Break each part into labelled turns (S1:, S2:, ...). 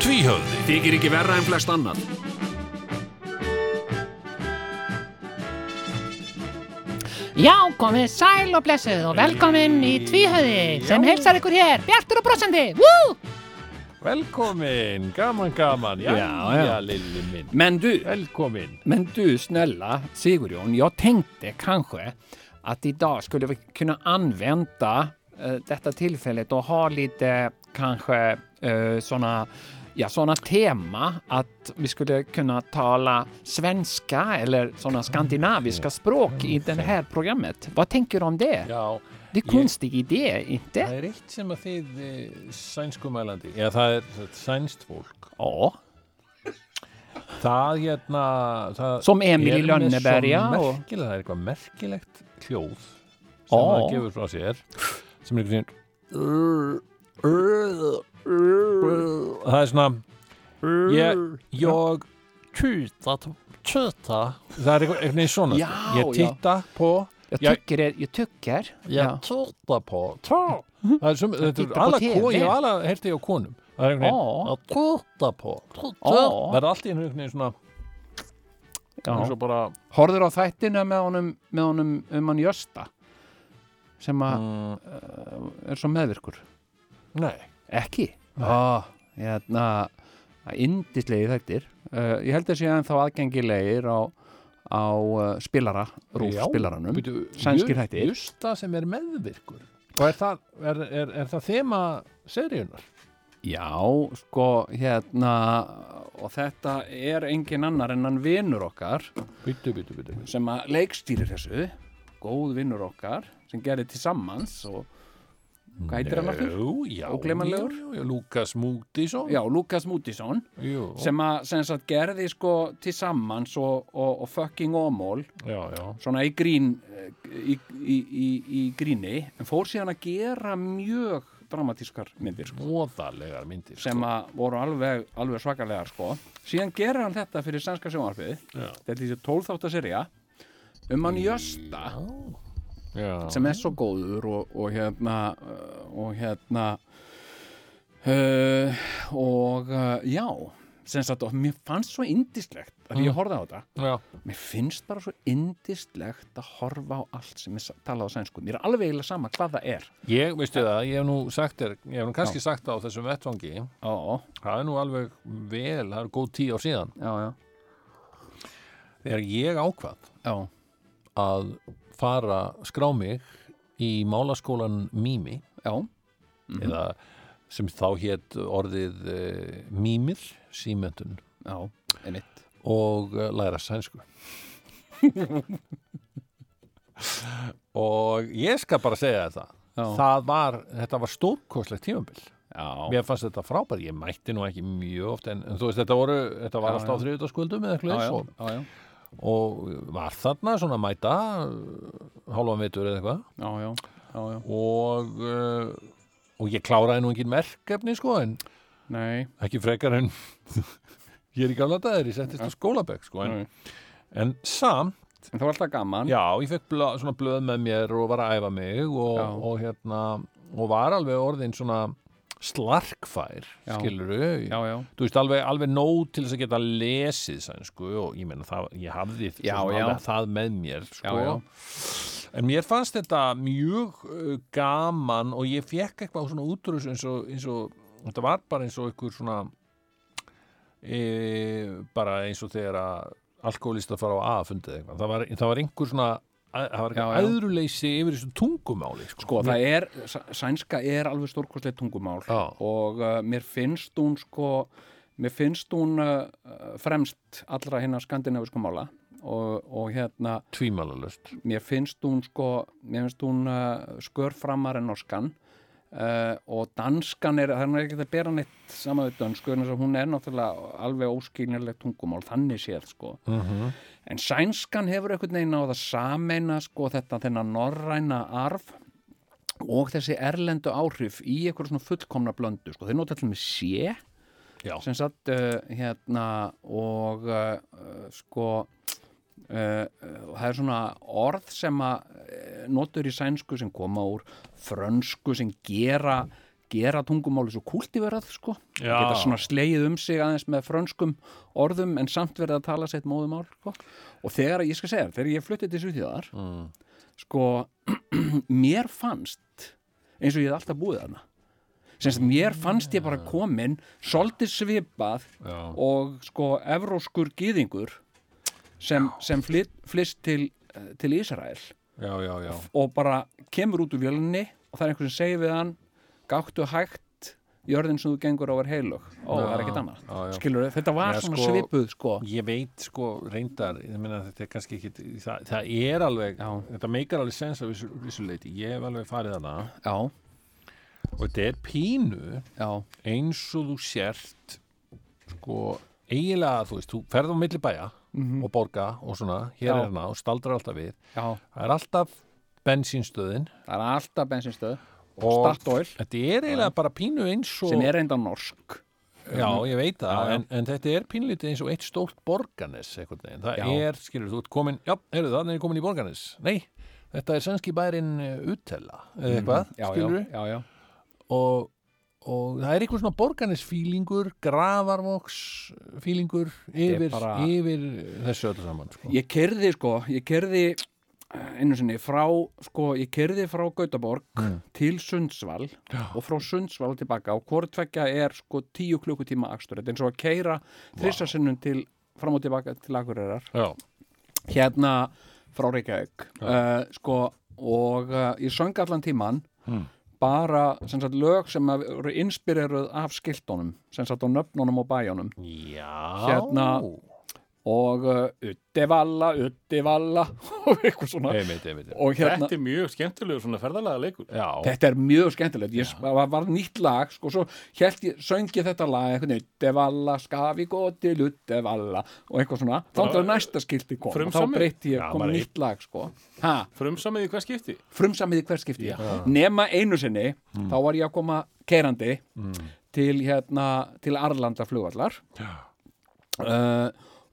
S1: Tvíhöfði
S2: Þykir ekki verra en flest annan.
S3: Já, komið sæl og blessuð og velkomin í Tvíhöði sem heilsar ykkur hér, bjartur og brosandi, wú!
S4: Velkomin, gaman, gaman, já,
S2: Já,
S4: já,
S2: já.
S4: lilli minn.
S2: Men du,
S4: Velkomin.
S2: men du snälla Sigurjón, jag tänkte kanske att idag skulle vi kunna använda eh, detta tillfället och ha lite kanske eh, sådana Ja, sådana tema att vi skulle kunna tala svenska eller sådana skandinaviska språk i det här programmet. Vad tänker du om det?
S4: Já,
S2: Det är konstig idé, inte?
S4: það er eitt sem að þið e, sænskumælandi, eða það er það er sænst fólk.
S2: Ja.
S4: Það hérna, það
S2: Som Emil í
S4: er með
S2: Lönneberja
S4: svo
S2: og-
S4: merkilegt, það er eitthvað merkilegt hljóð sem
S2: Ó.
S4: það gefur frá sér, sem er einhvern veginn, það er svona, ég, ég,
S1: Tjuta, tjuta
S4: það er einhvern einhvern veginn svona,
S2: Já,
S4: sko. ég
S2: já.
S4: titta på,
S2: Jag
S4: Jag-
S2: tycker, det- jag tycker.
S4: ég tjóta på tó. það er sem, þetta
S2: tittar
S4: er
S2: på
S4: alla
S2: TV.
S4: konum ég hef alla heyrti á konum það er einhvern
S2: Já.
S4: veginn að tjóta på
S2: Já.
S4: það er allt í einu einhvern veginn svona
S2: Ja.
S4: eins og bara
S2: Horður á þættina með honum, með honum um hann Jösta sem að
S4: mm,
S2: er svo meðvirkur
S4: nei,
S2: ekki ah, hérna, indislegir þættir uh, ég held að sé að þá aðgengilegir á, á uh, spilara rúf
S4: Já,
S2: spilaranum
S4: byrju,
S2: Sænskir
S4: Jur-
S2: þættir.
S4: Jurta sem er meðvirkur og er það, er, er, er það þema seríunar
S2: já, sko hérna og þetta er engin annar en hann vinur okkar
S4: byttu, byttu, byttu
S2: sem að leikstýrir þessu góð vinnur okkar sem gerir til sammans og hvað heitir hann aftur?
S4: já,
S2: Ógleymanlegur?
S4: já, já, Lukas Mútisson
S2: Já, Lukas Mútisson
S4: Jú,
S2: sem að sem sagt, gerði sko til sammans og, og, og fucking ómól
S4: já, já
S2: svona í grín eh, í, í, í, í gríni en fór síðan að gera mjög dramatískar myndir sko,
S4: óðarlegar myndir
S2: sem að voru alveg, alveg svakalegar sko. síðan gerir hann þetta fyrir sænska sjónvarpið
S4: Já.
S2: þetta er þessi tólþáttaserja um hann Jösta
S4: já.
S2: sem er svo góður og, og hérna uh, og hérna uh, og uh, já sem sagt, og mér fannst svo indislegt að mm. ég horfði á þetta
S4: já.
S2: mér finnst bara svo indislegt að horfa á allt sem er sa- talað á sænsku mér er alveg eiginlega sama hvað það er
S4: Ég, veistu það, ég hef nú sagt þér, ég hef nú kannski sagt það á þessum vettvangi,
S2: já,
S4: það er nú alveg vel, það er góð tíu ár síðan,
S2: já, já,
S4: þegar ég ákvað
S2: já,
S4: að fara skrá mig í málaskólan Mými,
S2: já. Mhm.
S4: eða sem þá hétt orðið e, Mýmir, símöntun
S2: Já, einmitt
S4: og eh, læra sænsku. og ég skal bara segja þetta,
S2: Já.
S4: það var, þetta var stórkoslegt tímabil.
S2: Já,
S4: Mér fannst þetta frábært, ég mætti nú ekki mjög oft en, en þú veist þetta voru, þetta var
S2: Já,
S4: alltaf á þriðutaskvöldum eða
S2: já,
S4: eitthvað
S2: já,
S4: eins og,
S2: já, já,
S4: og var þarna svona að mæta uh, hálfan vitur eða eitthvað
S2: já, já, já, já.
S4: og, uh, og ég kláraði nú engin merkefni sko en
S2: Nei,
S4: ekki frekar en ég er í gamla dagir, ég settist á skólabekk sko en,
S2: nei.
S4: en samt
S2: En það var alltaf gaman
S4: Já, ég fekk blöð, svona blöð með mér og var að æfa mig og,
S2: Já.
S4: og hérna og var alveg orðin svona slarkfær,
S2: Já.
S4: skilurðu
S2: já, já,
S4: þú veist, alveg, alveg nóg til þess að geta lesið sænsku og ég meina það, ég hafði
S2: Já,
S4: svona
S2: já.
S4: alveg það með mér sko.
S2: Já, já.
S4: en mér fannst þetta mjög uh, gaman og ég fekk eitthvað svona útrús eins og, eins og þetta var bara eins og einhver svona e, bara eins og þegar að alkoholista fara á A-fundið eitthvað það var, það var einhver svona að- það var
S2: Já, já.
S4: eitthvað aðruleysi yfir þessu tungumáli sko,
S2: Sko, það er, sæ- sænska er alveg stórkoslega tungumál
S4: Já.
S2: og uh, mér finnst hún sko, mér finnst hún uh, uh, fremst allra hinna skandinavísku mála
S5: og, og hérna
S4: tvímalalust
S5: mér finnst hún sko mér finnst hún uh, skörframar en norskan uh, og danskan er það er nú ekki að bera neitt saman við dönsku en hún er náttúrulega alveg óskilnilegt tungumál þannig séð sko en sænskan hefur einhvern veginn á það sameina sko þetta þennan norræna arf og þessi erlendu áhrif í einhverjum svona fullkomna blöndu sko þeir nota allir með sé
S4: Já.
S5: sem satt uh, hérna og uh, uh, sko Uh, uh, það er svona orð sem að uh, notur í sænsku sem koma úr frönsku sem gera gera tungumáli svo kultiverað sko,
S4: Já.
S5: geta svona slegið um sig aðeins með frönskum orðum en samt verið að tala sitt móðumál sko. og þegar, ég skal segja, þér, þegar ég fluttið til Svíþjóðar
S4: mm.
S5: sko, mér fannst eins og ég hef alltaf búið þarna sem sagt, mér fannst ég
S4: Mm.
S5: bara komin soldið svipað
S4: Já.
S5: og sko evróskur gýðingur sem, sem flyt, flyst til, eh, til Ísrael
S4: já, já, já
S5: og bara kemur út úr vjölunni og það er einhver sem segir við hann gáttu hægt jörðin sem þú gengur á er heilug og það er ekkert annað
S4: já, já.
S5: skilur þetta var
S4: Já,
S5: svona
S4: sko,
S5: svipuð sko
S4: Ég veit sko reyndar, ég meina þetta er kannski ekki, það, það er alveg,
S5: Já.
S4: þetta meikar alveg sens að vissu, vissu leiti, ég hef alveg farið þarna
S5: já,
S4: og þetta er pínu
S5: já,
S4: eins og þú sért sko eiginlega, þú veist, þú ferð á milli bæja og borga og svona, hér
S5: Mhm. Já.
S4: er hana og staldrar alltaf við,
S5: já
S4: það er alltaf bensínstöðin
S5: það er alltaf bensinstöð
S4: og
S5: Statoil.
S4: þetta er eiginlega bara pínu eins og
S5: sem er reynda norsk
S4: Já, ég veit það,
S5: Um, Já, já.
S4: En, en þetta er pínlítið eins og eitt stórt borganes einhvern veginn. Það
S5: Já.
S4: er, skilur, þú ert komin, já, heyrðu það, er komin í borganes. Nei, þetta er sænski bærin Utella, eða eitthvað,
S5: Mhm, já, já,
S4: skilur
S5: já, já,
S4: Og, og það er einhver svona borganes fílingur, gravarvoks fílingur
S5: er
S4: yfir,
S5: bara-
S4: yfir þessu öllu saman, sko.
S5: ég kerði sko ég kerði einu sinni frá sko, ég kerði frá Gautaborg til Sundsvall og frá Sundsvall tilbaka og hvort tvekja er sko tíu klukkutíma akstur, þetta er eins og að keira þrissasinnum til fram og tilbaka til Akureyrar
S4: Já,
S5: hérna frá Reykjavík uh, sko og uh, ég söng allan tíman bara sem sagt lög sem að eru inspireruð af skiltunum sem sagt á nöfnunum og bæjónum
S4: já.
S5: Hérna- og uh, utivalla, utivalla og eitthvað svona
S4: Einmitt, einmitt.
S5: og hérna
S6: Þetta er mjög skemmtilegur svona ferðalega leikur
S4: Já,
S5: Þetta er mjög skemmtilegt, ég var, var nýtt lag sko, svo hélt ég, söng ég þetta lag einhvern veginn, Uddevalla, Skafigoti, Luddevalla og eitthvað svona þá til að næsta skilti kom og þá
S6: Frumsamið?
S5: breytti ég,
S4: Já,
S5: kom
S4: maður er-
S5: nýtt lag sko. ha,
S6: Frumsamið í hvað skipti
S5: frumsamið í hver skipti nema einu sinni, þá var ég að koma kerandi til hérna, til Arlanda flugvallar uh,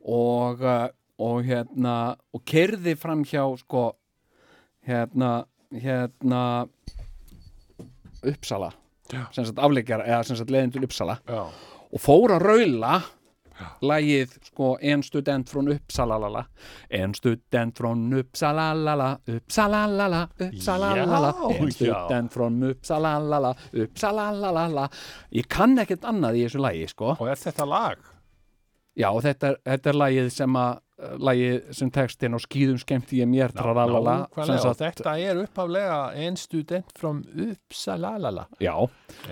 S5: og uh, og hérna og kerði fram hjá sko hérna hérna Uppsala sem sagt afleikjar eða sem sagt leiðin til Uppsala
S4: já.
S5: og fór að raula lagið sko en student frá Uppsala lala en student frá Uppsala lala Uppsala lala Uppsala lala
S4: Já,
S5: en
S4: já.
S5: student frá Uppsala lala Uppsala lala ég kann ekkert annað í þessu lagi sko
S4: Og er þetta lag?
S5: Já, og þetta, er- þetta er lagið sem að lagið sem textin og skýðum skemmti ég mér tralalala sem
S4: Nákvæmlega, og
S5: sagt-
S4: þetta er upphaflega en student from Uppsalalala.
S5: Já,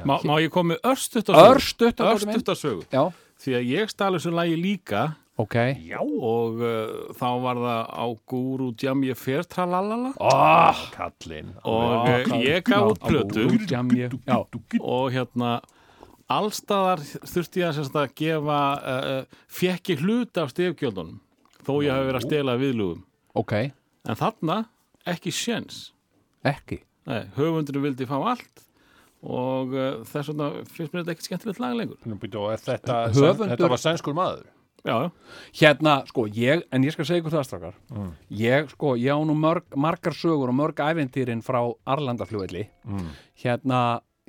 S6: Má, má ég koma með örstuttarsögu?
S5: örstutt á bóti minn.
S6: Örstuttarsögu
S5: Já,
S6: Því að ég stala þessu lagi líka
S5: ok
S6: Já Og uh, þá var það á gúru Jam ég fer tralalala
S4: Oh, kallinn.
S6: Og uh, ég gaf út plötu
S5: Jam ég, já,
S6: Og hérna Allstaðar þurfti ég að, sem sagt að gefa uh, Fekk ég hluta af stefgjöldunum Þó ég hafi verið að stela viðlugum
S5: ok,
S6: En þarna ekki séns
S5: ekki
S6: Nei, höfundurinn vildi fá allt og uh, þess vegna finnst mér þetta ekkert skemmtilegt lag lengur.
S4: Og er þetta,
S5: Höfundur-
S4: þetta var sænskur maður.
S6: Já,
S5: Hérna, sko, ég, en ég skal segja ykkur það strákar
S4: Mm.
S5: Ég, sko, ég á nú mörg, margar sögur og mörg æventýrin frá Arlandaflugvelli mm. Hérna,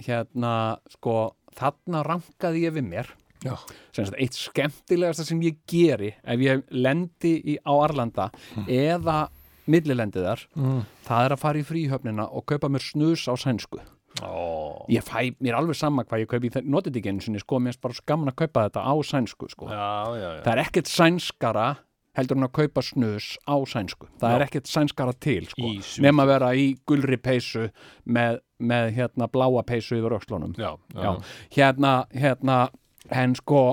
S5: hérna, sko, þarna rankaði ég við mér
S4: Já.
S5: sem sagt, eitt skemmtilegasta sem ég geri ef ég lendi í, á Arlanda
S4: Mm.
S5: eða millilendi þar það er að fara í fríhöfnina og kaupa mér snus á sænsku
S4: Ó,
S5: ég fæ mér alveg sama hvað ég kaupi notið ekki einu sinni, sko, mér er bara svo gaman að kaupa þetta á sænsku, sko
S4: já, já, já.
S5: það er ekkert sænskara heldur en að kaupa snus á sænsku það er ekkert sænskara til sko,
S4: Í Svíþjóð.
S5: nema að vera í gulri peysu með, með hérna bláa peysu yfir öxlunum
S4: Já, já.
S5: Já. hérna, hérna en sko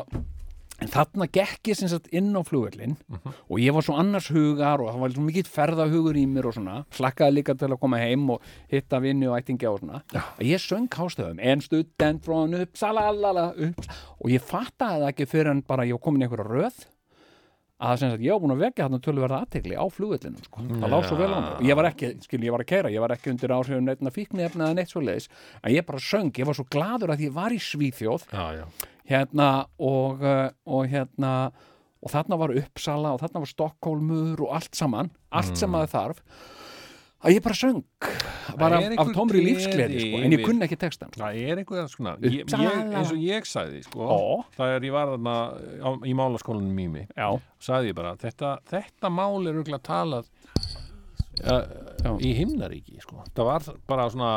S2: En þarna gekk ég sem sagt inn á flugvöllin og ég var svo annars hugar og það var svo mikill ferðahugur í mér og svona slakkaði líka til að koma heim og hitta vinni og ættingja og svona að ég söng hástöðum, en student frá hann upp, salalala upp og ég fattaði það ekki fyrir en bara ég var komin í einhverja röð að sem sagt ég var búin að vekja þarna tölverða aðtegli á flugvöllinum sko. það lág svo vel á mig, ég var ekki, skil ég var að keira ég var ekki undir áhrifun neittna fíknefna eða neitt svo leiðis, en ég bara söng, ég var svo gladur að ég var í Svíþjóð
S5: já, já.
S2: hérna og, uh, og hérna og þarna var Uppsala og þarna var Stokkólmur og allt saman, allt sem maður þarf að ég bara söng
S4: er
S2: bara af, af
S4: einhver
S2: tómri
S4: gleði
S2: lífsgleði sko, en ég
S4: yfir-
S2: kunni ekki textan sko.
S4: Það er einhverja svona, ég, ég,
S2: Uppsala.
S4: eins og ég sagði, sko,
S2: Ó.
S4: það er ég var þarna á, í málaskólanum mými,
S2: já,
S4: sagði ég bara, þetta, þetta mál er auðvitað talað uh, í himnaríki, sko. Það var bara svona,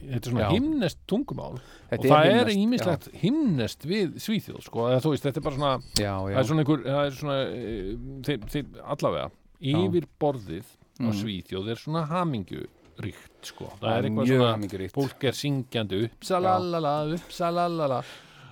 S4: þetta er svona
S2: Já.
S4: himnest tungumál
S2: Þetta
S4: og það
S2: er
S4: er
S2: himneskt,
S4: ímislegt himnest við Svíþjóð, sko, eða þú veist, þetta er bara svona,
S2: já,
S4: það
S2: já,
S4: er svona einhver, það er svona, uh, þeir, þeir, allavega, yfir borðið á
S2: Mm.
S4: Svíþjóð er svona hamingju ríkt, sko. Það er eitthvað
S2: mjög
S4: svona
S2: hamingjuríkt.
S4: fólk er syngjandi uppsalalala, uppsalalala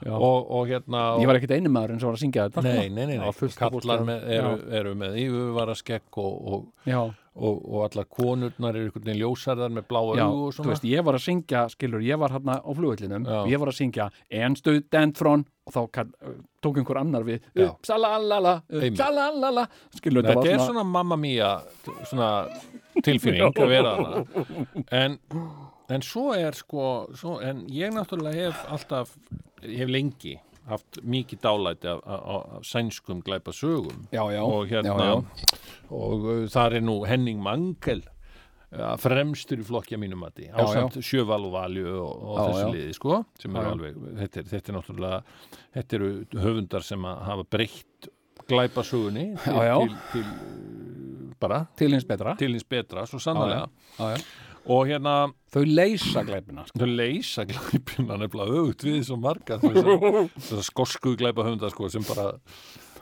S2: Já.
S4: og, og hérna og,
S2: ég var ekkert einu maður en svo var að syngja þetta
S4: nei, nei, nei,
S2: Já,
S4: nei.
S2: fullt af fólki
S4: kallar
S2: þarna.
S4: með, eru, eru með yfirvaraskegg og, og,
S2: já,
S4: og, og allar konurnar eru einhvern veginn ljósarðar með bláa
S2: já,
S4: augu og
S2: þú
S4: svona
S2: veist, ég var að syngja skilur, ég var hérna á flugullinum
S4: Já.
S2: ég var að syngja en student frón og þá kann, tók einhver annar við
S4: Já.
S2: uppsalalala, uppsalalala skilur,
S4: þetta
S2: þetta var
S4: er svona mamma mía svona tilfinning að vera þarna en, en svo er sko svo, en ég náttúrulega hef alltaf hef lengi haft mikið dálæti af, af, af, af sænskum glæpa sögum
S2: já, já,
S4: og hérna
S2: já, já.
S4: og uh, þar er nú Henning Mangel uh, fremstur í flokkja mínum að því ásamt Sjöval og Valju og, og
S2: Já,
S4: þessu
S2: já.
S4: liði sko sem
S2: Já,
S4: eru
S2: já.
S4: alveg, þetta er, þetta er náttúrulega þetta eru höfundar sem að hafa breytt glæpasögunni til,
S2: Já, já.
S4: til, til uh, bara
S2: til hins betra
S4: til hins betra, svo sannlega
S2: já, já.
S4: og hérna
S2: þau leysa glæpina
S4: þau leysa glæpina nefnilega auðvitað við svo marga þess að skosku glæpa höfunda sko, sem bara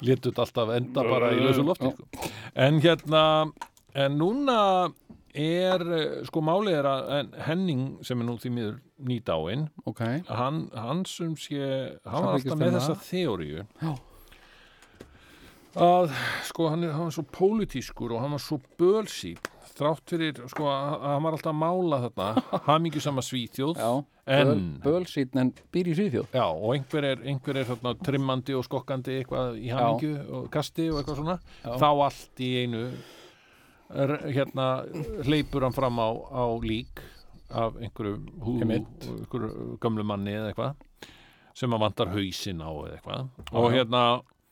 S4: létut alltaf enda bara í lausu lofti sko. en hérna en núna er eh, sko málið er að en Henning sem er nú því miður nýdáin
S2: ok,
S4: hann, hann sem sé hann var
S2: Samþykkist
S4: alltaf með
S2: um
S4: þessa
S2: það.
S4: þeoríu
S2: Já.
S4: að sko hann, er, hann var svo pólitískur og hann var svo bölsýp þrátt fyrir sko að að hann var alltaf að mála þarna hamingjusama svíþjóð
S2: já,
S4: en
S2: bölsýtn en býr í Svíþjóð
S4: Já, og einhver er, einhver er þarna, trimmandi og skokkandi eitthvað í hamingju og kasti og eitthvað svona þá allt í einu er, hérna hleypur hann fram á, á lík af einhverju hú,
S2: Einmitt.
S4: einhverju gömlu manni eða eitthvað sem að vantar hausinn á eða eitthvað og hérna,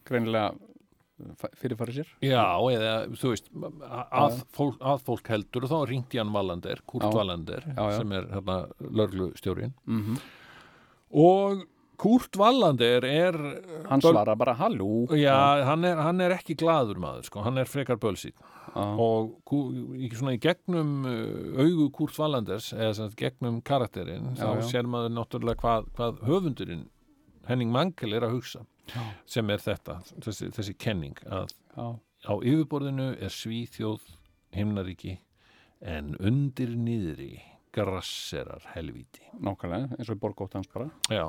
S2: greinilega uh, fyrirfarið sér
S4: já, eða þú veist, að, fólk, að fólk heldur og þá ringti hann Valander, Kurt
S2: Já.
S4: Valander
S2: Já, já.
S4: sem er hérna lörglustjórin
S2: mm
S4: og Kurt Valander er
S2: hann
S4: Böl-
S2: svarar bara hallú
S4: Já, hann er, hann er ekki gladur maður, sko, hann er frekar bölsýn
S2: Já.
S4: og kú- í, svona í gegnum uh, augu Kurt Wallanders, eða sem sagt gegnum karakterinn, þá
S2: Já, já.
S4: sér maður náttúrulega hvað, hvað höfundurinn Henning Mangel er að hugsa, sem er þetta, þessi, þessi kenning að
S2: Já.
S4: á yfirborðinu er svíþjóð himnaríki en undir niðri grasserar helvíti.
S2: nákvæmlega, eins og í borgótt hans bara
S4: Já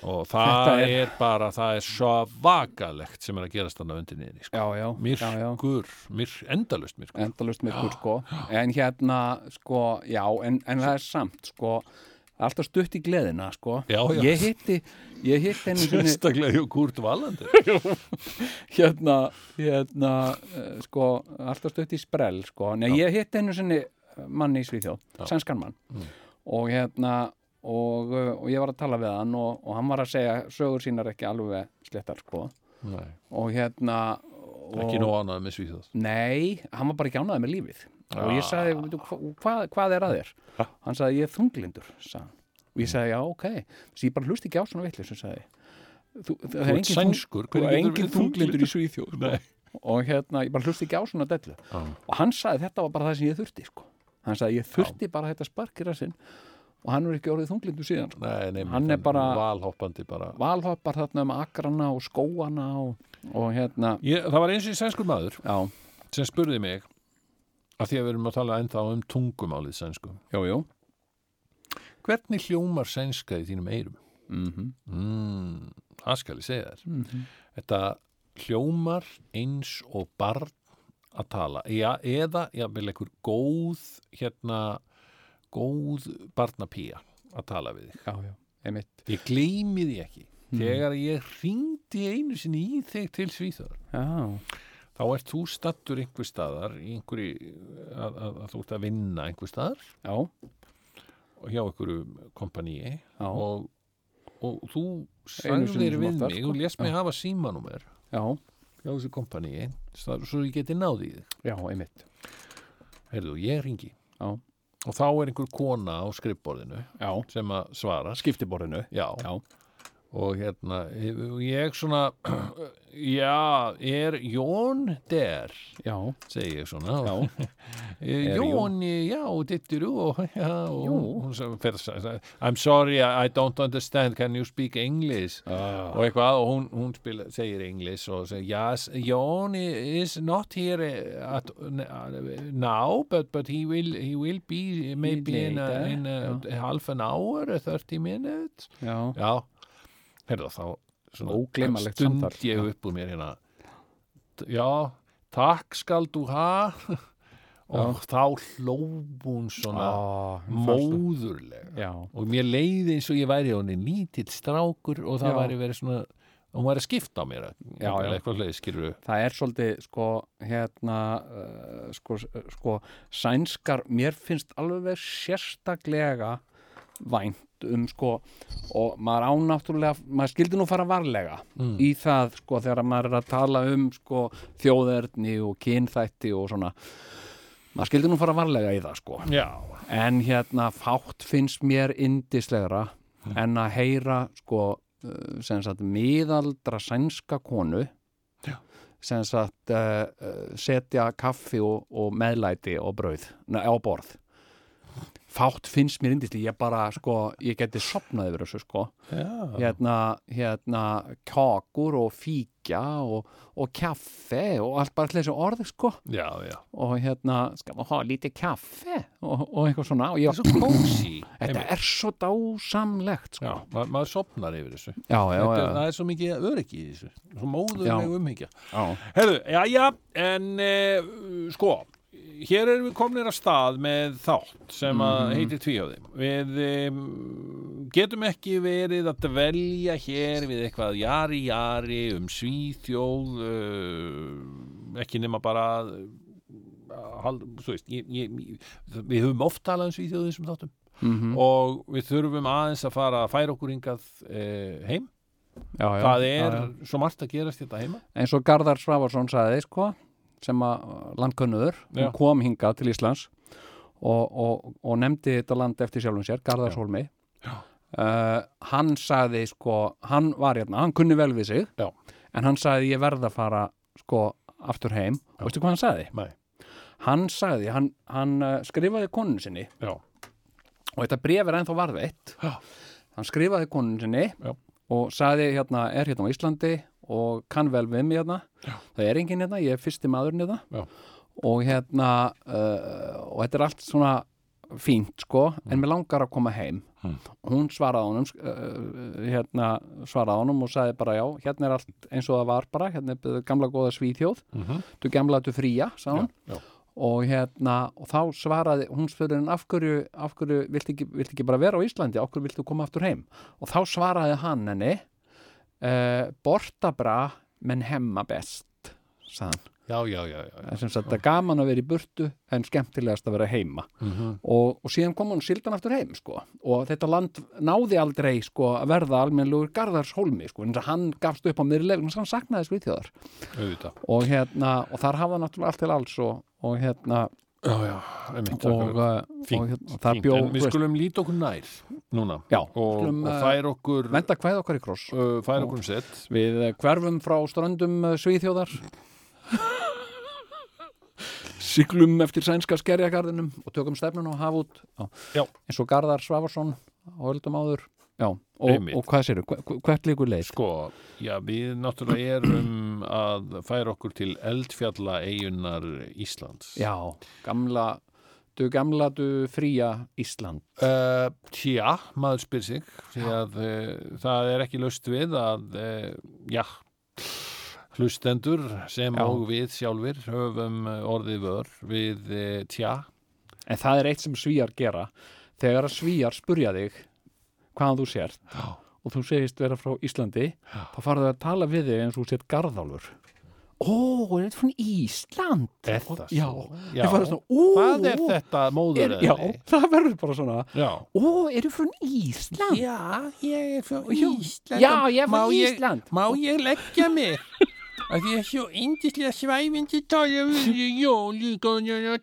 S4: og það
S2: Þetta
S4: er...
S2: er-
S4: bara, það er svo vakalegt sem er að gerast þarna undir niðri sko.
S2: já, já, já, já.
S4: myrkur, myr, endalust myrkur
S2: endalust myrkur sko en hérna sko, já, en, en það er samt sko, alltaf stutt í gleðina sko,
S4: Já, já.
S2: ég hitti ég hitti einu sinni
S4: sérstaklega hjá Kurt Valandi
S2: hérna, hérna uh, sko, alltaf stutt í sprell sko. Nei, ég hitt einu sinni manni í Svíþjóð, sænskan mann
S4: Mm.
S2: og hérna og, uh, og ég var að tala við hann og, og hann var að segja sögur sínar ekki alveg slettar sko.
S4: Nei,
S2: og hérna og,
S4: ekki nóg ánað með Svíþjóð
S2: Nei, hann var bara ekki ánæðið með lífið og
S4: Ah.
S2: ég sagði, veitu, hva, hvað, hvað er að þér? Hann sagði, ég er þunglindur sagði. hann. og
S4: Mm.
S2: ég sagði, já, ok þess ég bara hlusti ekki á svona vitlis sagði. ég. Þú, það
S4: Þú
S2: er
S4: ert
S2: engin,
S4: sænskur,
S2: þung,
S4: hvernig
S2: það er
S4: getur
S2: engin
S4: verið
S2: þunglindur í Svíþjóð sko. og hérna, ég bara hlusti ekki á svona dellu og hann sagði, þetta var bara það sem ég þurfti sko. hann sagði, ég þurfti bara þetta sparkir að sinn og hann er ekki orðið þunglindur síðan sko.
S4: Nei, nei,
S2: Hann er bara-
S4: valhoppandi bara
S2: valhoppar þarna um akrana og skóana og, og hérna,
S4: ég, Það var eins og í sænskur maður
S2: já,
S4: sem spurði mig að því að við erum að tala ennþá um tungumálið sænsku
S2: jú, jú
S4: Hvernig hljómar sænska í þínum eyrum?
S2: mhm
S4: Mm, það skal ég segja þér þetta hljómar eins og barn að tala ja, eða jafnvel einhver góð hérna góð barnapía að tala við þig
S2: Já, já, einmitt.
S4: ég gleymi því ekki þegar ég hringdi einu sinni í þig til Svíþjóðar
S2: Já,
S4: þá ert þú stattur einhver staðar í einhverju, að, að, að þú ert að vinna einhver staðar
S2: já,
S4: og hjá einhverju kompaníi
S2: já,
S4: og, og þú
S2: Einu sinni
S4: sagðir
S2: sem
S4: við
S2: oftar,
S4: mig
S2: sko.
S4: og lést mig hafa símanúmer
S2: já,
S4: hjá þessu kompaníi staðar, svo ég geti náði í þig
S2: já, einmitt.
S4: heyrðu, ég ringi
S2: Já.
S4: og þá er einhver kona á skrifborðinu
S2: Já,
S4: sem að svara
S2: skiptiborðinu.
S4: já.
S2: Já.
S4: og hérna og ég svona já, er Jón der
S2: Já,
S4: segi ég svona
S2: já,
S4: Eh,
S2: Er
S4: Jón, eh, já, dittur og, já, og
S2: Jú.
S4: hún sem fer að segja I'm sorry, I I don't understand can you speak English
S2: Ah.
S4: og eitthvað, og hún, hún spila, segir English og segir, yes, Jón i- is not here eh, at, n- uh, now, but, but he will he will be maybe in, a,
S2: Later,
S4: in a, half an hour eh, 30 minutes
S2: já,
S4: já, heyrðu þá svona
S2: Ógleymanlegt
S4: stund
S2: samtal.
S4: ég upp úr mér hérna T- já, takk skal þú ha og þá hló hún svona
S2: Ah,
S4: móðurlega
S2: já,
S4: og mér leiði eins og ég væri hún er lítill strákur og það
S2: Já.
S4: væri verið svona hún væri að skipta á mér
S2: Já, já.
S4: eitthvað leið skilur
S2: það er svolítið, sko, hérna, uh, sko, sko, sænskar, mér finnst alveg sérstaklega vænt um, sko, og maður ánáttúrulega, maður skildi nú fara varlega
S4: Mm.
S2: í það, sko, þegar maður er að tala um, sko, þjóðerni og kynþætti og svona, maður skildi nú fara varlega í það, sko.
S4: já,
S2: en hérna fátt finnst mér indislegra en að heyra sko uh, sem sagt miðaldra sænska konu sem sagt uh, uh, setja kaffi og, og meðlæti og brauð na, á borð fátt finnst mér indislega, ég bara sko, ég geti sopnað yfir þessu sko
S4: já.
S2: hérna, hérna kakur og fíkja og, og kaffe og allt bara allir þessu orð sko
S4: já, já.
S2: og hérna, skal maður hafa lítið kaffe og, og eitthvað svona og ég
S4: svo kósi
S2: Þetta er svo dásamlegt sko.
S4: já, ma maður sopnar yfir þessu
S2: já, já,
S4: Þetta, er-
S2: já,
S4: það er svo mikið öryggi í þessu svo móðurleg
S2: Já.
S4: umhyggja
S2: já.
S4: Herðu, já, já, en e, sko, hér erum við komnir að stað með þátt sem að heitir tvíhjóði. Við e, getum ekki verið að dvelja hér við eitthvað jari jari um svíþjóð, e, ekki nema bara að, hald, þú veist, ég, ég, við höfum oft talað um svíþjóð í þessum þáttum
S2: Mhm.
S4: og við þurfum aðeins að fara að færa okkur hingað e, heim.
S2: já, já
S4: Það er
S2: já, já.
S4: svo margt að gerast þetta heima.
S2: eins og Garðar Svavarsson sagði sko, sem að landkönnur
S4: Já.
S2: hún kom hingað til Íslands og, og, og nefndi þetta land eftir sjálfum sér, Garðar Sólmi uh, hann sagði sko, hann var hérna, hann kunni vel við sig
S4: Já.
S2: en hann sagði ég verð að fara sko, aftur heim og veistu hvað hann sagði?
S4: Nei.
S2: hann sagði, hann, hann uh, skrifaði konu sinni
S4: Já.
S2: og þetta bref er ennþá varðveitt
S4: Já.
S2: hann skrifaði konun sinni
S4: Já.
S2: og sagði hérna, er hérna á Íslandi og kann vel við mig hérna Já. það er enginn hérna, ég er fyrsti maðurinn hérna
S4: Já.
S2: og hérna uh, og þetta er allt svona fínt sko, en mér langar að koma heim
S4: Mm.
S2: hún svaraði honum sk- uh, hérna svaraði honum og sagði bara já, hérna er allt eins og það var bara hérna er uh, gamla góða svíþjóð
S4: Mm -hmm.
S2: du gamla du fría, sagði hún
S4: Já, já.
S2: og hérna, og þá svaraði hún spurði hann af hverju, af hverju viltu ekki, viltu ekki bara vera á Íslandi, af hverju viltu koma aftur heim og þá svaraði hann henni uh, borta bra menn hemma best sagðan,
S4: Já, já, já, já.
S2: sem sagt það er gaman að vera í burtu en skemmtilegast að vera heima
S4: Mhm.
S2: og, og síðan kom hún sildan aftur heim sko. og þetta land náði aldrei sko, að verða almennlegur Garðarshólmi sko. en hann gafst upp á miðri lefn hann saknaði sviðtjóðar
S4: auðvitað.
S2: og, hérna, og þar hafa hann náttúrulega allt til alls og, og hérna
S4: Já, já, einmitt.
S2: og,
S4: Og,
S2: uh,
S4: fínt,
S2: og, hérna, og það
S4: fínt,
S2: bjó
S4: en við sko- skulum líta okkur nær núna
S2: Já,
S4: og,
S2: skulum,
S4: og
S2: eh,
S4: færa okkur,
S2: venda hvað okkar í kross
S4: uh, færa okkur um sett.
S2: við eh, hverfum frá ströndum eh, Svíþjóðar siglum eftir sænska skerjagarðinum og tökum stefnun og hafa út
S4: Já.
S2: eins og Garðar Svavarsson og höldum áður já, og,
S4: Einmitt.
S2: og hvað séru, hvert líkur leið
S4: Sko, já, við náttúrulega erum að færa okkur til eldfjalla eigunar Íslands.
S2: já, gamla Viltu gamla du fría Ísland?
S4: Uh, tja, maður spyr sig því að uh, það er ekki löst við að, uh, já hlustendur sem
S2: Já.
S4: og við sjálfir höfum eh, orðið vör við uh, tja
S2: En það er eitt sem svíjar gera. Þegar að svíjar spurja þig hvaðan þú sért
S4: Já.
S2: og þú segist vera frá Íslandi, þá farðu að tala við þig eins og þú sért garðálfur. Ó, er þetta frá Ísland?
S4: Er það
S2: Já,
S4: svo?
S2: ég farið svona, ó,
S4: Hvað er þetta móður?
S2: já, það verður bara svona,
S4: já.
S2: ó, eru frá Ísland?
S4: Já, ég er frá Ísland.
S2: Já, ég er frá
S4: Má
S2: Ísland.
S4: Má ég leggja mig? Af því ég er svo yndislega svæfindi tala við jól, líka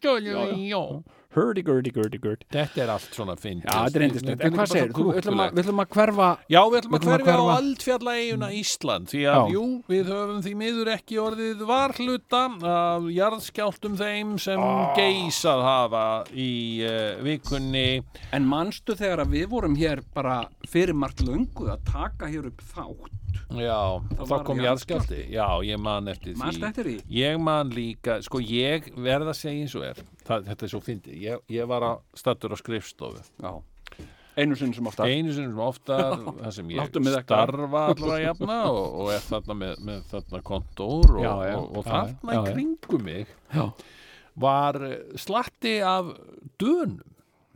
S4: tala við jól.
S2: Hurdy, gurdy, gurdy, gurdy.
S4: Þetta er allt svona fyndist.
S2: Já, þetta er endislegt. En hvað segir, þú, við ætlum að- við ætlum að hverfa,
S4: Já, við ætlum að
S2: Við ætlum að
S4: hverfa á
S2: hverfa- Mm.
S4: aldfjalla eiguna Ísland því að,
S2: Já.
S4: jú, við höfum því miður ekki orðið varhluta af jarðskjáltum þeim sem
S2: Ah.
S4: geisað hafa í uh, vikunni
S2: En manstu þegar að við vorum hér bara fyrir margt löngu að taka hér upp þátt?
S4: Já, þá
S2: var
S4: kom jarðskjálti Já, ég man eftir því
S2: Manstu eftir því?
S4: Ég man líka, sko ég verð að segja eins og er Það, Þetta er svo fyndið ég, ég var að stattur á skrifstofu
S2: Já. Einu sinni sem ofta.
S4: Einu sinni sem oftar Það sem ég
S2: Láttu mig þekka.
S4: starfa allra jafna og, og er þarna með, með þarna kontór og,
S2: Já, já,
S4: og, og
S2: já,
S4: þarna
S2: já, já.
S4: í kringum mig
S2: Já.
S4: var eh, slatti af dönum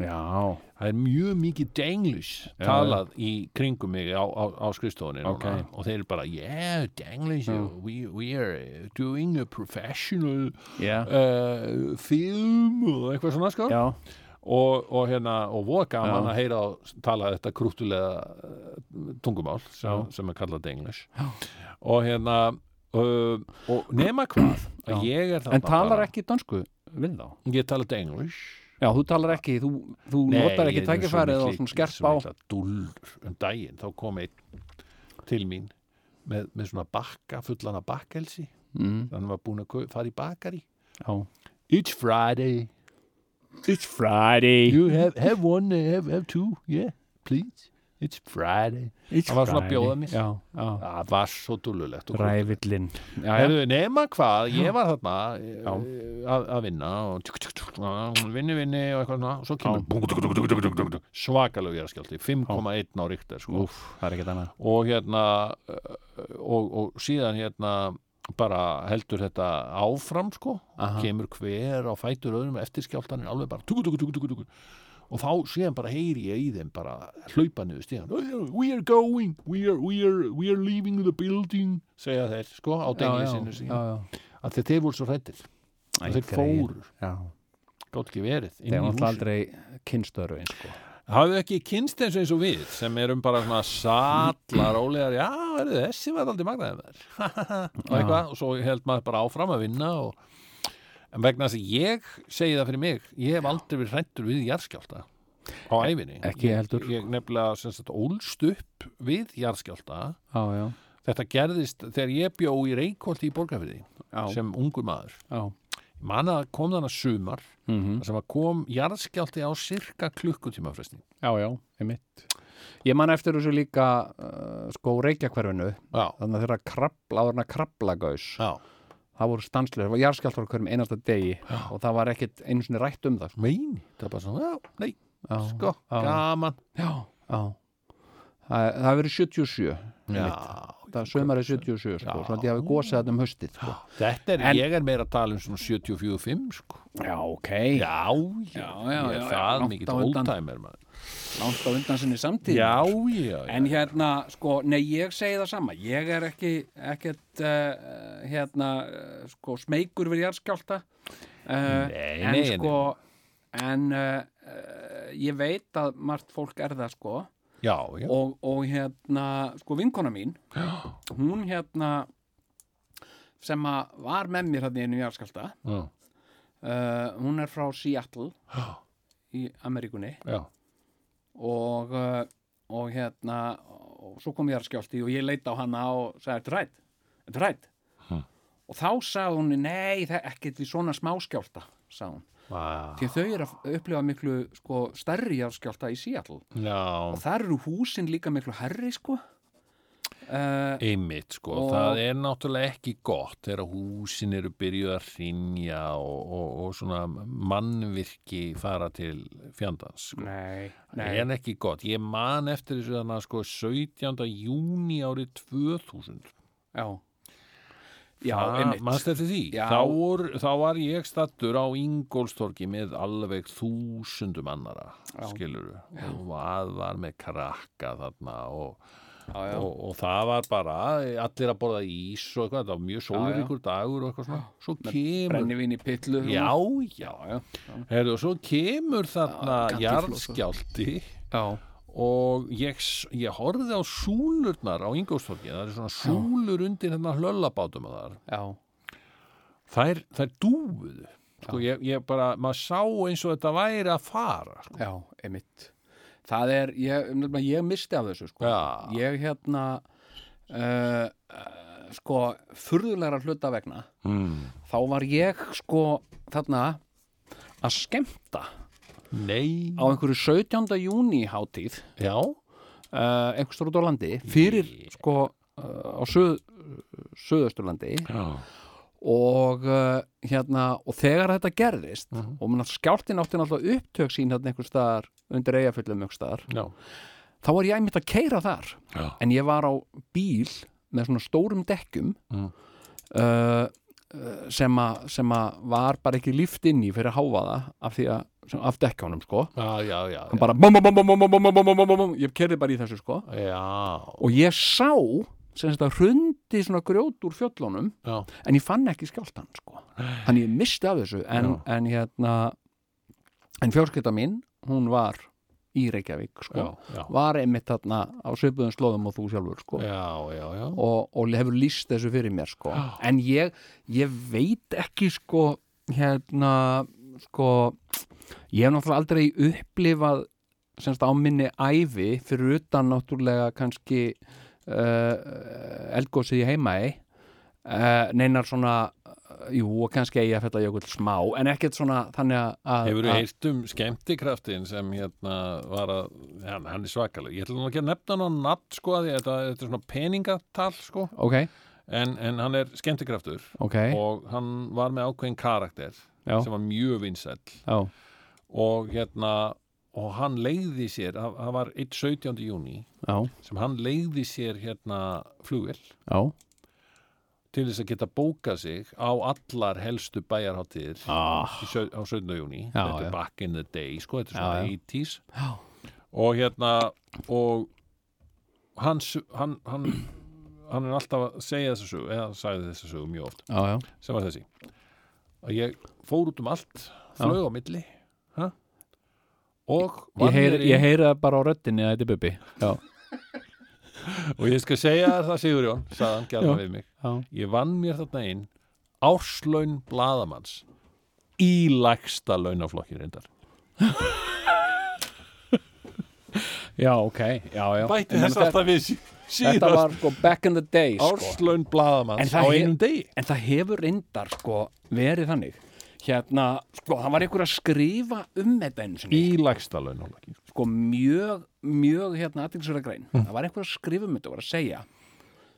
S2: Já.
S4: Það er mjög mikið denglish talað í kringum mig á, á, á skrifstofunni núna.
S2: Ok.
S4: og þeir eru bara, yeah, denglish we, we are doing a professional
S2: Já.
S4: uh, film og eitthvað svona sko
S2: Já.
S4: og, og hérna, og voða gaman að heyra og tala þetta krúttulega uh, tungumál sem, sem er kallað denglish Já. og hérna uh, og nema hvað að ég er þarna
S2: En talar
S4: bara-
S2: ekki dansku við þá?
S4: ég tala denglish
S2: Já, þú talar ekki, þú, þú notar ekki tækifærið og svona skerp á.
S4: dúllur um daginn, þá kom einn til mín með, með svona bakka, fullan af bakkelsi mm. hann var búin að kau- fara í bakari
S2: Já.
S4: It's Friday
S2: It's Friday.
S4: You have, have one, uh, have, have two Yeah, please It's Friday
S2: It's
S4: Hann var svona að bjóða mér.
S2: Já, já.
S4: Það var svo dúllulegt og krútt.
S2: Rævillinn. Já, já.
S4: Herðu, nema hvað, ég var þarna eh,
S2: Já.
S4: að, að vinna og tjúk, tjúk, tjúk, vinni, vinni og eitthvað svona og svo kemur búk, tjúk, tjúk, tjúk, tjúk, tjúk, svakalegu ég er skjálti, 5,1 á ríktar sko.
S2: Úf, það er ekkert annað.
S4: og hérna uh, og, og síðan hérna bara heldur þetta áfram sko,
S2: Aha.
S4: kemur hver á fætur öðrum eftir skjáltanin alveg bara tugu, tugu, tugu, tugu, tugu. og þá síðan bara heyri ég í þeim bara hlaupa niður stíðan we are going, we are, we are, we are leaving the building segja þeir sko á denglisinu
S2: Já,
S4: síðan
S2: já.
S4: að þeir, þeir voru svo hrættir að þeir
S2: greyið.
S4: fóru,
S2: Já.
S4: gátt ekki verið
S2: Þeir
S4: inn í
S2: var
S4: húsið
S2: aldrei kynstöru eins, sko.
S4: hafðu ekki kynst eins og eins og við sem erum bara svona sallar ólegar, já, er þessi var aldrei magnaðið þær og eitthvað, og svo held maður bara áfram að vinna og en vegna þess að ég segi það fyrir mig, ég hef aldrei verið hrættur við jarðskjálta á æfinni
S2: Ekki heldur.
S4: ég nefnilega sem sagt ólst upp við jarðskjálta
S2: Já, já.
S4: þetta gerðist þegar ég bjó í Reykholti í Borgarfyrði
S2: Já.
S4: sem ungur maður
S2: Já.
S4: man að kom þannig sumar
S2: Mhm.
S4: þar sem að kom jarðskjálti á cirka klukkutíma frestin
S2: Já, já, einmitt. Ég man eftir þessu líka uh, sko reykjakverfinu,
S4: já,
S2: þannig að þeirra krabla, áður en að krablagaus.
S4: já
S2: Það voru stanslega, það var jarðskjálftar hverjum einasta degi og það var ekkit einu sinni rætt um það.
S4: meini, það er bara svona, já, nei,
S2: Já,
S4: sko,
S2: já.
S4: gaman
S2: Já, já. Það, það hefur verið 77,
S4: já,
S2: það sömari 77, sko,
S4: Já.
S2: svona því að hafi gósið þetta um haustið, sko.
S4: þetta er,
S2: En-
S4: ég er meira að tala um svona 74-5, sko
S2: Já, ok.
S4: já, já,
S2: já,
S4: ég er
S2: já,
S4: það
S2: langt
S4: mikill
S2: á undan.
S4: oldtimer maður.
S2: Langt á undan sinni samtíð.
S4: já, já, já,
S2: En hérna, sko, nei, ég segi það sama. Ég er ekki, ekkert, uh, hérna, uh, sko, smeykur við jarðskjálta. Uh,
S4: Nei,
S2: en,
S4: nei, nei.
S2: sko, en uh, uh, ég veit að margt fólk er það, sko.
S4: já, já.
S2: Og, og hérna, sko, vinkona mín, hún hérna, sem að var með mér hérna í einu jarðskjálta,
S4: já,
S2: uh, hún er frá Seattle í Ameríkunni
S4: já,
S2: og, uh, og hérna og svo kom ég að skjálti og ég leita á hana og sagði, ertu rætt? Ertu rætt?
S4: Hmm.
S2: Og þá sagði hún, nei, það er ekkert við svona smáskjálta, sagði hún.
S4: já,
S2: Því að þau eru að upplifa miklu sko, stærri jarðskjálta í Seattle.
S4: já.
S2: Og þar eru húsin líka miklu herri, sko. Uh, Uh,
S4: Einmitt, sko,
S2: Og-
S4: það er náttúrulega ekki gott þegar húsin eru byrjuð að hrynja og, og, og svona mannvirki fara til fjandans, sko.
S2: nei,
S4: Nei.
S2: nei.
S4: En ekki gott. Ég man eftir þessu þannig að sko 17. júni árið 2000.
S2: Já, já
S4: Það-
S2: einmitt.
S4: manstu eftir því?
S2: Já.
S4: Þá, vor, þá var ég stattur á Ingólstorki með alveg þúsundum annara,
S2: Já.
S4: skiluru. Og að var með krakka þarna og,
S2: Já, já.
S4: og, og það var bara allir að borða ís og eitthvað. Það var mjög sólríkur dagur og eitthvað svona. Svo kemur
S2: Brennivín í pillu.
S4: Já, já, já. Herðu, svo kemur þarna
S2: sko.
S4: jarðskjálti
S2: Já,
S4: og ég, s- ég horfði á súlurnar á Ingolstorki, það er svona súlur undir hérna hlöllabátum að þar
S2: já.
S4: þær, þær dúfuðu sko, ég, ég bara, maður sá eins og þetta væri að fara sko.
S2: Já, einmitt. Það er, ég, nefnilega, ég misti af þessu, sko.
S4: Já.
S2: Ég hérna, uh, uh, sko, furðulegra hluta vegna,
S4: mm.
S2: þá var ég, sko, þarna, að skemmta á
S4: Nei,
S2: einhverju 17. júni hátíð,
S4: já
S2: uh, einhverjum út á landi, fyrir, sko, uh, á söð, söðusturlandi
S4: Já,
S2: og uh, hérna, og þegar þetta gerðist
S4: Mhm.
S2: og menn að skjáltin átti náttúrulega upptök sín hérna einhvers staðar, undir eigaföllum einhvers staðar,
S4: já,
S2: þá var ég einmitt að keira þar
S4: já.
S2: en ég var á bíl með svona stórum dekkjum
S4: Mm.
S2: uh, uh, sem að sem að var bara ekki líft inn í fyrir að háfa það af því að, sem, af dekkjónum sko
S4: Já, já, já,
S2: hann bara bom, bom, bom, bom, bom, bom, bom, bom, bom, bom, ég kerði bara í þessu sko
S4: já, já,
S2: og ég sá sem þetta hrundi svona grjót úr fjöllunum
S4: já.
S2: en ég fann ekki skjáltan sko þannig ég misti af þessu en, en hérna en fjórskipta mín, hún var í Reykjavík sko
S4: Já, já.
S2: var einmitt þarna á svipuðum slóðum og þú sjálfur sko
S4: Já, já, já.
S2: og, og hefur líst þessu fyrir mér sko. en ég, ég veit ekki sko hérna sko ég hef náttúrulega aldrei upplifað semst á minni ævi fyrir utan náttúrulega kannski uh, eldgósið í heimaði uh, neinar svona uh, jú og kannski eigi að fætta jökull smá en ekkert svona þannig að- að
S4: Hefur þú
S2: að-
S4: heyrt um skemmtikraftin sem hérna var að, hann, hann er svakaleg. Ég ætla nú ekki að nefna hann á nafn sko að því að þetta, þetta er svona peningatal sko,
S2: ok,
S4: en, en hann er skemmtikraftur
S2: ok,
S4: og hann var með ákveðin karakter
S2: Já.
S4: sem var mjög vinsæll
S2: já,
S4: og hérna, og hann leiði sér, það það var 1. 17. júni
S2: já,
S4: sem hann leiði sér hérna flugil
S2: já
S4: til þess að geta bóka sig á allar helstu bæjarháttir
S2: ah,
S4: í sau- á 17. júni
S2: Já,
S4: þetta
S2: já.
S4: er back in the day sko, þetta er svona
S2: Já, já.
S4: 80s
S2: já,
S4: og hérna og hann s- hann, hann, hann er alltaf að segja þessa sögu eða sagði þessa sögu mjög oft
S2: já, já,
S4: sem var þessi að ég fór út um allt, flög á milli ha? og
S2: ég
S4: vann mér
S2: heyri,
S4: inn-
S2: ég heyri það bara á röddinni að þetta er bubbi já,
S4: og ég skal segja þér það Sigurjón sagðan gæla
S2: Já.
S4: við mig
S2: já
S4: ég vann mér þarna inn árslaun blaðamanns í lægsta launaflokki reyndar
S2: Já, ok, já, já
S4: bætti
S2: En
S4: þess
S2: þetta-
S4: alltaf við sí-
S2: Þetta
S4: síðast
S2: var sko back in the day sko.
S4: árslaun
S2: En
S4: blaðamanns á
S2: það hef-
S4: einum degi
S2: En það hefur reyndar sko verið þannig Hérna, sko, það var einhver að skrifa um þetta einu sinni
S4: í lægsta launaflokki
S2: Sko, mjög, mjög hérna aðtilsverða grein
S4: Mm.
S2: Það var einhver að skrifa um þetta og var að segja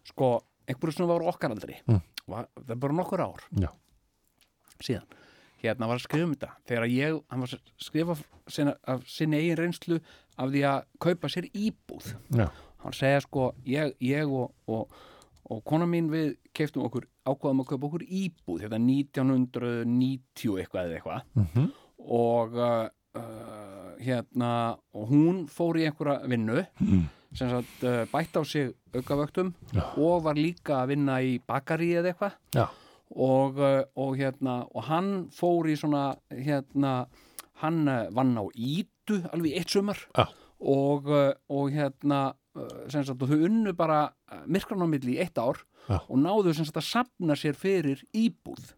S2: Sko, einhverjum sem var okkar aldrei
S4: Mm.
S2: var, Það er bara nokkur ár
S4: Já.
S2: Síðan Hérna var að skrifa um þetta Þegar ég, hann var að skrifa sinna, af sinni eigin reynslu Af því að kaupa sér íbúð
S4: Já.
S2: hann segja sko ég, ég og, og, og kona mín við keftum okkur, ákvaðum að kaupa okkur íbúð þetta 1990 eitthvað eða eitthvað
S4: Mhm.
S2: og uh, uh, hérna og hún fór í einhverja vinnu sem sagt uh, bætt á sig aukavöktum og var líka að vinna í bakari eða eitthvað
S4: Já.
S2: og, uh, og hérna og hann fór í svona hérna hann uh, vann á Ítu alveg í eitt sumar
S4: Já.
S2: og, uh, og hérna uh, sem sagt og þau unnu bara uh, myrkran á milli í eitt ár
S4: Já.
S2: og náðu sem sagt að sapna sér fyrir íbúð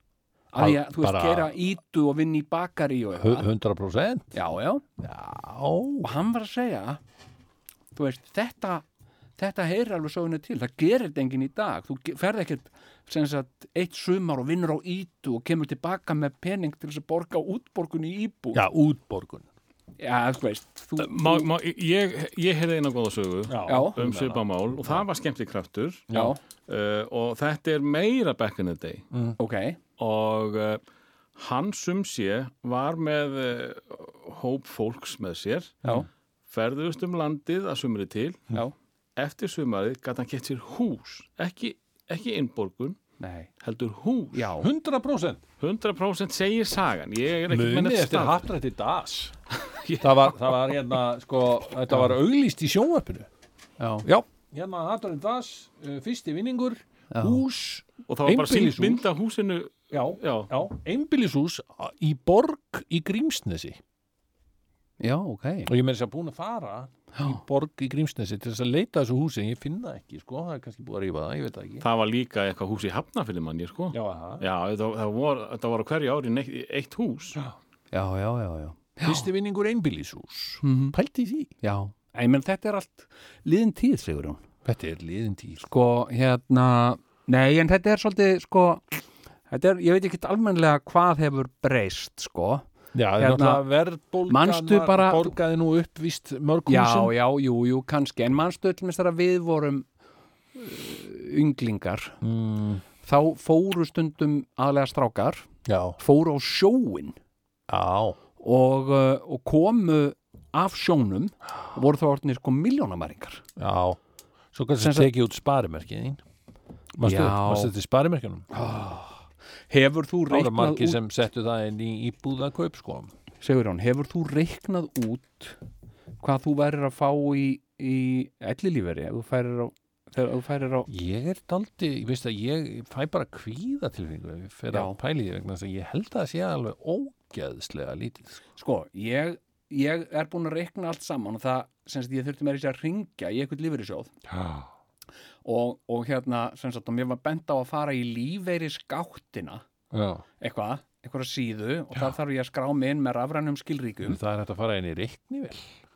S2: að því að þú veist
S4: Bara-
S2: gera Ítu og vinna í bakari og
S4: Hu-
S2: eitthvað
S4: 100%
S2: já, já. og hann var að segja þú veist, þetta þetta heyrir alveg söguna til, það gerir þetta enginn í dag þú ge- ferð ekkert sem sagt, eitt sumar og vinnur á ítu og kemur tilbaka með pening til þess að borga útborgun í íbú
S4: Já, útborgun
S2: já, þú veist, þú,
S6: Má, má, ég, ég heyrði eina góða sögu
S2: já,
S6: um svipamál og það var skemmtli kraftur
S2: já,
S6: uh, og þetta er meira back in the day
S2: ok,
S6: og uh, hann sum sé var með uh, hóp fólks með sér
S2: já,
S6: ferðust um landið að sumri til
S2: já,
S6: eftir sumarið gæti hann gett sér hús ekki, ekki innborgun
S2: nei,
S6: heldur hús
S2: já,
S4: 100%
S6: 100% segir sagan ég er ekki með
S4: Munið
S6: neitt
S4: eftir
S6: stað
S4: hattrætti das það var, það var hérna sko, þetta var auglýst í sjónvöppinu
S2: já,
S4: já, hérna hattrætti das uh, fyrsti vinningur, hús
S6: og það var bara sín
S4: Einbýlishús.
S6: mynd af húsinu
S4: já,
S6: já,
S4: já, einbýlishús í borg í Grímsnesi
S2: já, ok,
S4: og ég meira þess að búin að fara í borg í Grímsnesi til þess að leita að þessu húsi en ég finn það ekki, sko, það er kannski búið að rífa það ég veit það ekki
S6: það var líka eitthvað hús í Hafnafili manni sko.
S4: já, aha.
S6: já það, það, vor, það var á hverju ári neitt, eitt hús
S2: já, já, já, já,
S4: fyrsti vinningur einbýlishús
S2: Mhm.
S4: pælti í því,
S2: já, ég menn þetta er allt liðin tíð, segur hún.
S4: þetta er liðin tíl
S2: Sko, hérna, nei, en þetta er svolítið, sko, þetta er, ég veit ekki almenlega hvað hefur breyst, sko.
S4: já,
S2: Hérna,
S4: hérna,
S2: manstu
S4: verðbólgan
S2: bara-
S4: borgaði nú upp vist mörg
S2: Já,
S4: húsin
S2: já, jú, jú, kannski, en mannstu öllum þess að við vorum uh, ynglingar,
S4: mm,
S2: þá fóru stundum aðlega strákar,
S4: já,
S2: fóru á sjóin
S4: já.
S2: og, uh, og komu af sjónum og voru þá orðinir sko miljónamæringar.
S4: Já, svo kannski
S2: sagt-
S4: tekið út sparimerkið þín Mastu,
S2: Já.
S4: mastu þetta í sparimerkjunum?
S2: Hefur þú
S4: Það var
S2: reiknað
S4: margir
S2: út,
S4: sem settu það inn í íbúða kaup sko
S2: Sigurjón, hefur þú reiknað út hvað þú værir að fá í, í ellilíferi ef þú færir á, þegar þú færir á
S4: Ég er daldi, ég veist að ég fæ bara kvíða tilfengu fyrir að
S2: Já.
S4: pæli því vegna þess að ég held að það sé alveg ógeðslega lítið sko.
S2: Sko, ég, ég er búin að reikna allt saman og það, sem sagt, ég þurfti meira sér að ringja í eitthvað lífeyrissjóð og, og hérna, sem sagt, og mér var bent á að fara í lífeyrisgáttina
S4: Já.
S2: eitthvað, eitthvað síðu og það þarf ég að skrá mig inn með rafrænum skilríkum
S4: Það er hægt að fara inn í reikni vel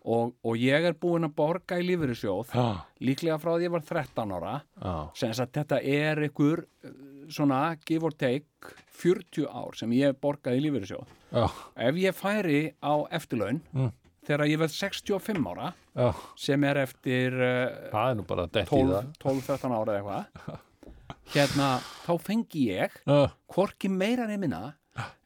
S2: og, og ég er búin að borga í lífeyrissjóð
S4: Já,
S2: líklega frá því ég var 13 ára
S4: já,
S2: sem sagt, þetta er ykkur eh, svona, give or take 40 ár sem ég borgaði í lífeyrissjóð
S4: já,
S2: ef ég færi á eftirlaun
S4: Mm.
S2: þegar ég verð 65 ára
S4: já.
S2: sem er eftir eh,
S4: Það er nú bara að detti í
S2: 12 12-13 ára eða eitthvað hérna, þá fengi ég
S4: það
S2: hvorki meira nefnina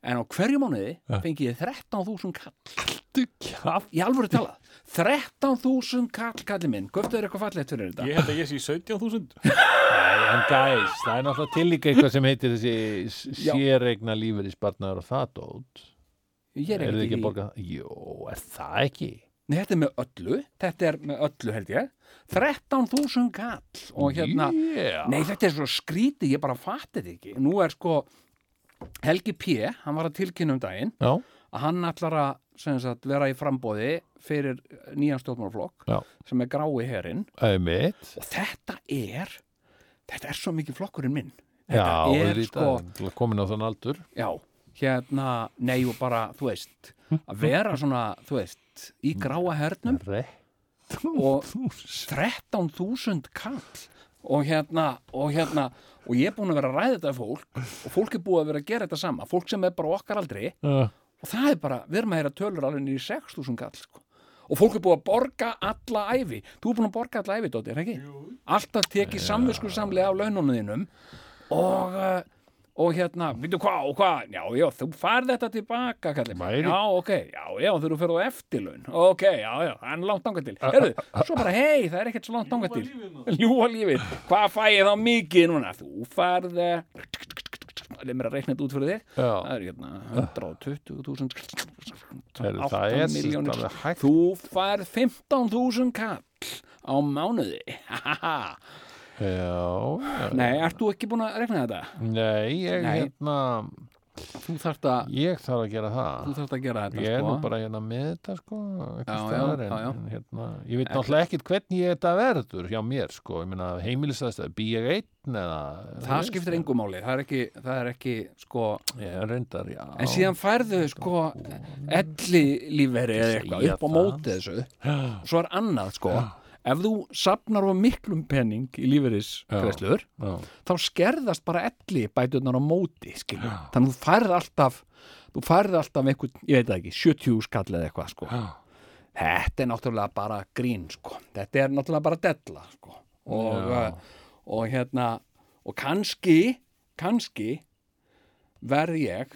S2: en á hverju mánuði fengi ég 13.000 kall
S4: Þú kjátt
S2: í alvöru tala, 13.000 kall kalli minn, göftuður eitthvað fallegt fyrir þetta
S6: ég held að ég sé í 17.000
S4: Nei, en gæs, það er náttúrulega til líka eitthvað sem heitir þessi
S2: Já.
S4: sérregna lífur í spartnaður og það dót
S2: ég er
S4: Er þið
S2: ekkert
S4: ekki
S2: í-
S4: að borga það? Jó, er það ekki?
S2: Nei, þetta er með öllu, þetta er með öllu held ég 13.000 kall og hérna,
S4: yeah.
S2: nei þetta er svo skrítið ég bara fatti þetta ekki, nú er sko Helgi P, hann var að tilkynna um daginn
S4: Já,
S2: að hann ætlar að sem sagt, vera í frambóði fyrir nýjan stjórnmálflokk
S4: Já.
S2: sem er grái herinn
S4: auðvitað
S2: og þetta er þetta er svo mikið flokkurinn minn
S4: Já,
S2: Þetta er sko-
S4: auðvitað, sko... komin á þann aldur
S2: já, hérna, nei og bara þú veist, að vera svona þú veist, í gráa hernum Og- 13.000 kall og hérna, og hérna og ég er búin að vera að ræða þetta við fólk og fólk er búið að vera að gera þetta sama fólk sem er bara okkar aldrei
S4: uh,
S2: og það er bara, við erum að heyra tölur alveg niður í 6.000 kall sko. og fólk er búið að borga alla æfi þú er búin að borga alla æfi, Dóttir, ekki? alltaf tekið samvisku samlega af laununum þínum og uh, og hérna, veitu hvað, og hvað já, já, þú fær þetta tilbaka kalli.
S4: Væri-
S2: já, ok, já, já, þú eru fyrir á eftirlaun ok, já, já, það er langt þangað til herðu, svo bara, hei, það er ekkert svo langt þangað til ljúa lífið, hvað fæ ég þá mikið núna, þú færð leið mér að reikna þetta út fyrir þig
S4: Já.
S2: það er hérna 120.000
S4: Heyrðu, það er sem
S2: 8
S4: sagt
S2: miljónir
S4: alveg hægt.
S2: þú fær 15.000 kall á mánuði
S4: Já,
S2: nei, ert þú ekki búin að rekna þetta?
S4: nei, ég
S2: Nei.
S4: hérna
S2: þú þarft að,
S4: Ég þarf að gera það
S2: þú þarft að gera þetta
S4: Ég er nú
S2: sko.
S4: bara hérna með þetta sko já,
S2: Já, já,
S4: staðar, en,
S2: já, já.
S4: En, hérna, Ég veit náttúrulega ekkit hvernig ég þetta verður hjá mér sko, ég meina heimilisæðstæð bý ég einn eða
S2: það skiptir engu máli, það er ekki, það er ekki sko,
S4: Ég reyndar, já
S2: en síðan færðu sko elli lífveri eða eitthvað
S4: Segja
S2: upp á
S4: það.
S2: móti þessu svo er annað sko ef þú sapnar á miklum penning í lífeyrisgreðslur
S4: já.
S2: þá skerðast bara elli bætunar á móti skilur. þannig að þú færð alltaf þú færð alltaf einhvern, ég veit það ekki 70 skall eða eitthvað sko
S4: Já.
S2: þetta er náttúrulega bara grín sko þetta er náttúrulega bara della sko og, uh, og hérna og kannski kannski verð ég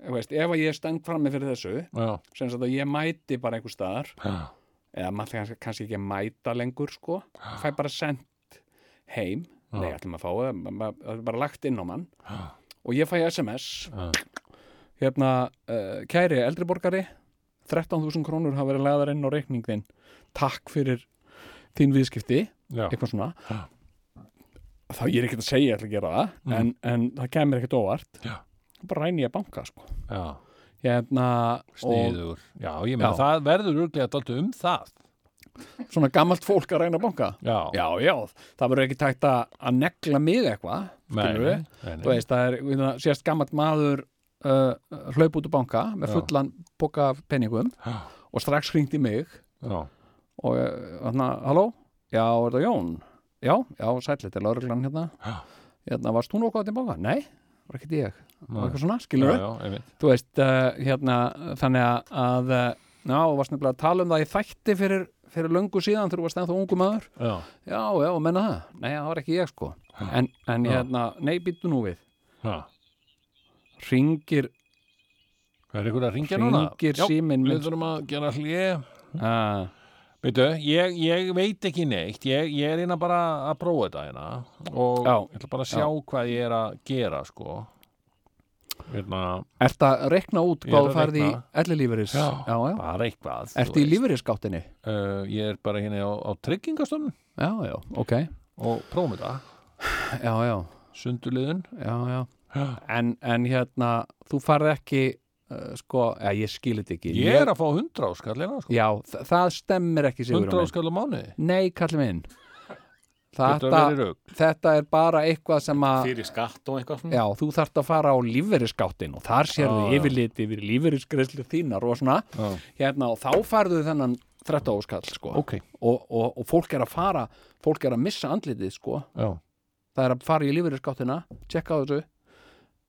S2: Þú veist, ef að ég stend frammi fyrir þessu
S4: Já.
S2: sem sagt að ég mæti bara einhver staðar
S4: Já.
S2: eða maður kannski, kannski ekki að mæta lengur sko, fæ bara sendt heim, nei ætlum að fá það ma- ma- það er bara lagt inn á mann og ég fæ SMS hérna, uh, kæri eldriborgari 13.000 krónur hafa verið laðar inn á reikning þinn, takk fyrir þín viðskipti,
S4: Já.
S2: eitthvað svona
S4: Já. Mm.
S2: þá ég er ekkert að segja ég ætla að gera það, en, en það kemur ekkert óvart
S4: Já.
S2: bara ræni ég banka sko
S4: Já.
S2: hérna, og
S4: Sniður. Já, ég meina
S2: Já.
S4: það verður örglega dálítið um það.
S2: svona gamalt fólk að ræna banka
S4: Já.
S2: já, já, það verður ekki tækt að að negla mig eitthvað
S4: Nei,
S2: skilurðu.
S4: nei, nei.
S2: þú veist, það er við það sést gammalt maður uh, hlaup út úr banka með
S4: Já.
S2: fullan boka af peningum
S4: Já.
S2: og strax hringdi í mig
S4: Já.
S2: og hérna, halló, já, er það Jón? Já, já, sætli, þetta er lauruglan hérna
S4: Já.
S2: hérna, varst þú nokkuð að til banka? Nei, var ekki ég,
S4: Nei.
S2: var eitthvað svona,
S4: Já,
S2: skilur
S4: já, einmitt.
S2: þú veist, uh, hérna þannig að- að, uh, já, og varst nefnilega að tala um það í þætti fyrir, fyrir löngu síðan þegar þú varst ennþá ungu maður
S4: Já.
S2: Já, já, og menna það. Nei, það var ekki ég sko. En, en hérna, nei, býttu nú við.
S4: Já.
S2: Ringir,
S4: Það er ykkur að ringja núna.
S2: ringir
S4: Já,
S2: síminn
S4: Við
S2: minn.
S4: þurfum að gera hlið.
S2: Ah,
S4: Veitu, ég, ég veit ekki neitt, ég, ég er hérna bara að prófa þetta hérna og
S2: Já.
S4: ég ætla bara að sjá hvað ég er að gera sko. Hérna,
S2: Ertu að rekna út
S4: Ég
S2: hvað
S4: er
S2: þú
S4: að
S2: færði í
S4: reikna.
S2: ellilífuris?
S4: Já.
S2: já. já.
S4: bara eitthvað. þú
S2: Ertu í
S4: veist.
S2: lífurisgáttinni?
S4: Uh, ég er bara hérna á, á tryggingastofnun
S2: Já, já, ok.
S4: og prófum þetta,
S2: Já, já,
S4: sundurliðun.
S2: já, já.
S4: Já.
S2: En, en hérna, þú færði ekki, uh, sko, já, ég skil þetta ekki.
S4: Ég er að fá 100 áskall hérna sko,
S2: Já, þa- það stemmir ekki, Sigur
S4: 100 áskall á mánuði.
S2: Nei, kalli minn.
S4: Þetta
S2: Þetta,
S4: verður rauk.
S2: þetta er bara eitthvað sem að...
S6: fyrir skatt og eitthvað svona
S2: Já, þú þarft að fara á lífverðisgáttin og þar
S4: Já,
S2: sérðu ah,
S4: já.
S2: yfirlit yfir lífverðisgreislu þínar og svona hérna og þá færðu þennan 13 áskall sko
S4: Ok.
S2: og, og, og fólk er að fara, fólk er að missa andlitið sko,
S4: Já.
S2: það er að fara í lífverðisgáttina tjekka á þessu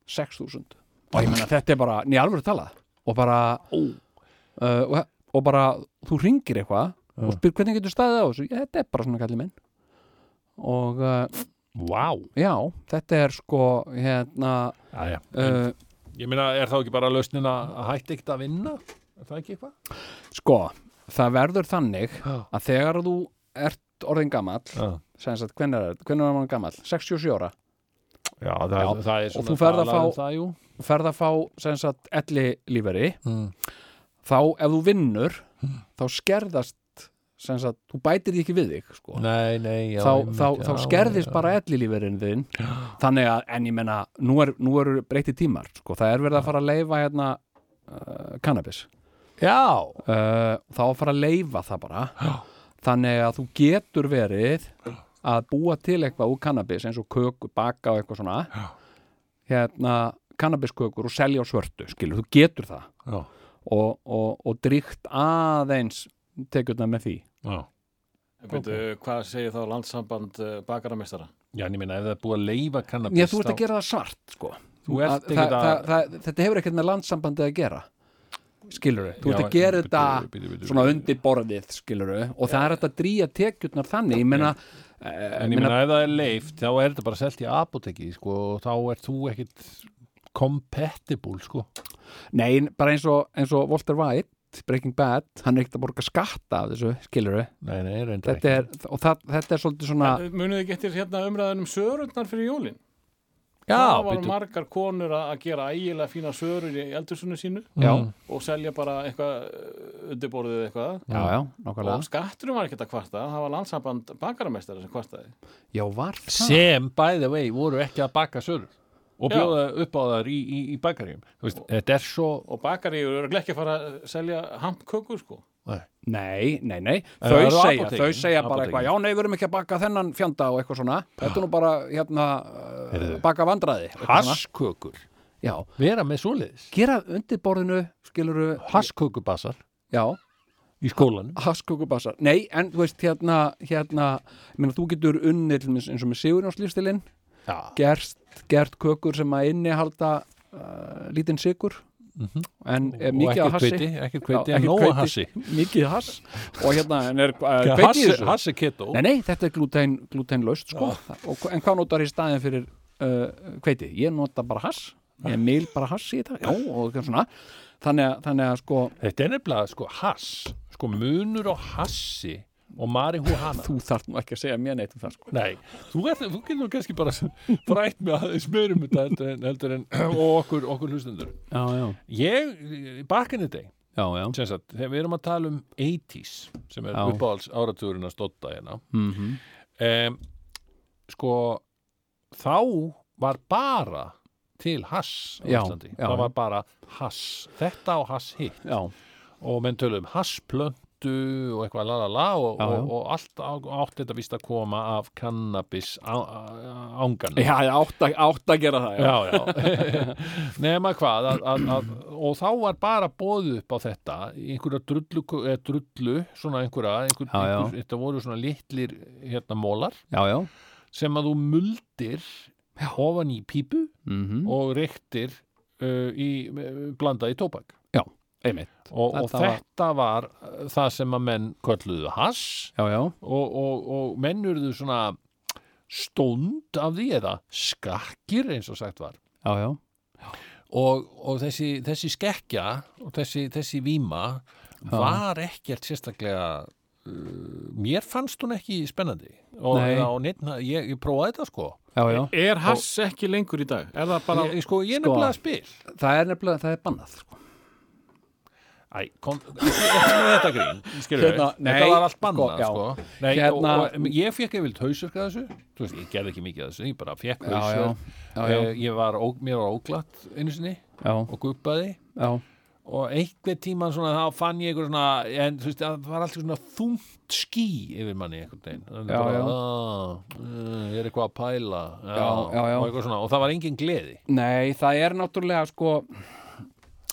S2: 6.000 og ég meina þetta er bara, nýja alveg tala og bara uh, og, og bara þú ringir eitthvað og spyr hvernig getur staðið á þessu, þetta er bara svona kallið minn og uh,
S4: Vá.
S2: já, þetta er sko hérna
S4: Jæja.
S2: uh,
S4: Ég meina, er þá ekki bara lausnin að að hætta ekkert að vinna? Er það ekki eitthvað?
S2: Sko, það verður þannig
S4: Já.
S2: að þegar þú ert orðin gamall
S4: Já.
S2: sem sagt, hvernig er þetta? Hvernig er maður gamall? 67 ára
S4: Já, það,
S2: Já,
S4: það er
S2: og
S4: svona
S2: þú ferð að
S4: talað um
S2: fá-
S4: það, jú.
S2: ferð að fá sem sagt elli líferi
S4: Mm.
S2: þá ef þú vinnur þá skerðast sem sagt, þú bætir því ekki við þig sko.
S4: Nei, nei, já,
S2: þá,
S4: einmitt,
S2: þá,
S4: já,
S2: þá skerðist
S4: já,
S2: bara elli líferinn þinn þannig að, en ég menna, nú, er, nú eru breyti tímar, sko, það er verið að fara að leifa hérna uh, cannabis
S4: Já,
S2: uh, þá að fara að leifa það bara þannig að þú getur verið að búa til eitthvað úr kannabis eins og kökur, baka og eitthvað svona Já. hérna kannabiskökur og selja á svörtu, skilur, þú getur það
S4: já,
S2: og, og, og dríkt aðeins tekjurna með því
S4: já
S6: Byndu, hvað segir þá landsamband uh, bakaramestara
S4: Já, en ég meina, ef það er búið að leifa kannabis
S2: Já, þú ert að gera það svart, sko
S4: Þú ert
S2: Að-
S4: ekkert
S2: það,
S4: að-
S2: það, það, þetta hefur ekkert með landsambandi að gera skilur þú ert
S4: Já,
S2: að gera
S4: bíddu,
S2: þetta
S4: bíddu, bíddu,
S2: svona
S4: bíddu.
S2: undir borðið skilur og það er hægt að dríja tekjurnar þannig ég meina,
S4: En ég meina, ef það er leift, þá er þetta bara selt í apoteki, sko og þá ert þú ekkit compatible, sko
S2: Nei, bara eins og, eins og Walter White, Breaking Bad, hann er ekkert að borga skatta af þessu, skilur við.
S4: Nei, nei, reyndar
S2: Þetta er, og það, þetta er svolítið svona,
S6: munið þið getur hérna umræðunum sörundnar fyrir jólin
S4: Já,
S6: það var
S4: bíddu.
S6: margar konur að að gera ægilega fína sörur í eldursunum sínu
S2: já,
S6: og selja bara eitthvað uh, undirborðið eða eitthvað
S2: já, já,
S6: og
S2: nákvæmlega.
S6: skatturum var ekkert að kvarta það var landsamband bakaramestara sem kvartaði
S2: Já, var það?
S4: sem, by the way, voru ekki að baka sörur og
S6: Já.
S4: bjóða upp á þar í, í, í bakaríum Þú veist, þetta er svo
S6: og bakari eru ekki að fara að selja hampkökur sko
S2: Nei, nei, nei,
S4: En
S2: þau
S4: það eru
S2: segja,
S4: apótekin,
S2: þau segja bara
S4: apótekin.
S2: eitthvað, já, nei, við erum ekki að baka þennan fjanda og eitthvað svona, þetta er nú bara, hérna, uh,
S4: Heyrðu.
S2: baka vandraði.
S4: haskökur
S2: Já,
S4: Vera með svoleiðis
S2: gera undirborðinu, skilur við,
S4: Haskökubassar
S2: já,
S4: í skólanum
S2: Haskókubassar, nei, en þú veist hérna, hérna, ég meina þú getur unnið til dæmis eins og með sigurjónslýfstilinn
S4: Já.
S2: gerst, gert kökur sem að innihalda uh, lítinn sigur en eh,
S4: og
S2: mikið af
S4: ekkert
S2: hassi
S4: kveiti, ekkert
S2: Já,
S4: kveiti,
S2: ekkert
S4: en nóa
S2: hveiti,
S4: hassi
S2: mikið hass og hérna, en er uh,
S4: Já,
S2: kveiti í
S4: hassi,
S2: þessu
S4: hassi keto
S2: nei, nei, þetta er glúten, glútenlaust sko. og, hva- en hvað notar í staðin fyrir uh, kveiti? Ég nota bara hass ég meil bara hass í þetta já, og eitthvað svona þannig að, þannig að sko,
S4: þetta er nefnilega sko hass sko munur á hassi og marihuana
S2: þú þarf nú ekki að segja mér neitt um það sko.
S4: Nei, þú, ert, þú getur kannski bara frætt með aðeins meður um þetta heldur en, heldur en og okkur, okkur hlustendur.
S2: já, já,
S4: Ég, back in the day,
S2: já, já.
S4: sem sagt, þegar við erum að tala um 80s, sem er
S2: Já.
S4: uppáhalds áratugurinn að stóta hérna,
S2: Mm
S4: um, sko, þá var bara til hass á
S2: Já,
S4: Íslandi.
S2: já.
S4: Það var bara hass, þetta og hass hitt
S2: já,
S4: og menn töluðum hassplöntu og eitthvað la la la og,
S2: Já, já.
S4: og, og allt á- átti þetta vist að koma af kannabis ángan
S2: já, já átt, að, átt að gera það já,
S4: já, já. nema hvað að, að, að, og þá var bara bóðið upp á þetta í einhverja drullu, eh, drullu svona einhverja, einhver,
S2: Já, já.
S4: Einhver, þetta voru svona litlir hérna mólar
S2: já, já.
S4: sem að þú muldir ofan í pípu
S2: Mm -hmm.
S4: og reyktir uh, í, blanda í tóbak
S2: einmitt
S4: og, og
S2: Þetta var-
S4: þetta var uh, það sem að menn kölluðu hass
S2: já, já,
S4: og, og, og menn urðu svona stónd af því eða skakkir eins og sagt var
S2: já, já,
S4: og, og þessi, þessi skekkja og þessi, þessi víma var ekkert sérstaklega uh, mér fannst hún ekki spennandi og,
S2: Nei.
S4: og neitna, ég, ég prófaði þetta sko
S2: já, já.
S6: Er hass ekki lengur í dag? Er það bara
S4: ég, sko, ég
S2: Sko.
S4: nefnilega spil
S2: það er nefnilega, það er bannað sko.
S4: Æ, kom, ekki með þetta grín skilurðu.
S2: Hérna, nei,
S4: Þetta var allt bannað
S2: sko, já.
S4: sko, Nei,
S2: Hérna-
S4: og, og, Ég fekk yfir hausverk að þessu Þú veist, Ég gerði ekki mikið að þessu, ég bara fekk
S2: já, já,
S4: hausverk
S2: já, já,
S4: Eh, Ég var, ó, mér var óglatt einu sinni
S2: já,
S4: og guppaði
S2: já.
S4: og einhver tíman svona þá fann ég einhver svona en þú veist, það var alltaf svona þungt ský yfir manni einhvern veginn Þannig
S2: Já, já.
S4: "Ah, mm, ég er eitthvað að pæla já,
S2: já, já.
S4: Og, eitthvað svona, og það var engin gleði
S2: nei, það er náttúrulega sko,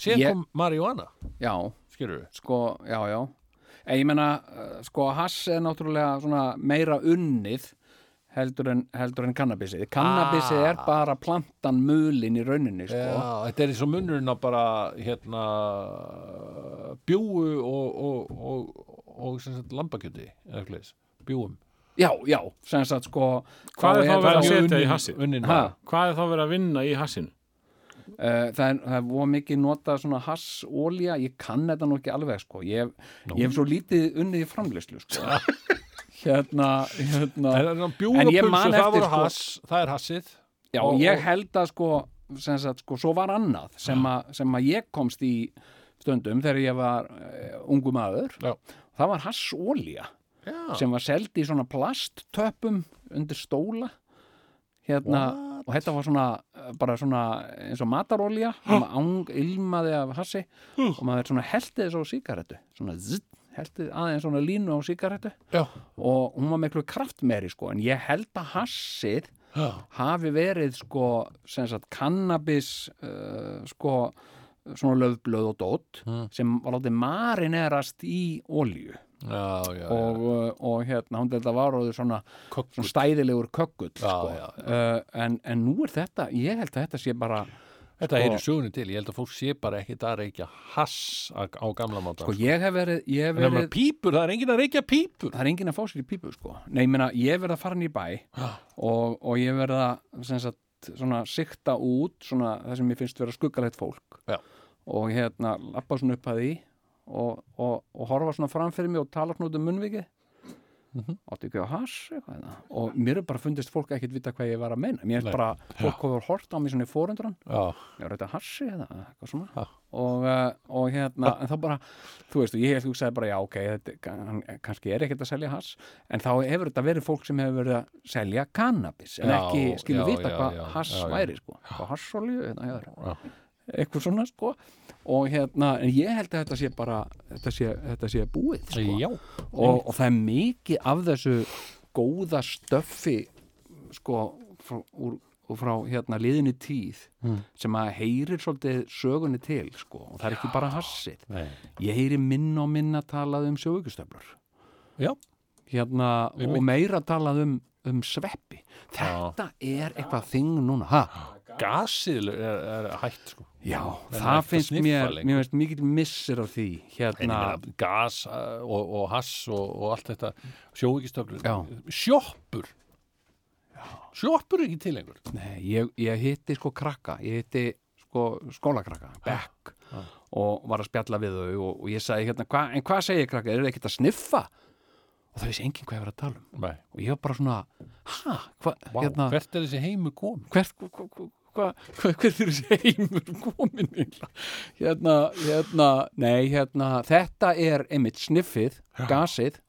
S4: Sér
S2: Ég-
S4: kom Marihuana,
S2: já,
S4: skilur við
S2: sko, já, já en ég menna, eh, sko, hass er náttúrulega svona meira unnið heldur en, heldur en kannabisið kannabisið
S4: Ah.
S2: er bara plantan mulin í rauninni, sko
S4: Já, þetta er eins og munurinn að bara hérna bjúu og, og, og, og, og lambakjöti eða eitthvað leis, bjúum
S2: já, já, sem sagt, sko
S6: Hvað er þá að
S2: það,
S6: vera að
S2: þá-
S6: setja í hassið?
S4: unnin
S2: Ha?
S4: ha?
S6: Hvað er þá verið að vinna í hassinu?
S2: Eh, það er, það er voða mikið notað svona hassólja, ég kann þetta nú ekki alveg, sko ég, ég hef svo lítið unnið í framleyslu, sko hérna, hérna En
S4: bjúum og
S2: ég man
S4: pulsu, það
S2: eftir,
S4: voru
S2: sko-
S4: hass það er hassið
S2: Já,
S4: Og-
S2: ég
S4: og-
S2: held að sko, sem sagt, sko, svo var annað sem, að, sem að ég komst í stundum þegar ég var uh, ungu maður.
S4: Já.
S2: Það var hassólja
S4: já,
S2: sem var seld í svona plasttöpum undir stóla. Hérna,
S4: What?
S2: og þetta var svona, eh, bara svona eins og matarolja, sem ang, ilmaði af hassi
S4: Hm.
S2: og maður svona heltið þessu á sígarettu, svona zzz, heltið aðeins svona línu á sígarettu
S4: já,
S2: og hún var miklu kraftmeri sko, en ég held að hassið
S4: já.
S2: hafi verið sko, sem sagt, kannabis uh, sko, svona löfblöð og dót
S4: Hm.
S2: sem var látið marinerast í olju
S4: Já, já,
S2: og, uh, og hérna, hún þetta var orðið svona, svona stæðilegur kökkull sko.
S4: já,
S2: Uh, en, en nú er þetta, ég held að þetta sé bara
S4: Þetta
S2: sko-
S4: er í sögunni til, ég held að fólk sé bara ekki það reykja hass á, á gamla máta
S2: sko, ég hef verið, ég hef
S4: En það er
S2: verið
S4: pípur, það er enginn að reykja pípur
S2: það er enginn að fá sér í pípu sko Nei, ég meina, ég verð að fara hann í bæ og, og ég verð að sem sagt, svona, sikta út svona, það sem ég finnst vera skuggalegt fólk
S4: Já.
S2: og hérna, lappa svona upp að því og, og, og horfa svona framfyrir mig og tala svona út um munnvikið
S4: Mhm.
S2: áttu ekki á hass eitthvað hérna. og mér er bara fundist fólk ekkit vita hvað ég var að meina mér er
S4: Nei.
S2: bara, fólk hefur hort á mig svona í fórundran
S4: Já,
S2: ég var auðvitað hassi eða
S4: Ha.
S2: eitthvað svona og, eh, og hérna, en þá bara þú veist, og ég hef hugsaði bara, já ok þetta, kann, kannski er ekkert að selja hass en þá hefur þetta verið fólk sem hefur verið að selja kannabis, en
S4: Já,
S2: ekki skilur
S4: já,
S2: vita
S4: já,
S2: hvað
S4: já,
S2: hass
S4: já, já.
S2: væri sko, hvað hassolju hérna, hérna,
S4: Já.
S2: eitthvað svona sko og hérna, en ég held að þetta sé bara þetta sé, þetta sé búið sko.
S4: já,
S2: og, og það er mikið af þessu góða stöffi sko, frá, úr, sko frá hérna liðinni tíð
S4: Hmm.
S2: sem að heyrir svolítið sögunni til sko og það er ekki bara hassið
S4: Nei.
S2: ég heyri minna og minna talað um sjóaukistöflur
S4: Já.
S2: hérna og meira talað um, um sveppi þetta er eitthvað þing núna ha?
S4: gasið er, er hætt sko.
S2: já, það,
S4: er hægt að
S2: finnst
S4: sniffa
S2: mér
S4: lengur.
S2: mér finnst mikið missir af því
S4: En
S2: hérna,
S4: ég meina, gas uh, og, og hass og, og allt þetta sjóvíkistöflur
S2: Já.
S4: sjoppur sjoppur er ekki til lengur
S2: nei, ég, ég hitti sko krakka ég hitti sko skólakrakka Beck og var að spjalla við þau og, og ég sagði hérna, hva, en hvað segir krakka, er það ekkert að sniffa og það vissi enginn hvað ég var að tala um
S4: Nei.
S2: og ég var bara svona, ha, hvað
S4: Vá,
S2: hérna,
S4: hvert er þessi heimur kom
S2: hvert hva, hva, hva, hva, hvert er þessi heimur komin eiginlega? hérna, hérna, nei, hérna þetta er einmitt sniffið gasið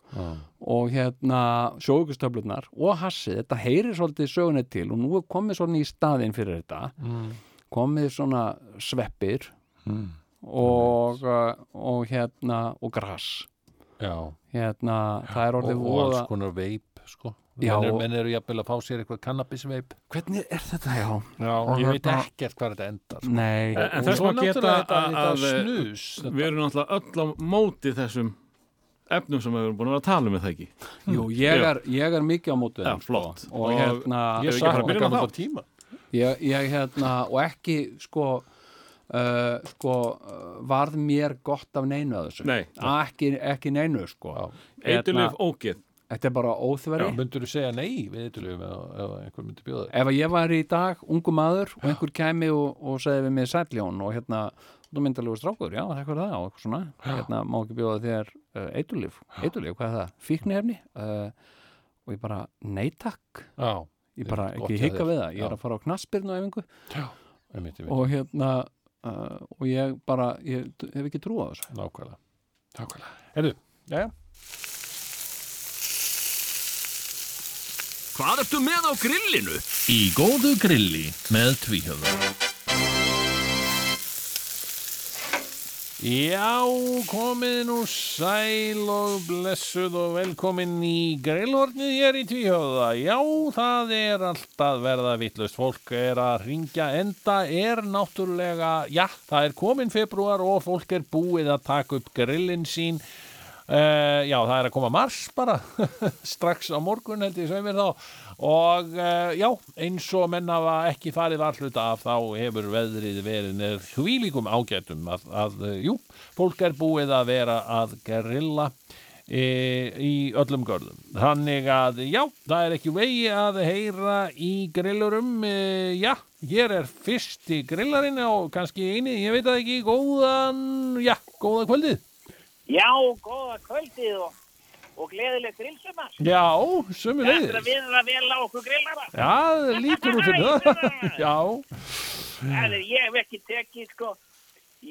S2: og hérna sjókustöflunar og hassið þetta heyrir svolítið sögunni til og nú er komið svona í staðinn fyrir þetta mm. komið svona sveppir
S4: Mm.
S2: og, uh, og hérna og grass
S4: já.
S2: hérna, það
S4: og,
S2: er
S4: og
S2: orðið
S4: alls
S2: voða
S4: konar veip sko.
S2: Já,
S4: menn, er,
S2: og-
S4: menn eru jafnvel að fá sér eitthvað kannabisveip
S2: hvernig er þetta, já,
S4: já,
S2: og
S4: ég veit
S2: hérna-
S4: ekkert hvað þetta endar
S2: nei
S6: En- en þess
S4: svo
S6: má geta
S4: náttúrulega þetta,
S6: að-
S4: þetta
S6: að-
S4: snus þetta,
S6: Við erum náttúrulega öll á móti þessum efnum sem við erum búin að vera að tala um með það ekki
S2: Jú, ég
S6: Já.
S2: er, ég er mikið á mótu
S6: Já, flott.
S2: Og,
S6: Og
S2: hérna,
S6: Ef
S4: ég
S6: við ekki fara að
S4: sakna
S6: byrja á
S4: gamla
S6: þá?
S4: tíma
S2: ég, ég hérna Og ekki, sko uh, Sko, uh, varð mér gott af neinu að þessu
S6: Nei.
S2: Að ekki, ekki neinu, sko
S6: Eitulif ógeð
S2: Þetta er bara óþveri
S4: myndur þú segja nei við eitthvað ef ef einhver myndi bjóða þér
S2: Ef að ég var í dag ungu maður og einhver kæmi og, og segði við mig sætljón og hérna, þú myndalegu strákur, já, það er það og eitthvað svona, hérna, má ekki bjóða þér uh, eitulif, eitulif, hvað er það? Fíknefni? Uh, og ég bara, nei takk,
S4: já,
S2: ég bara
S4: Gott
S2: ekki
S4: hjá
S2: hika
S4: þér.
S2: við það, ég er
S4: Já.
S2: að fara á knassbyrnu efingu
S4: einmitt, einmitt,
S2: og hérna, uh, og ég bara, ég d- hef ekki trú á þessu.
S4: nákvæmlega nákvæmlega, herru, já,
S5: Hvað ertu með á grillinu?
S1: Í góðu grilli með tvíhöfða.
S4: Já, komið nú sæl og blessuð og velkomin í grillhornið hér í Tvíhjóða. Já, það er allt að verða vittlust. Fólk er að ringja enda, er náttúrulega, já, það er komin februar og fólk er búið að taka upp grillin sín. Uh, já, það er að koma mars bara, strax á morgun held ég sem er þá og uh, já, eins og menn hafa ekki farið alluta af þá hefur veðrið verið með hvílíkum ágætum að, að eh, jú, fólk er búið að vera að grilla e, í öllum görðum. Þannig að já, það er ekki vegi að heyra í grillurum, e, já, hér er fyrsti grillarinn og kannski eini, ég veit að ekki, góðan, já, góða kvöldið.
S7: Já, góða kvöldið og, og gleðilegt grillsumar.
S4: Já, sömu
S7: Þetta
S4: leiðis.
S7: viður að vel á okkur grillara.
S4: Já, það lítur út fyrir það. Já,
S7: Það er, ég hef ekki tekið, sko,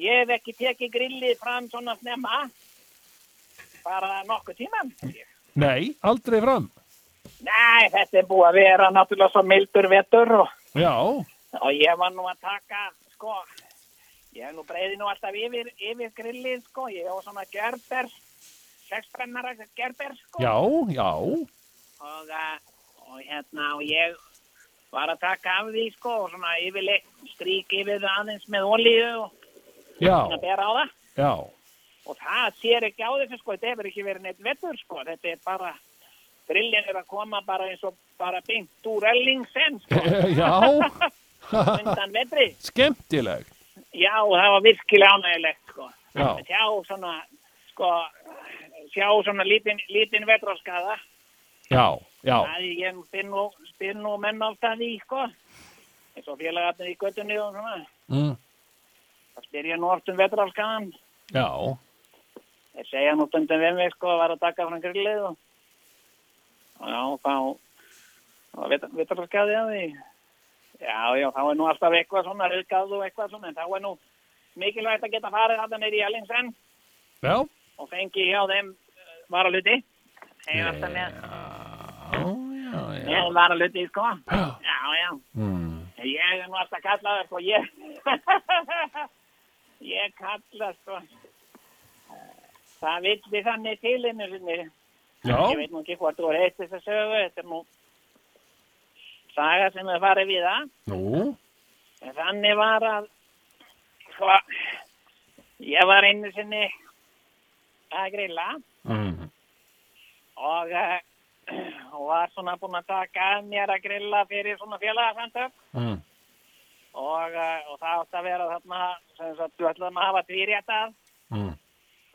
S7: ég hef ekki tekið grillið fram svona snemma. Bara nokkuð tíman.
S4: nei, aldrei fram.
S7: Nei, þetta er búið að vera náttúrulega svo mildur vetur og,
S4: Já,
S7: og ég var nú að taka, sko, ég hef nú breyði nú alltaf yfir, yfir grillið, sko, ég hef svona gerber, sexbrennara gerber, sko.
S4: já, já.
S7: og, uh, og hérna og ég var að taka af því sko og svona yfirleitt strík yfir það aðeins með olíu og
S4: Já,
S7: svona bera á það
S4: já,
S7: og það sér ekki á þessu sko þetta hefur ekki verið neitt vettur sko þetta er bara grillin er að koma bara eins og bara byngt úr ellingsinn sko
S4: já,
S7: undan vetri
S4: skemmtileg.
S7: já og það var virkilega ánægilegt sko
S4: Já.
S7: Að sjá svona sko sjá svona lítinn lítin vetraskaða
S4: Já, já,
S7: Það er ég finn nú, finn nú menn alltaf í, sko. Eins og félagarnir í göttunni og svona.
S4: Mm.
S7: Það spyr ég nú oft um vetralskaðan.
S4: já,
S7: Þeir segja nú stundum við mig, sko, að vera að taka frá grillið og... og já, þá... þá vetralskaði að því. Já, já, þá er nú alltaf eitthvað svona, rauðgað og eitthvað svona, en þá er nú mikilvægt að geta farið þetta neyri í Ellingsen
S4: já,
S7: og fengi hjá þeim eh, varaluti. Þeir eru alltaf með...
S4: já, Hmm.
S7: Ég var að luti, sko. Já, já. Ég er nú alltaf kallaður, sko. Ég, ég kalla, sko. Það vildi þannig til einu sinni.
S4: já,
S7: Ég veit nú ekki hvort þú er eitt þess að sögu. Þetta er nú saga sem er farið við það.
S8: Nú,
S7: En þannig var að hva, ég var einu sinni að grilla
S8: mm.
S7: og, eh, og var svona búin að taka að mér að grilla fyrir svona félagasamtök
S8: Mm.
S7: og, eh, og það átti að vera þarna sem sagt, við ætlaðum að hafa tvíréttað
S8: Mm.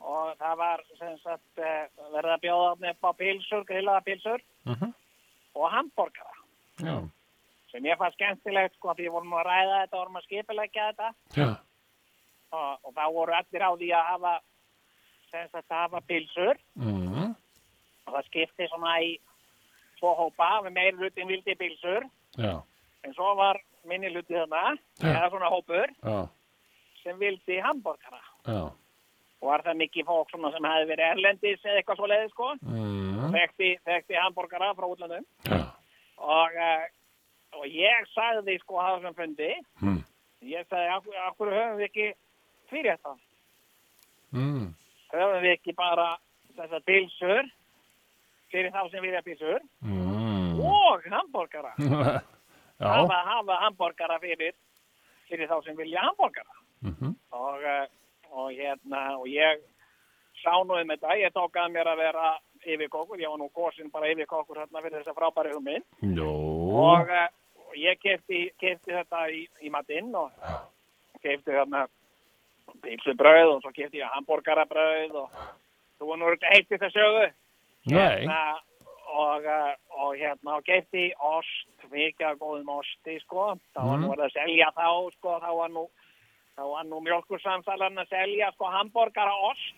S7: og það var sem sagt eh, verið að bjóða þarna upp á pilsur, grillaða pilsur
S8: Mhm.
S7: og hambúrgara
S8: já,
S7: sem ég fannst skemmtilegt sko því vorum að ræða þetta, vorum að skipilegja þetta
S8: já,
S7: og, og þá voru allir á því að hafa sem sagt að hafa pilsur
S8: mm.
S7: og það skipti svona í tvo hópa, við meiri hlutin vildi pilsur
S8: já,
S7: en svo var minni hluti þarna
S8: Já.
S7: eða svona hópur
S8: já,
S7: sem vildi hambúrgara
S8: já,
S7: og var það mikið fólk svona sem hefði verið erlendis eða eitthvað svo leiði sko
S8: mm.
S7: þekkti, þekkti hambúrgara frá útlandum
S8: já,
S7: og, eh, og ég sagði sko að það sem fundi
S8: Mm.
S7: ég sagði af, af hverju höfum við ekki fyrir þetta
S8: mm.
S7: höfum við ekki bara þessar pilsur fyrir þá sem vilja pilsur
S8: Mm.
S7: og hambúrgara
S8: já,
S7: hafa, hafa hambúrgara fyrir fyrir þá sem vilja hambúrgara og, eh, og hérna og ég sá nú um þetta ég tók að mér að vera yfirkokkur ég var nú gósin bara yfirkokkur hérna fyrir þessa frábæri hugmynd
S8: já,
S7: og,
S8: Mm.
S7: eh, og ég kefti, kefti þetta í, í matinn og kefti þarna pilsubröð og svo kefti ég hambúrgarabröð og þú var nú eitt í þessu sögu
S8: nei,
S7: hérna, og, uh, og hérna og geti ost, mikið af góðum osti sko, þá var
S8: Mm.
S7: nú verið að selja þá sko, þá var nú þá var nú mjölkursamsalan að selja sko hambúrgara ost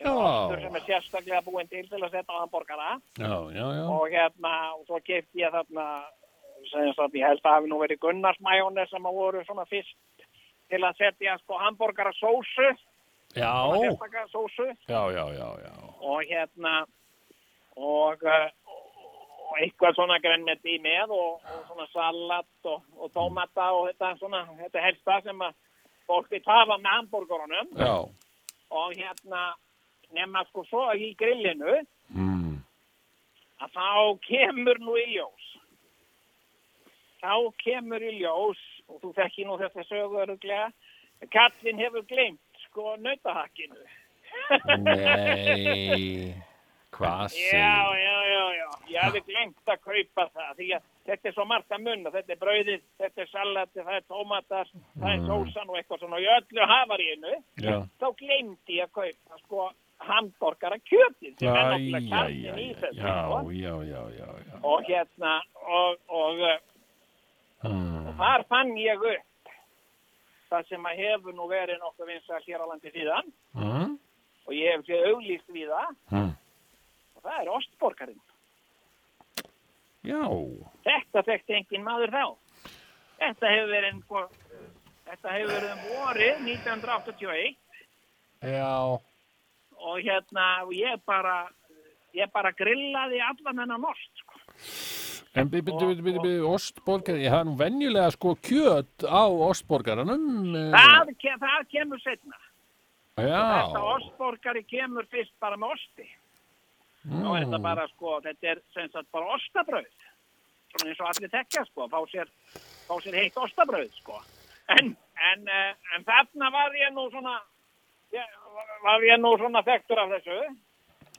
S8: já,
S7: sem er sérstaklega búin til til að setja á hambúrgara
S8: já, já, já,
S7: og hérna, og svo geti ég þarna sem sagt, ég held að hafi nú verið Gunnarsmæjónir sem að voru svona fyrst til að setja sko hambúrgara sósu,
S8: já,
S7: sérstaklega sósu
S8: já, já, já, já,
S7: og hérna og, uh, og eitthvað svona grænmeti í með og, og svona salat og, og tómata og þetta svona, þetta helsta sem að fólk við tafa með hambúrgurunum
S8: já,
S7: og hérna nema sko svo í grillinu
S8: mm.
S7: að þá kemur nú í ljós þá kemur í ljós og þú þekki nú þetta sögu öruglega Katrin hefur gleymt sko nautahakkinu
S8: nei, hvað segir,
S7: Já, já, já, já. Ég hefði glemt að kaupa það því að þetta er svo margt að munna. Þetta er brauðið, þetta er salati, það er tómatar, það er sósan og eitthvað svona. Og í öllu hafarínu,
S8: Mm. Já.
S7: þá glemdi ég að kaupa sko hamborgara kjötið sem er náttúrulega kjarnin í þessu.
S8: já,
S7: sko.
S8: já, já, já, já,
S7: Og hérna, og, og, uh,
S8: mm.
S7: þar fann ég upp það sem að hefur nú verið nokkuð vinsað hér á landi síðan
S8: Mm.
S7: og ég hef séð auglýst við það
S8: Mm.
S7: og það er ostborgarinn.
S8: já,
S7: Þetta þekkti engin maður þá. Þetta hefur verið einhver, þetta hefur verið um vorið 1981
S8: já,
S7: og hérna og ég bara, ég bara grillaði allan hennan ost. Sko.
S4: En byrju, byrju, byrju, byrju, ostborgar, ég hafði nú venjulega sko kjöt á ostborgaranum. eh,
S7: Það, ke, það kemur setna. Þetta
S4: Já,
S7: ostborgari kemur fyrst bara með osti. Nú er þetta bara sko, þetta er sem sagt bara ostabröð. Svona eins og allir tekja sko, fá sér, fá sér heitt ostabröð sko. En, en, eh, en þarna var ég nú svona, ég, var ég nú svona þektur af þessu.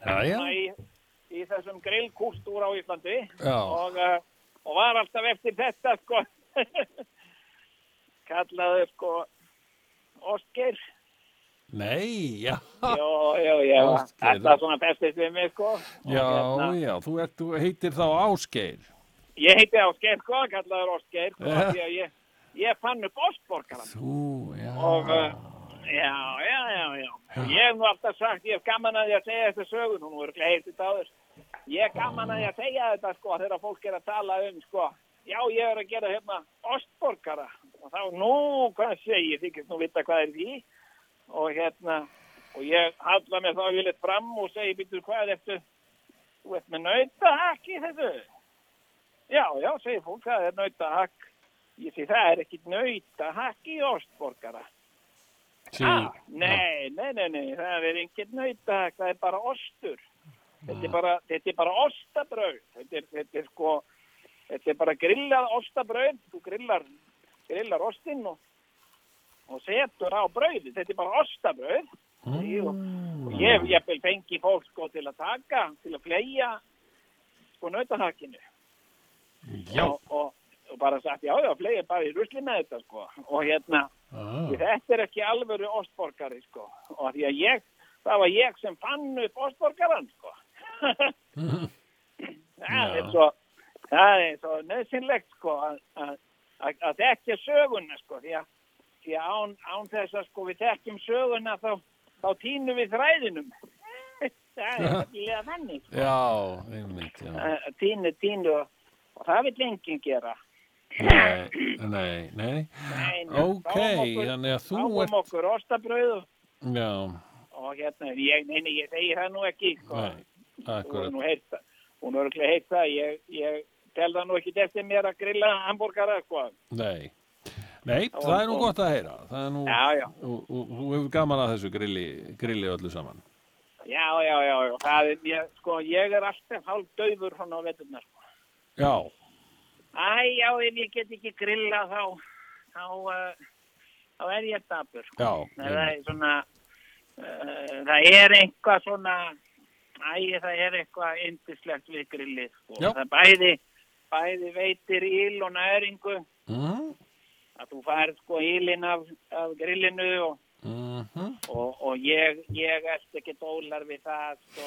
S8: já, já,
S7: Svona í, í þessum grillkústúr á Íslandi
S4: Já.
S7: og, uh, og var alltaf eftir þetta sko kallaðu sko Oscar
S4: nei, já,
S7: Jó, jó, já,
S4: Ásgeir.
S7: þetta er svona bestist við mig sko Og
S4: já,
S7: hérna,
S4: já, þú, ert, þú heitir þá Ásgeir.
S7: Ég heiti Oscar sko, kallaður Oscar sko,
S4: Já.
S7: því að ég, ég fann upp Osborgaran
S4: Þú, já,
S7: og uh, já, já, já, já. Ég hef nú alltaf sagt, ég hef gaman að ég að segja þetta sögun, hún voru gleiðt þetta áður. Ég hef gaman að ég að segja þetta sko þegar fólk er að tala um sko. Já, ég er að gera hérna ostborgara og þá, nú, hvað segir, ég þykist nú vita hvað er í því og hérna, og ég halla mér þá vilja fram og segi, býttu, hvað er þetta? Þú ert með nautahakk í þessu? Já, já, segir fólk, það er nautahakk. Ég segi, það er ekkit nautahakk í ostborgara. Ah, nei, nei, nei, nei, það er engin nautahakk, það er bara ostur. Þetta er bara, þetta er bara ostabröð. Þetta er, þetta er sko, Þetta er bara grillað ostabrauð, þú grillar, grillar ostinn og, og setur á brauði. Þetta er bara ostabrauð. Mm. Og ég hef jafnvel fengið fólk sko til að taka, til að fleia sko nautahakinu.
S4: Já.
S7: Og, og, og bara sagt, já, já, fleia bara í rusli með þetta sko. Og hérna, Því Þetta er ekki alvöru ostborgari, sko. Og því að ég, það var ég sem fann upp ostborgaran, sko. það er svo, það er svo nöðsynlegt, sko, að- að- að að þekkja söguna, sko. Því að, því að án, án þess að, sko, við þekkjum söguna, þá, þá týnum við þræðinum. það er allilega þannig, sko.
S4: Já, einmitt, já.
S7: Að- að Týnu, týnu og, og það vil enginn gera.
S4: Nei, nei, nei.
S7: Nei, nei,
S4: Ok,
S7: fáum okkur-
S4: þannig að þú
S7: Fáum
S4: ert,
S7: okkur ostabrauð og
S4: já,
S7: og hérna, en ég, neini, ég segi það nú ekki, sko.
S4: Nei,
S7: Þú hefur
S4: akkurat.
S7: nú heyrt það. Hún er örglega heyrt það. Ég, ég tel það nú ekki eftir mér að grilla hambúrgara, sko.
S4: Nei. Nei, það er nú gott að heyra. Það er nú,
S7: Já, já,
S4: og- og þú hefur gaman að þessu grilli, grilli öllu saman.
S7: já, já, já, já. Það er, ég, sko, ég er alltaf hálf döfur hann á veturna, sko.
S4: Já,
S7: Æ, já, ef ég get ekki grilla þá, þá, uh, þá er ég dapur, sko.
S4: já.
S7: Nei, það er svona, uh, það er eitthvað svona, æ, það er eitthvað yndislegt við grillið, sko.
S4: Já.
S7: Það er bæði, bæði veitir íl og næringu,
S4: Mhm,
S7: að þú færð sko ílinn af, af grillinu og,
S4: mhm,
S7: og, og ég, ég erst ekki dólar við það, sko.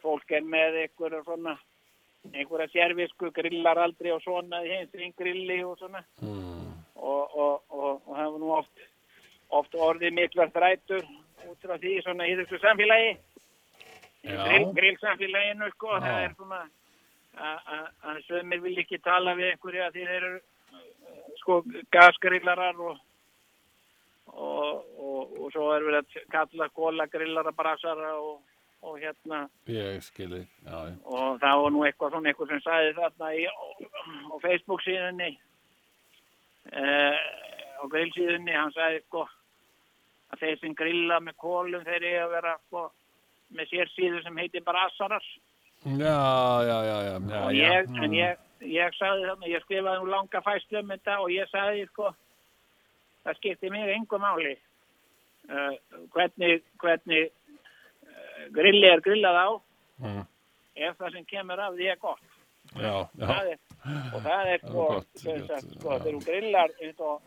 S7: Fólk er með einhverja svona, einhverja sérvisku, grillar aldrei og svona, hins einn grilli og svona
S4: mhm.
S7: og, og, og, og hefur nú oft, oft orðið miklar þrætur út frá því svona í þessu samfélagi í
S4: Já.
S7: grill, grillsamfélaginu sko það er svona að- að- að sömur vil ekki tala við einhverja því þeir eru eh, sko gasgrillarar og og, og, og svo er verið að kalla kóla grillara brasara og, og hérna
S4: Ég skilði, já, já.
S7: og það var nú eitthvað svona eitthvað sem sagði þarna í, á Facebook síðunni eh, á grill síðunni hann sagði sko að þeir sem grilla með kólum þeir eru að vera sko með sér síðu sem heitir brasarar
S4: Já, já, já, já. já,
S7: og
S4: já. Mm.
S7: ég, en ég, ég sagði þarna ég skrifaði nú langa fæslu um þetta og ég sagði sko það skipti mér engum máli uh, hvernig, hvernig uh, grilli er grillað á
S4: Mm.
S7: ef það sem kemur af því er gott
S4: Já, já,
S7: það er, og það er sko,
S4: gott,
S7: sem sagt,
S4: gott,
S7: sko
S4: já.
S7: þegar þú grillar eins og,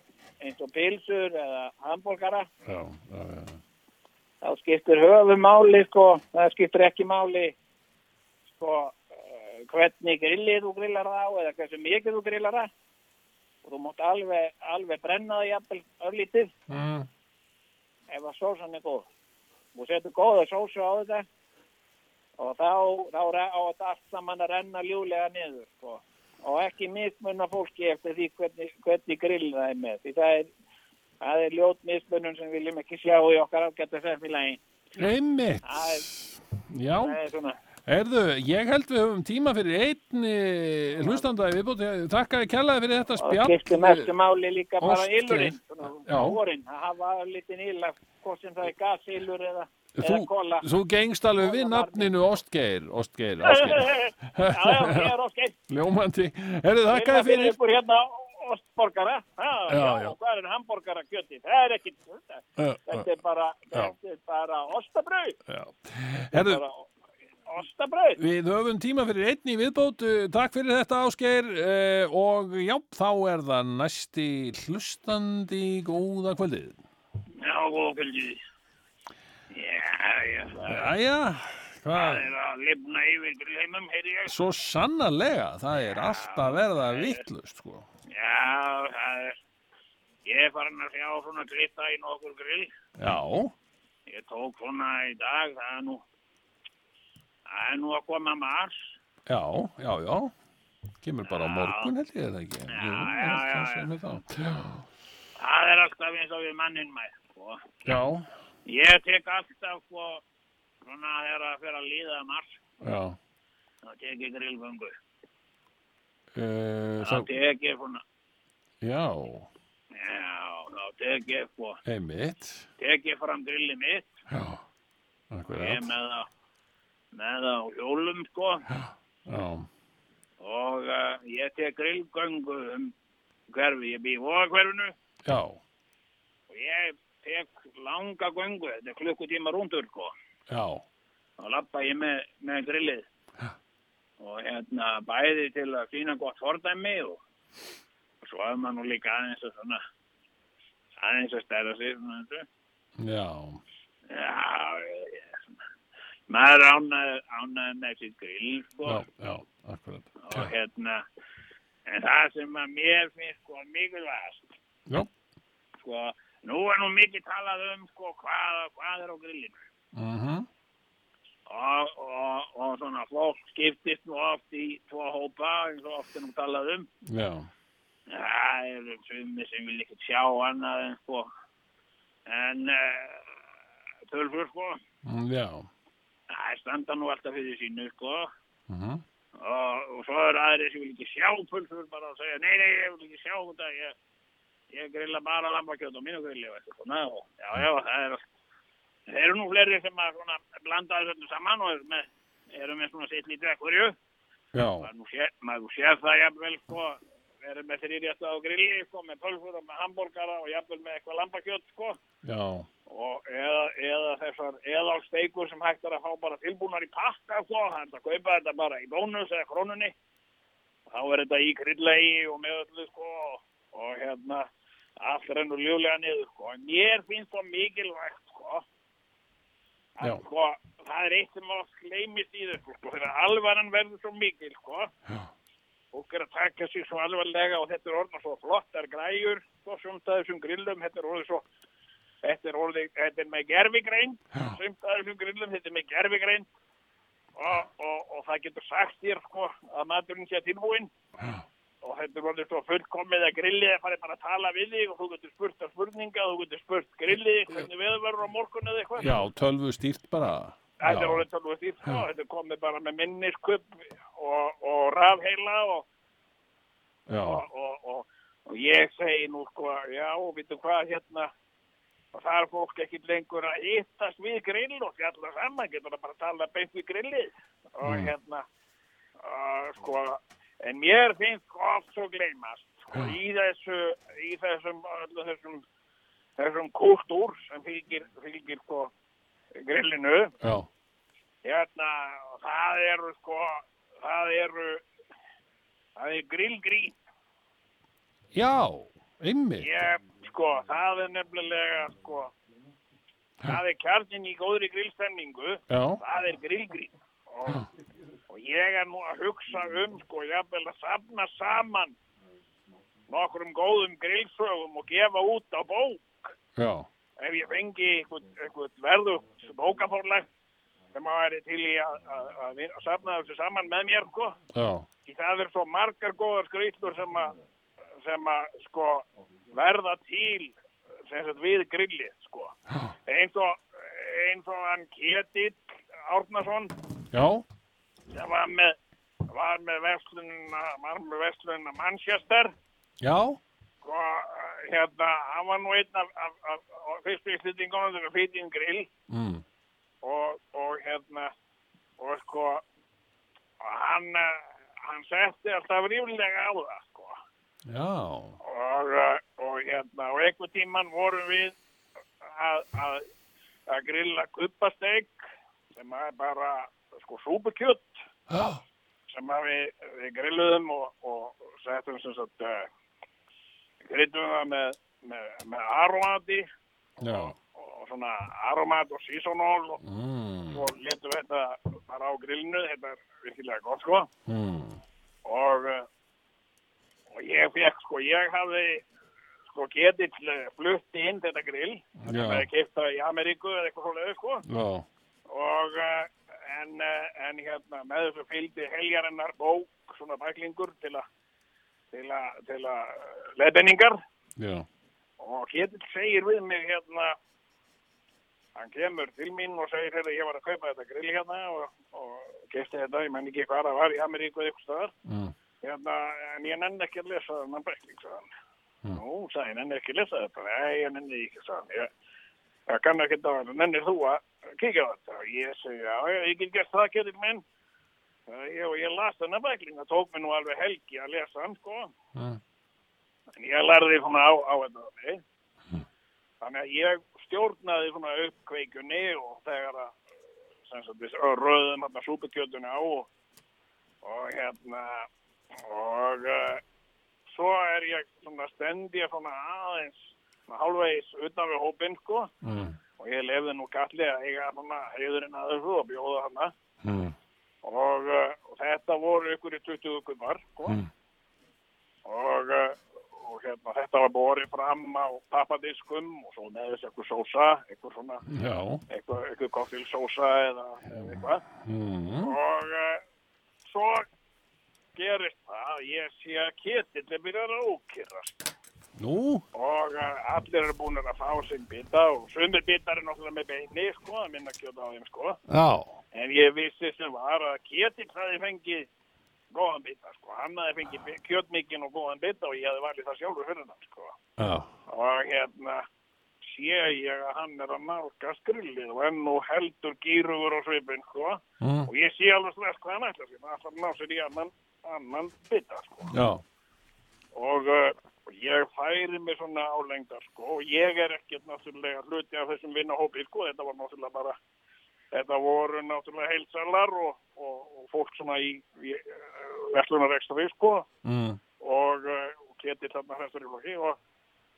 S7: eins og pilsur eða hambúrgara
S4: já, já, já.
S7: þá skiptir höfum máli sko, það skiptir ekki máli sko eh, hvernig grillið þú grillar það á eða hversu mikið þú grillar það og þú mátt alveg, alveg brenna það jafnvel örlítið
S4: Mm.
S7: ef að sósan er góð og setur góða sósu á þetta og þá, þá re- á þetta allt saman að renna ljúlega niður sko. og ekki mismunna fólki eftir því hvernig, hvernig grill það er með því það er, það er ljót mismunum sem við viljum ekki sjá í okkar ágættu samfélagi
S4: Einmitt,
S7: það er,
S4: já.
S7: það er svona
S4: Erðu, ég held við höfum tíma fyrir einni hlustanda í viðbóti. Takk að ég kjallaði fyrir þetta
S7: og
S4: spjall.
S7: skiptir mestu máli líka bara
S4: Ástin.
S7: ylurinn
S4: Já.
S7: vorin, að hafa lítinn íl hvort sem það er gasílur eða, eða
S4: Þú,
S7: kóla
S4: þú gengst alveg við nafninu Ostgeir, Ostgeir, Ostgeir,
S7: já, já, ég er óskeitt
S4: ljómandi. Herðu, þakka þér fyrir.
S7: ykkur hérna ostborgara. Ha,
S4: Já,
S7: já,
S4: já.
S7: og hvað er hambúrgara kjöti? Það er ekki, þetta, þetta er bara, þetta er bara ostabrauð.
S4: Herðu,
S7: Bara ostabrauð.
S4: Við höfum tíma fyrir einni viðbót. Eh, Takk fyrir þetta Ásgeir eh, og já, þá er það næsti hlustandi góða kvöldið.
S7: Já, og fylgjið. Já, já, það
S4: Jæja, hvað?
S7: er að lifna yfir gleimum, heyri ég.
S4: Svo sannarlega, það er allt að verða vittlust, sko.
S7: Já, það er, ég er farin að sjá svona glitta í nokkur grill.
S4: Já,
S7: Ég tók svona í dag, það er nú, það er nú að koma mars.
S4: já, já, já. Kemur bara á morgun, held ég þetta ekki. Jú,
S7: já,
S4: það
S7: já,
S4: sem er það.
S7: Það er alltaf eins og við mannin mæð, sko.
S4: Já,
S7: Ég tek alltaf sko, svona þegar að fyrir að líða mars,
S4: já.
S7: þá tek ég grillgöngu.
S4: Uh,
S7: Þá
S4: það,
S7: tek ég svona,
S4: já,
S7: já, þá tek ég sko,
S4: einmitt.
S7: tek ég fram grillið mitt,
S4: Já,
S7: ég er
S4: akkurat.
S7: með það, með það á hjólum sko,
S4: Já,
S7: og uh, ég tek grillgöngu um hverfi, ég bý í vóðakverfinu
S8: Já,
S7: og ég tek langa göngu, þetta er klukkutíma rúndur sko.
S8: já,
S7: og lappa ég með, með grillið og hérna bæði til að sína gott fordæmi og, og svo hefur maður nú líka aðeins að svona aðeins að stæra sig svona, þessu.
S8: já.
S7: já, ég, ég, svona. maður ánæði ánæði með sitt grill sko
S8: Já, já, akkurat.
S7: og hérna en það sem að mér finnst sko mikilvægast
S8: Já.
S7: sko nú er nú mikið talað um sko hvað, hvað er á grillinu
S8: Mm -hmm.
S7: og, og, og svona fólk skiptist nú oft í tvo hópa eins og oft er nú talað um
S8: Já,
S7: það eru sumi sem vil ekki sjá annað en sko en uh, tölfur sko
S8: mm, já,
S7: það standa nú alltaf fyrir sínu sko
S8: Mhm.
S7: og, og svo eru aðrir sem vil ekki sjá pulsur bara að segja nei, nei, ég vil ekki sjá þetta ég, ég grilla bara lambakjöt á mínu grilli og eitthvað svona og já, já, það er það eru nú fleiri sem að svona blanda þessu öllu saman og eru með, eru með svona sitt lítið ekkurju
S8: já,
S7: maður nú sér, maður nú sér það jafnvel sko verið með þrýrjasta á grilli sko með pulsur og með hambúrgara og jafnvel með eitthvað lambakjöt sko
S8: já,
S7: og eða, eða þessar eðalsteikur sem hægt er að fá bara tilbúnar í pakka sko, það er hægt að kaupa þetta bara í bónus eða krónunni þá er þetta í kryllegi og með öllu sko og hérna allt rennur ljúlega niður sko en mér finnst það mikilvægt sko að
S8: Já.
S7: sko það er eitt sem oft gleymist í þessu sko þegar alvaran verður svo mikil sko
S8: Já.
S7: fólk er að taka sig svo alvarlega og þetta er orðin svo flottar græjur svo sumt að þessum grillum þetta er orðið svo Þetta er, orðið, þetta er með gerfigrein, sumt aðeins um grillum, þetta er með gerfigrein og, og, og það getur sagt þér sko, að maturinn sé tilbúinn og þetta er orðið svo fullkomið að grillið er farið bara að tala við þig og þú getur spurt að spurninga, þú getur spurt grillið, hvernig veður verður á morgun eða eitthvað.
S8: já, tölvu stýrt bara.
S7: Þetta er orðið tölvöð stíl, sko, þetta er komið bara með minniskupp og, og rafheila og,
S8: Já,
S7: og, og, og, og ég segi nú sko, já, veitum hvað hérna og það er fólk ekki lengur að hittast við grill og fjalla saman, getur það bara að tala beint við grillið og hérna uh, sko, en mér finnst sko oft svo gleymast sko, í þessu, í þessum öllu þessum, þessum kúltúr sem fylgir, fylgir sko grillinu
S8: já,
S7: hérna, og það eru sko, það eru það er grillgrýn
S8: já, einmitt.
S7: Ég, sko, það er nefnilega, sko, það er kjarnin í góðri grillstemningu,
S8: Já,
S7: það er grillgrín. Og, og ég er nú að hugsa um, sko, jafnvel að safna saman nokkrum góðum grillsögum og gefa út á bók
S8: já,
S7: ef ég fengi eitthvað, eitthvað verðugt bókaforlag sem að væri til í að, að, að, vin- að safna þessu saman með mér, sko.
S8: já,
S7: Því það er svo margar góðar skrýtlur sem að sem að sko verða til sem sagt við grillið sko eins og, eins og hann Ketill Árnason
S8: já,
S7: sem var með var með verslunina var með verslunina Manchester
S8: já,
S7: sko hérna hann var nú einn af, af, af, af fyrstu íslendingunum þegar fyrir inn grill
S8: mm.
S7: og, og hérna og sko og hann eh, hann setti alltaf ríflega á það sko
S8: já,
S7: og, uh, og hérna og einhver tíman vorum við að, að, að grilla kuppasteik sem er bara sko súpukjött
S8: já,
S7: sem að við, við grilluðum og, og settum sem sagt uh, grillum það með, með, með aromati
S8: já,
S7: og, og svona aromat og seasonal og,
S8: mm.
S7: og letum þetta bara á grillinu þetta er virkilega gott sko
S8: Mm.
S7: og eh, og ég fekk sko, ég hafði sko getill eh, flutti inn þetta grill
S8: Já.
S7: það er keipta í Ameríku eða eitthvað svoleiðu sko
S8: já,
S7: og eh, en, eh, en hérna með þessu fylgdi heljarinnar bók svona bæklingur til að til að, til að leðbenningar
S8: já,
S7: og Ketill segir við mig hérna hann kemur til mín og segir hérna ég var að kaupa þetta grill hérna og, og kefti þetta, ég menn ekki hvað það var í Ameríku eitthvað staðar
S8: Mm.
S7: hérna, en ég nenni ekki að lesa þennan bækling sagði hann. nú, sagði ég nenni ekki að lesa þetta nei, ég nenni ekki sagði hann. ég, það kann ekki þetta, nennir þú að kíkja á þetta og ég segi, já, já, ég get gert það Ketill minn Ég, og ég las þennan bækling, það tók mér nú alveg helgi að lesa hann, sko.
S8: Mm.
S7: En ég lærði svona á, á þetta þannig. Þannig að ég stjórnaði svona uppkveikjunni og þegar að, sem sagt, við röðum hérna súpukjötunni á og, og hérna, og uh, svo er ég svona stend ég svona aðeins, svona hálfvegis utan við hópinn, sko.
S8: Mm.
S7: Og ég lefði nú kallið að eiga svona heiðurinn að þessu og bjóða hana
S8: Mm.
S7: og, uh, og þetta voru ykkur í 20 gummar sko.
S8: Mm.
S7: og, uh, og hérna, þetta var borið fram á pappadiskum og svo með þessi ykkur sósa ykkur svona,
S8: Já.
S7: ykkur, ykkur koktilsósa eða eða eitthvað
S8: Mm.
S7: og uh, svo gerist það að ég sé að ketill er byrjað að ókyrrast
S8: Nú,
S7: og uh, allir eru búin að fá sinn bita og sumir bitar er náttúrulega með beini sko, að minna kjöta á þeim sko
S2: Já.
S7: En ég vissi sem var að Kjetil hafði fengið góðan bita, sko. Hann hafði fengið bi- kjötmikinn og góðan bita og ég hafði valið það sjálfur fyrir hann, sko.
S8: Já.
S7: Og hérna sé ég að hann er að nálgast grillið og enn og heldur gýrugur á svipin, sko.
S8: Mm.
S7: Og ég sé alveg slest hvað hann ætlar sér. Hann ætlar að ná sér í annan, annan bita, sko.
S8: Já.
S7: Og uh, og ég færi mig svona álengdar, sko. Og ég er ekkert náttúrulega hluti af þessum vinnahópi, sko. Þetta var náttúrulega bara Þetta voru náttúrulega heilsalar og, og, og fólk svona í, í verslunarekstari, sko,
S8: Mm.
S7: og, eh, og keti þarna hrestur í flokki og,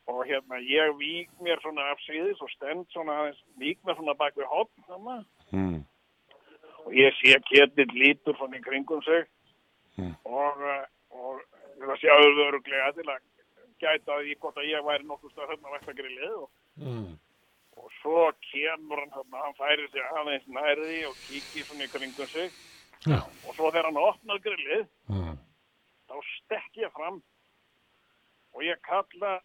S7: og hérna, ég vík mér svona af síðis og stend svona aðeins, vík mér svona bak við hopp, þarna,
S8: Mm.
S7: og ég sé keti lítur svona í kringum sig
S8: Mm.
S7: og, eh, og það sé öðvöruglega til að gæta því hvort að ég væri nokkuð stöð hérna vektagrillið og
S8: Mm.
S7: og svo kemur hann þarna, hann færir sig aðeins nærði og kíkir svona í kringum sig
S8: Já.
S7: og svo þegar hann opnar grillið
S8: Mm.
S7: þá stekk ég fram og ég kalla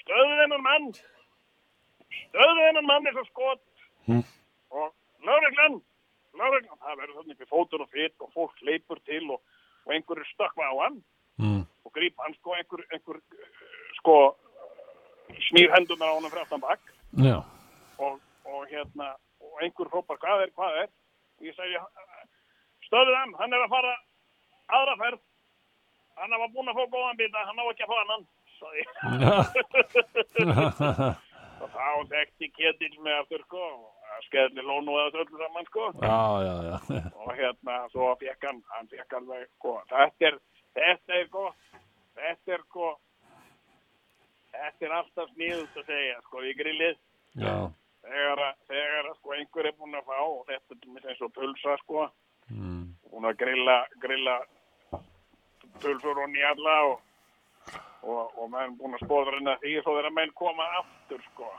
S7: stöðu þennan mann stöðu þennan mann eins og skot
S8: Mm.
S7: og lögreglan lögreglan, það verður þarna upp í fótur og fyrt og fólk leipur til og, og einhverju stökkva á hann
S8: Mm.
S7: og grípa hann sko einhver, einhver eh, sko eh, snýr hendunar á hann fyrir aftan bak
S8: Já.
S7: og, og hérna og einhver hrópar hvað er, hvað er og ég segi stöðið hann, hann er að fara aðra ferð hann var búin að fá góðan bita, hann á ekki að fá annan sagði ég og þá þekkti Ketill með aftur sko og skeðli lónu eða öllu saman sko
S8: Já, já, já.
S7: og hérna svo fekk hann, hann fekk alveg sko, þetta er, þetta er gott þetta er sko þetta er alltaf sniðust að segja sko í grillið
S8: Já.
S7: þegar að, þegar að sko einhver er búinn að fá og þetta er til dæmis eins og pulsa sko
S8: Mm.
S7: búinn að grilla, grilla pulsur og njalla og, og, og menn búinn að spóðra inn að því svo þegar menn koma aftur sko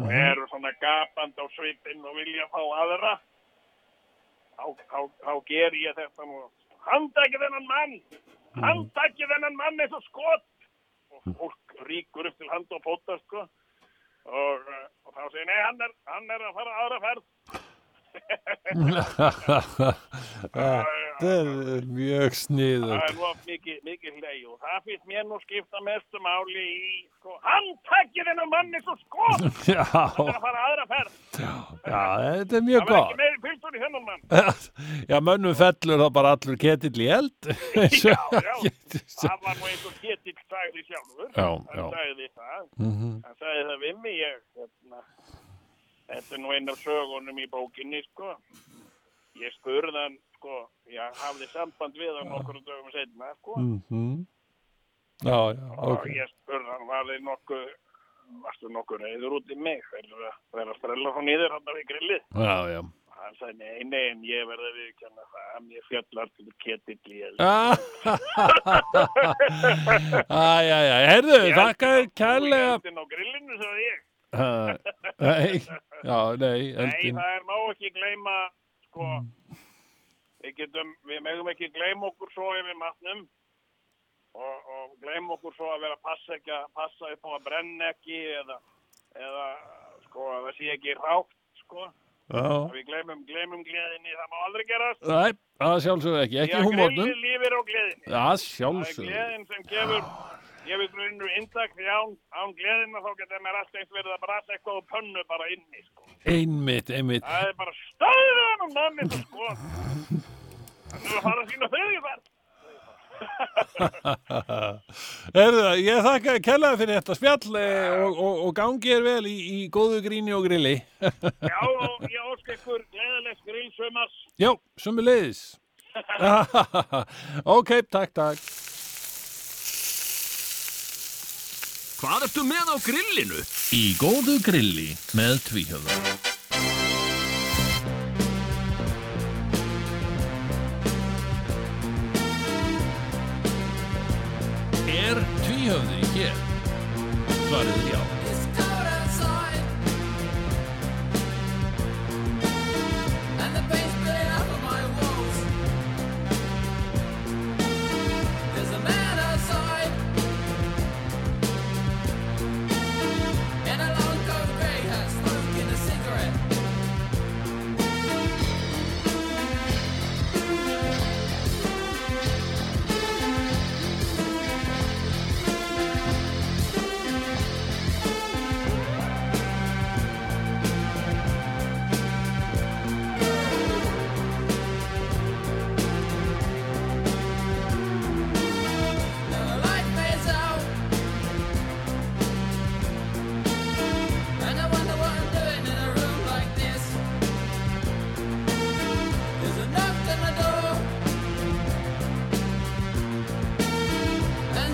S7: og eru svona gapand á svipinn og vilja fá aðra þá, þá, þá ger ég þetta nú handtækið þennan mann handtækið þennan mann eins og skot og fólk ríkur upp til hand og fóta sko og, eh, og þá segir nei hann er, hann er að fara aðra ferð
S8: Þetta er mjög sniður.
S7: það er of mikið, mikið hlegi og það finnst mér nú skipta mestu máli í sko, handtækið þennan mann eins og skot hann
S8: Já,
S7: er að fara aðra ferð
S8: já, þetta er mjög
S7: það var
S8: gott.
S7: ekki meiri piltur í þennan mann
S8: Já, mönnum fellur það bara allur ketill í eld.
S7: já, já, það var nú eins og Ketill sagði sjálfur
S8: Já, já.
S7: hann sagði það
S8: Mhm.
S7: hann sagði það við mig ég, hérna, þetta er nú einn af sögunum í bókinni sko. ég spurði hann sko, ég hafði samband við hann okkur dögum setna sko.
S8: Mhm. Já, já, ok.
S7: og ég spurði hann var þið nokkuð varstu nokkuð reyður út í mig verður að, verður að strella svo nýður hann við grillið
S8: Já, já.
S7: hann sagði nei, nei, en ég verði að viðkjanna það að mér fjallar til Ketill í eld
S8: Ah, Æ, æ, æ, herðu,
S7: Ég-
S8: þakka þér
S7: Þú
S8: kærlega
S7: eldin á grillinu, sagði ég.
S8: Ah, Nei, já, nei,
S7: Nei,
S8: eldin
S7: það er má ekki gleyma, sko, við getum, við megum ekki gleyma okkur svo yfir matnum og, og gleyma okkur svo að vera að passa ekki að passa upp á að brenna ekki eða, eða, sko, að það sé ekki rátt, sko,
S8: Já,
S7: við gleymum, gleymum gleðinni, það má aldrei gerast.
S8: nei, það sjálfsögðu ekki,
S7: Því
S8: ekki
S7: að
S8: húmórnum
S7: grillið lífir á gleðinni.
S8: Það
S7: Það er
S8: sjálfsögðu
S7: gleðin sem gefur, gefur grunnu inntak því án, án gleðina þá getur mér alltaf eins verið að brasa eitthvað á pönnu bara inni, sko.
S8: Einmitt, einmitt
S7: um Það er bara stöðan og manni og sko Þú erum að fara að sína fyrirferð.
S4: Erðu það, ég þakka kellaði fyrir þetta spjall eh, og, og, og gangi er vel í, í góðu gríni og grilli.
S7: Já, og ég ósk ykkur gleðilegs grillsumars.
S4: Já, sumi leiðis. ok, takk, takk.
S5: Hvað ertu með á grillinu?
S1: Í góðu grilli með tvíhöfða. Er tvíhöfði hér? Svarið er já.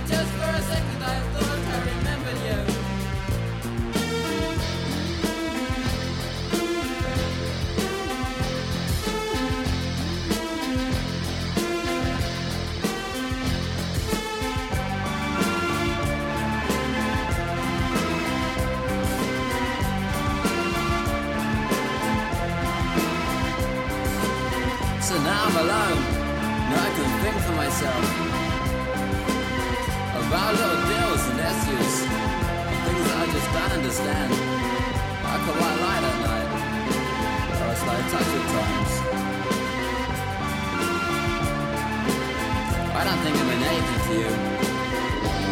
S9: Just for a second I thought I remembered you
S10: So now I'm alone. Now I can think for myself about little deals and issues, things that I just don't understand. I could white light at night, or a slow touch at times. I don't think I'm in anything to you.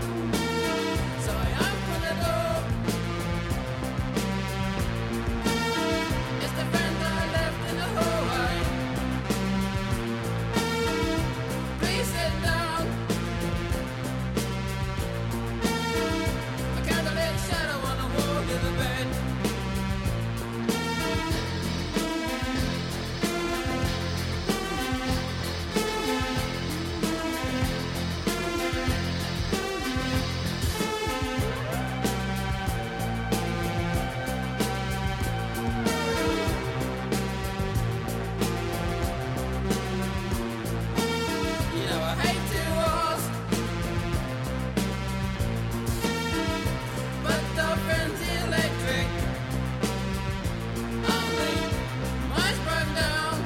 S9: So I open the door. It's the friend I left in the hallway. Please sit down. A candlelit shadow on the wall near the bed. You know I hate to ask, but the friend's electric. Only mine's broken down.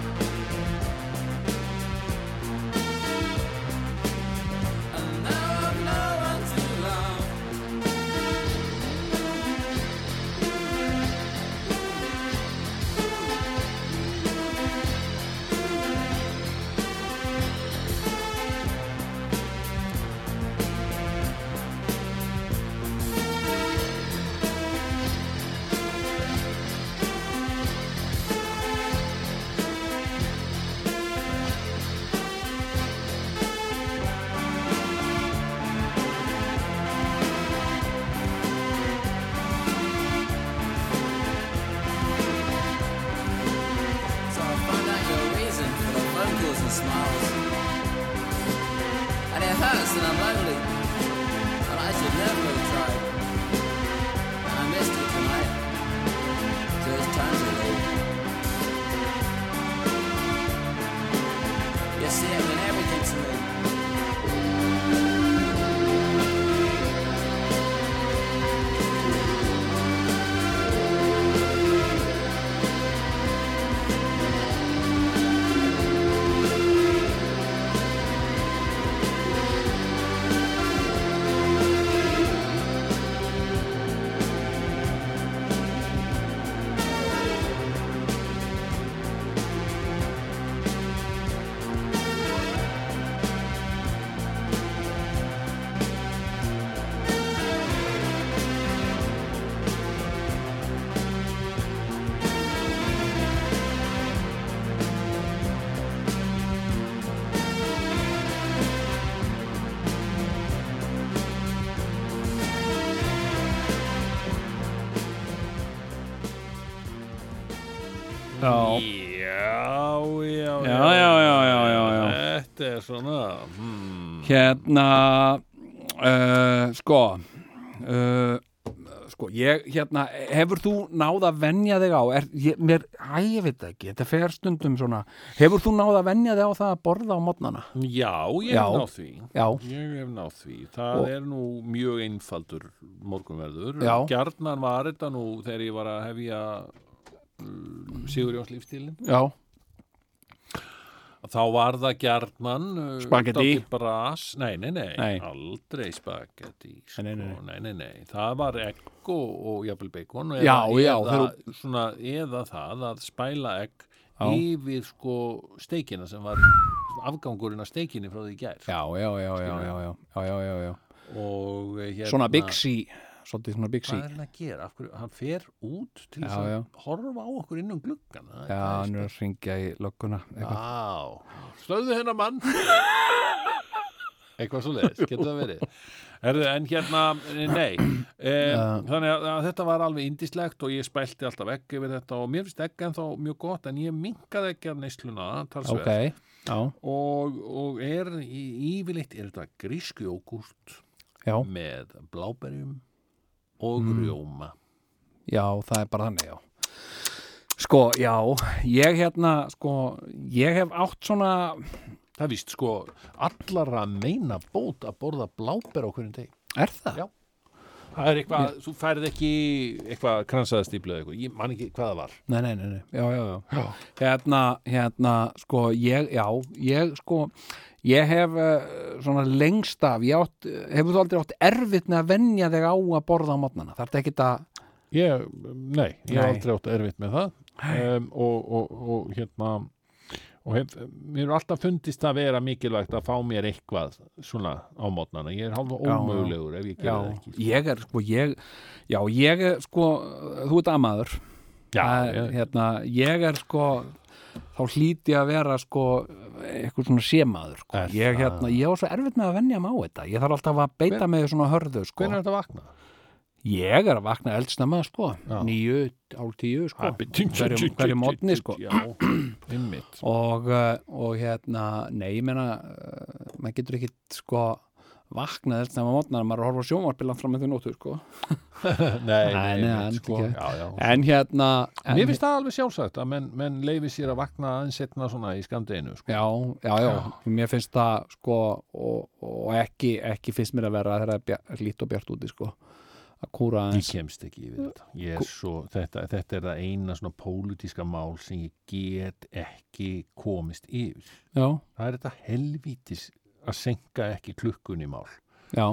S9: And now I've no one to love.
S10: So I find out your reason for the phone calls and smiles. And it hurts and I'm lonely. And I should never have tried. And I missed you tonight. So it's time to leave. You see, it meant everything to me.
S9: I
S2: Já.
S4: Já, já,
S2: Já, já, já, já, já, já.
S4: Þetta er svona hmm.
S2: Hérna uh, Sko uh, Sko, ég, hérna Hefur þú náð að venja þig á er, ég, mér, Æ, ég veit það ekki, þetta fer stundum svona Hefur þú náð að venja þig á það að borða á modnana?
S4: Já, ég
S2: Já.
S4: hef náð því
S2: Já.
S4: Ég hef náð því Það
S2: Og-
S4: er nú mjög einfaldur morgunverður
S2: Já.
S4: Gjarnan var þetta nú þegar ég var að hefja uh, Sigur Jóns lífstílinn
S2: Já,
S4: Þá var það gjarnan uh,
S2: Spagetti?
S4: dálítið Bras, nei, nei, nei,
S2: Nei.
S4: aldrei spagetti sko.
S2: Nei,
S4: nei,
S2: nei,
S4: nei. nei, Það var egg og, og jafnvel bacon eða,
S2: Já,
S4: eða,
S2: já, þeir-
S4: svona, eða það að spæla egg
S2: Já.
S4: yfir sko steikina sem var afgangurinn af steikinni frá því í gær
S2: já, já, já, já, já, já, já, já, já, já.
S4: og eh, hérna
S2: Svona byggsí Svolítið svona byggsí
S4: Hvað er hann að gera? Af Hverju, hann fer út til
S2: Já,
S4: þess að
S2: já.
S4: horfa á okkur inn um gluggan það er-
S2: Já,
S4: það er
S2: hann er sko- að syngja í lögguna eitthvað.
S4: Á, slöðu hennar mann Eitthvað svo leiðis, getur það verið Herðu, en hérna, nei e, Þannig að, að þetta var alveg indislegt og ég spælti alltaf egg yfir þetta og mér finnst egg en þá mjög gott en ég minkaði ekki af neysluna talsverð
S2: Ok, já,
S4: og, og er í, yfirleitt er þetta grísku jógúrt
S2: já,
S4: með bláberjum og rjóma
S2: já, það er bara þannig, já Sko, já, ég hérna, sko, ég hef átt svona
S4: Það er víst sko allara meina bót að borða bláber á hverjum deg
S2: Er það?
S4: Já. Það er eitthvað, þú færið ekki eitthvað kransaðastíplu eða eitthvað, ég man ekki hvað það var.
S2: Nei, nei, nei, nei. Já, já, já, Hérna, hérna, sko, ég, já, ég, sko, ég hef uh, svona lengst af, ég átt, hefur þú aldrei átt erfitt með að venja þig á að borða á mótnana? Þarf þetta ekki að,
S4: Ég, nei, ég hef
S2: Nei.
S4: aldrei átt erfitt með það um, og, og, og hérna, og hef, mér er alltaf fundist að vera mikilvægt að fá mér eitthvað svona á mótnana. Ég er hálfa
S2: já.
S4: ómögulegur ef ég gera það ekki.
S2: ég er, sko, ég, já, ég er, sko, þú ert amaður.
S4: Já,
S2: Það er,
S4: ég,
S2: Hérna, ég er, sko, þá hlýti ég að vera, sko, eitthvað svona sémaður, sko.
S4: Er
S2: Ég,
S4: það?
S2: hérna, ég var svo erfitt með að venja mig á þetta. Ég þarf alltaf að beita
S4: Hven-
S2: mig svona hörðu, sko.
S4: hvernig er þetta að vakna?
S2: Ég er að vakna eldsnemma, sko,
S4: Já. Ah,
S2: nýju, hálf tíu, sko, hverju, hverju mótni, sko,
S4: Já, einmitt.
S2: og, uh, og hérna, nei, ég meina, uh, maður getur ekkit, sko, vaknað eldsnemma mótnar, maður er að horfa á sjónvarpilan fram með því nóttu, sko,
S4: Nei,
S2: Nei, nei,
S4: einmitt,
S2: en
S4: sko,
S2: ekki.
S4: já, já.
S2: en hérna, en,
S4: Mér finnst það alveg sjálfsagt að menn, menn leifi sér að vakna aðeins setna svona í skamdeginu sko.
S2: já, já, já, mér finnst það, sko, og, og ekki, ekki finnst mér að vera þegar það er bja- lít og bjart úti, sko, að kúra
S4: Ég
S2: aðeins,
S4: kemst ekki yfir þetta. Ég er svo, þetta, þetta er það eina svona pólitíska mál sem ég get ekki komist yfir.
S2: já,
S4: Það er þetta helvítis að senka ekki klukkunni mál.
S2: já,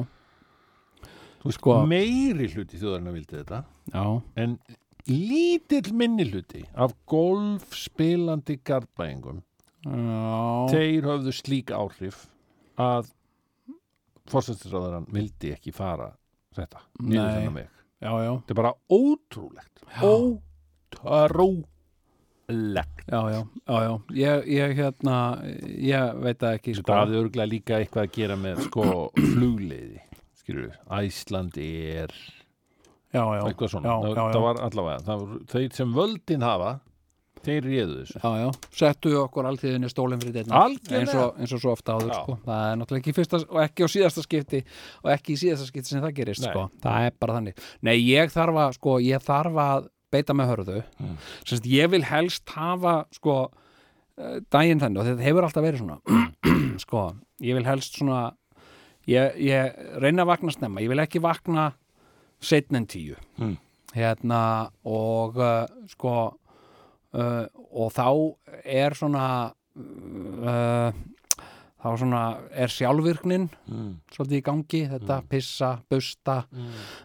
S4: Þú veist,
S2: Sko-
S4: meiri hluti þjóðarinn að vildi þetta,
S2: já,
S4: en lítill minni hluti af golfspilandi gardbæingum
S2: já,
S4: þeir höfðu slík áhrif að fórsættisráðarann vildi ekki fara þetta niður
S2: Nei.
S4: þennan veg.
S2: já, já,
S4: Þetta er bara ótrúlegt. Ótrúlegt.
S2: Já, já, já, já, ég, ég hérna, ég veit það ekki sko.
S4: Það hafði örgulega líka eitthvað að gera með sko flugleiði, skilur við, Æslandi er,
S2: Já, já,
S4: eitthvað svona.
S2: já,
S4: það,
S2: já, já,
S4: það var allavega, það var, þeir sem völdin hafa, þeir réðu þessu.
S2: já, já, settu okkur alltíðinni stólinn fyrir dyrna
S4: Algjörlega.
S2: eins og, eins og svo ofta áður
S4: Já.
S2: sko. það er náttúrulega ekki í fyrsta og ekki á síðasta skipti og ekki í síðasta skipti sem það gerist
S4: Nei.
S2: sko. það er bara þannig nei, ég þarf að, sko, ég þarf að beita með hörðu mm. Sest, ég vil helst hafa sko, eh, daginn þannig og þetta hefur alltaf verið svona sko, ég vil helst svona ég, ég reyna að vakna snemma ég vil ekki vakna setn en tíu
S4: Mm.
S2: hérna og uh, sko uh, og þá er svona uh, þá svona er sjálfvirknin
S4: Mm.
S2: svolítið í gangi, þetta pissa, busta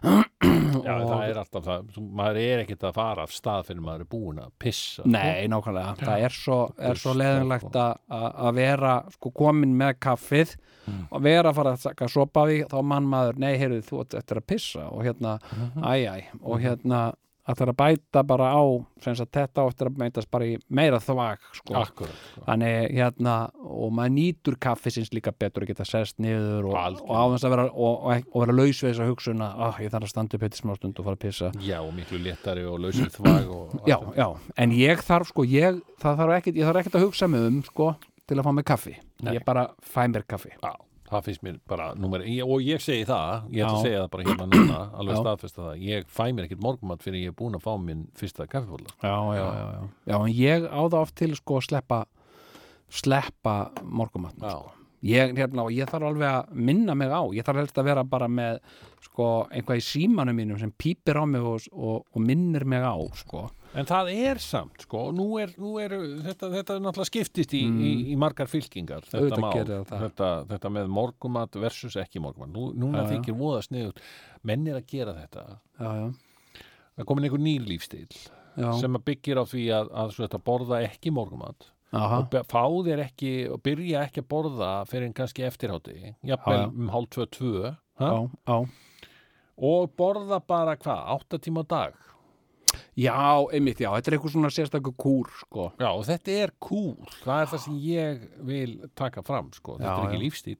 S4: Já, það er alltaf það, þú- maður er ekkert að fara af stað fyrir maður er búin að pissa.
S2: Nei, nákvæmlega, það er svo, er svo
S4: Busta,
S2: leðinlegt
S4: sko.
S2: að vera sko komin með kaffið
S4: Mm.
S2: og vera að fara að taka
S4: Mhm.
S2: sopa því þá mann maður, nei, heyrðu, þú ættir að pissa og hérna, æj, æj, og hérna æ, að það er að bæta bara á sem sagt þetta á eftir að mætast bara í meira þvag sko.
S4: Akkúrat,
S2: þannig hérna og maður nýtur kaffisins líka betur að geta sest niður og, og áðans að vera og, og, og vera laus við þessa hugsun að oh, ég þarf að standa upp eitt smástund og fara að pissa
S4: Já, og miklu léttari og lausir þvag og allt
S2: já,
S4: þetta.
S2: já, en ég þarf sko ég, það þarf ekkit, ég þarf ekkit að hugsa mig um sko, til að fá mig kaffi
S4: Nei.
S2: ég bara fæ mér kaffi
S4: já, það finnst mér bara númer, ég, og ég segi það, ég ætla
S2: Já.
S4: að segja það bara hérna núna, alveg
S2: Já.
S4: staðfesta það ég fæ mér ekkert morgumat fyrir ég er búin að fá minn fyrsta kaffibóla
S2: já, já, já, já. en ég á það oft til sko að sleppa sleppa morgumatn sko. ég, hérna, og ég þarf alveg að minna mig á ég þarf helst að vera bara með sko, einhvað í símanum mínum sem pípir á mig og, og, og minnir mig á sko.
S4: En það er samt, sko, nú er, nú er þetta, þetta er náttúrulega skiptist í, í, í margar fylkingar, þetta
S2: Mm. Auðvitað
S4: mál
S2: gerir það það.
S4: þetta, þetta með morgumat versus ekki morgumat, nú, núna
S2: Já, já.
S4: þykir voða sniðut, menn er að gera þetta
S2: já, já,
S4: það er komin einhver nýr lífstíl
S2: Já.
S4: sem að byggir á því að, að svo þetta borða ekki morgumat
S2: Aha.
S4: og be- fá þér ekki og byrja ekki að borða fyrir en kannski eftirhátti jafnvel
S2: Já, já.
S4: um hálf tvö tvö ha?
S2: já, já.
S4: og borða bara hvað, átta tíma á dag
S2: Já, einmitt, já, þetta er eitthvað svona sérstakur kúr, sko.
S4: Já, og þetta er kúl, það er það sem ég vil taka fram, sko, þetta
S2: Já,
S4: er ekki
S2: já.
S4: lífstíl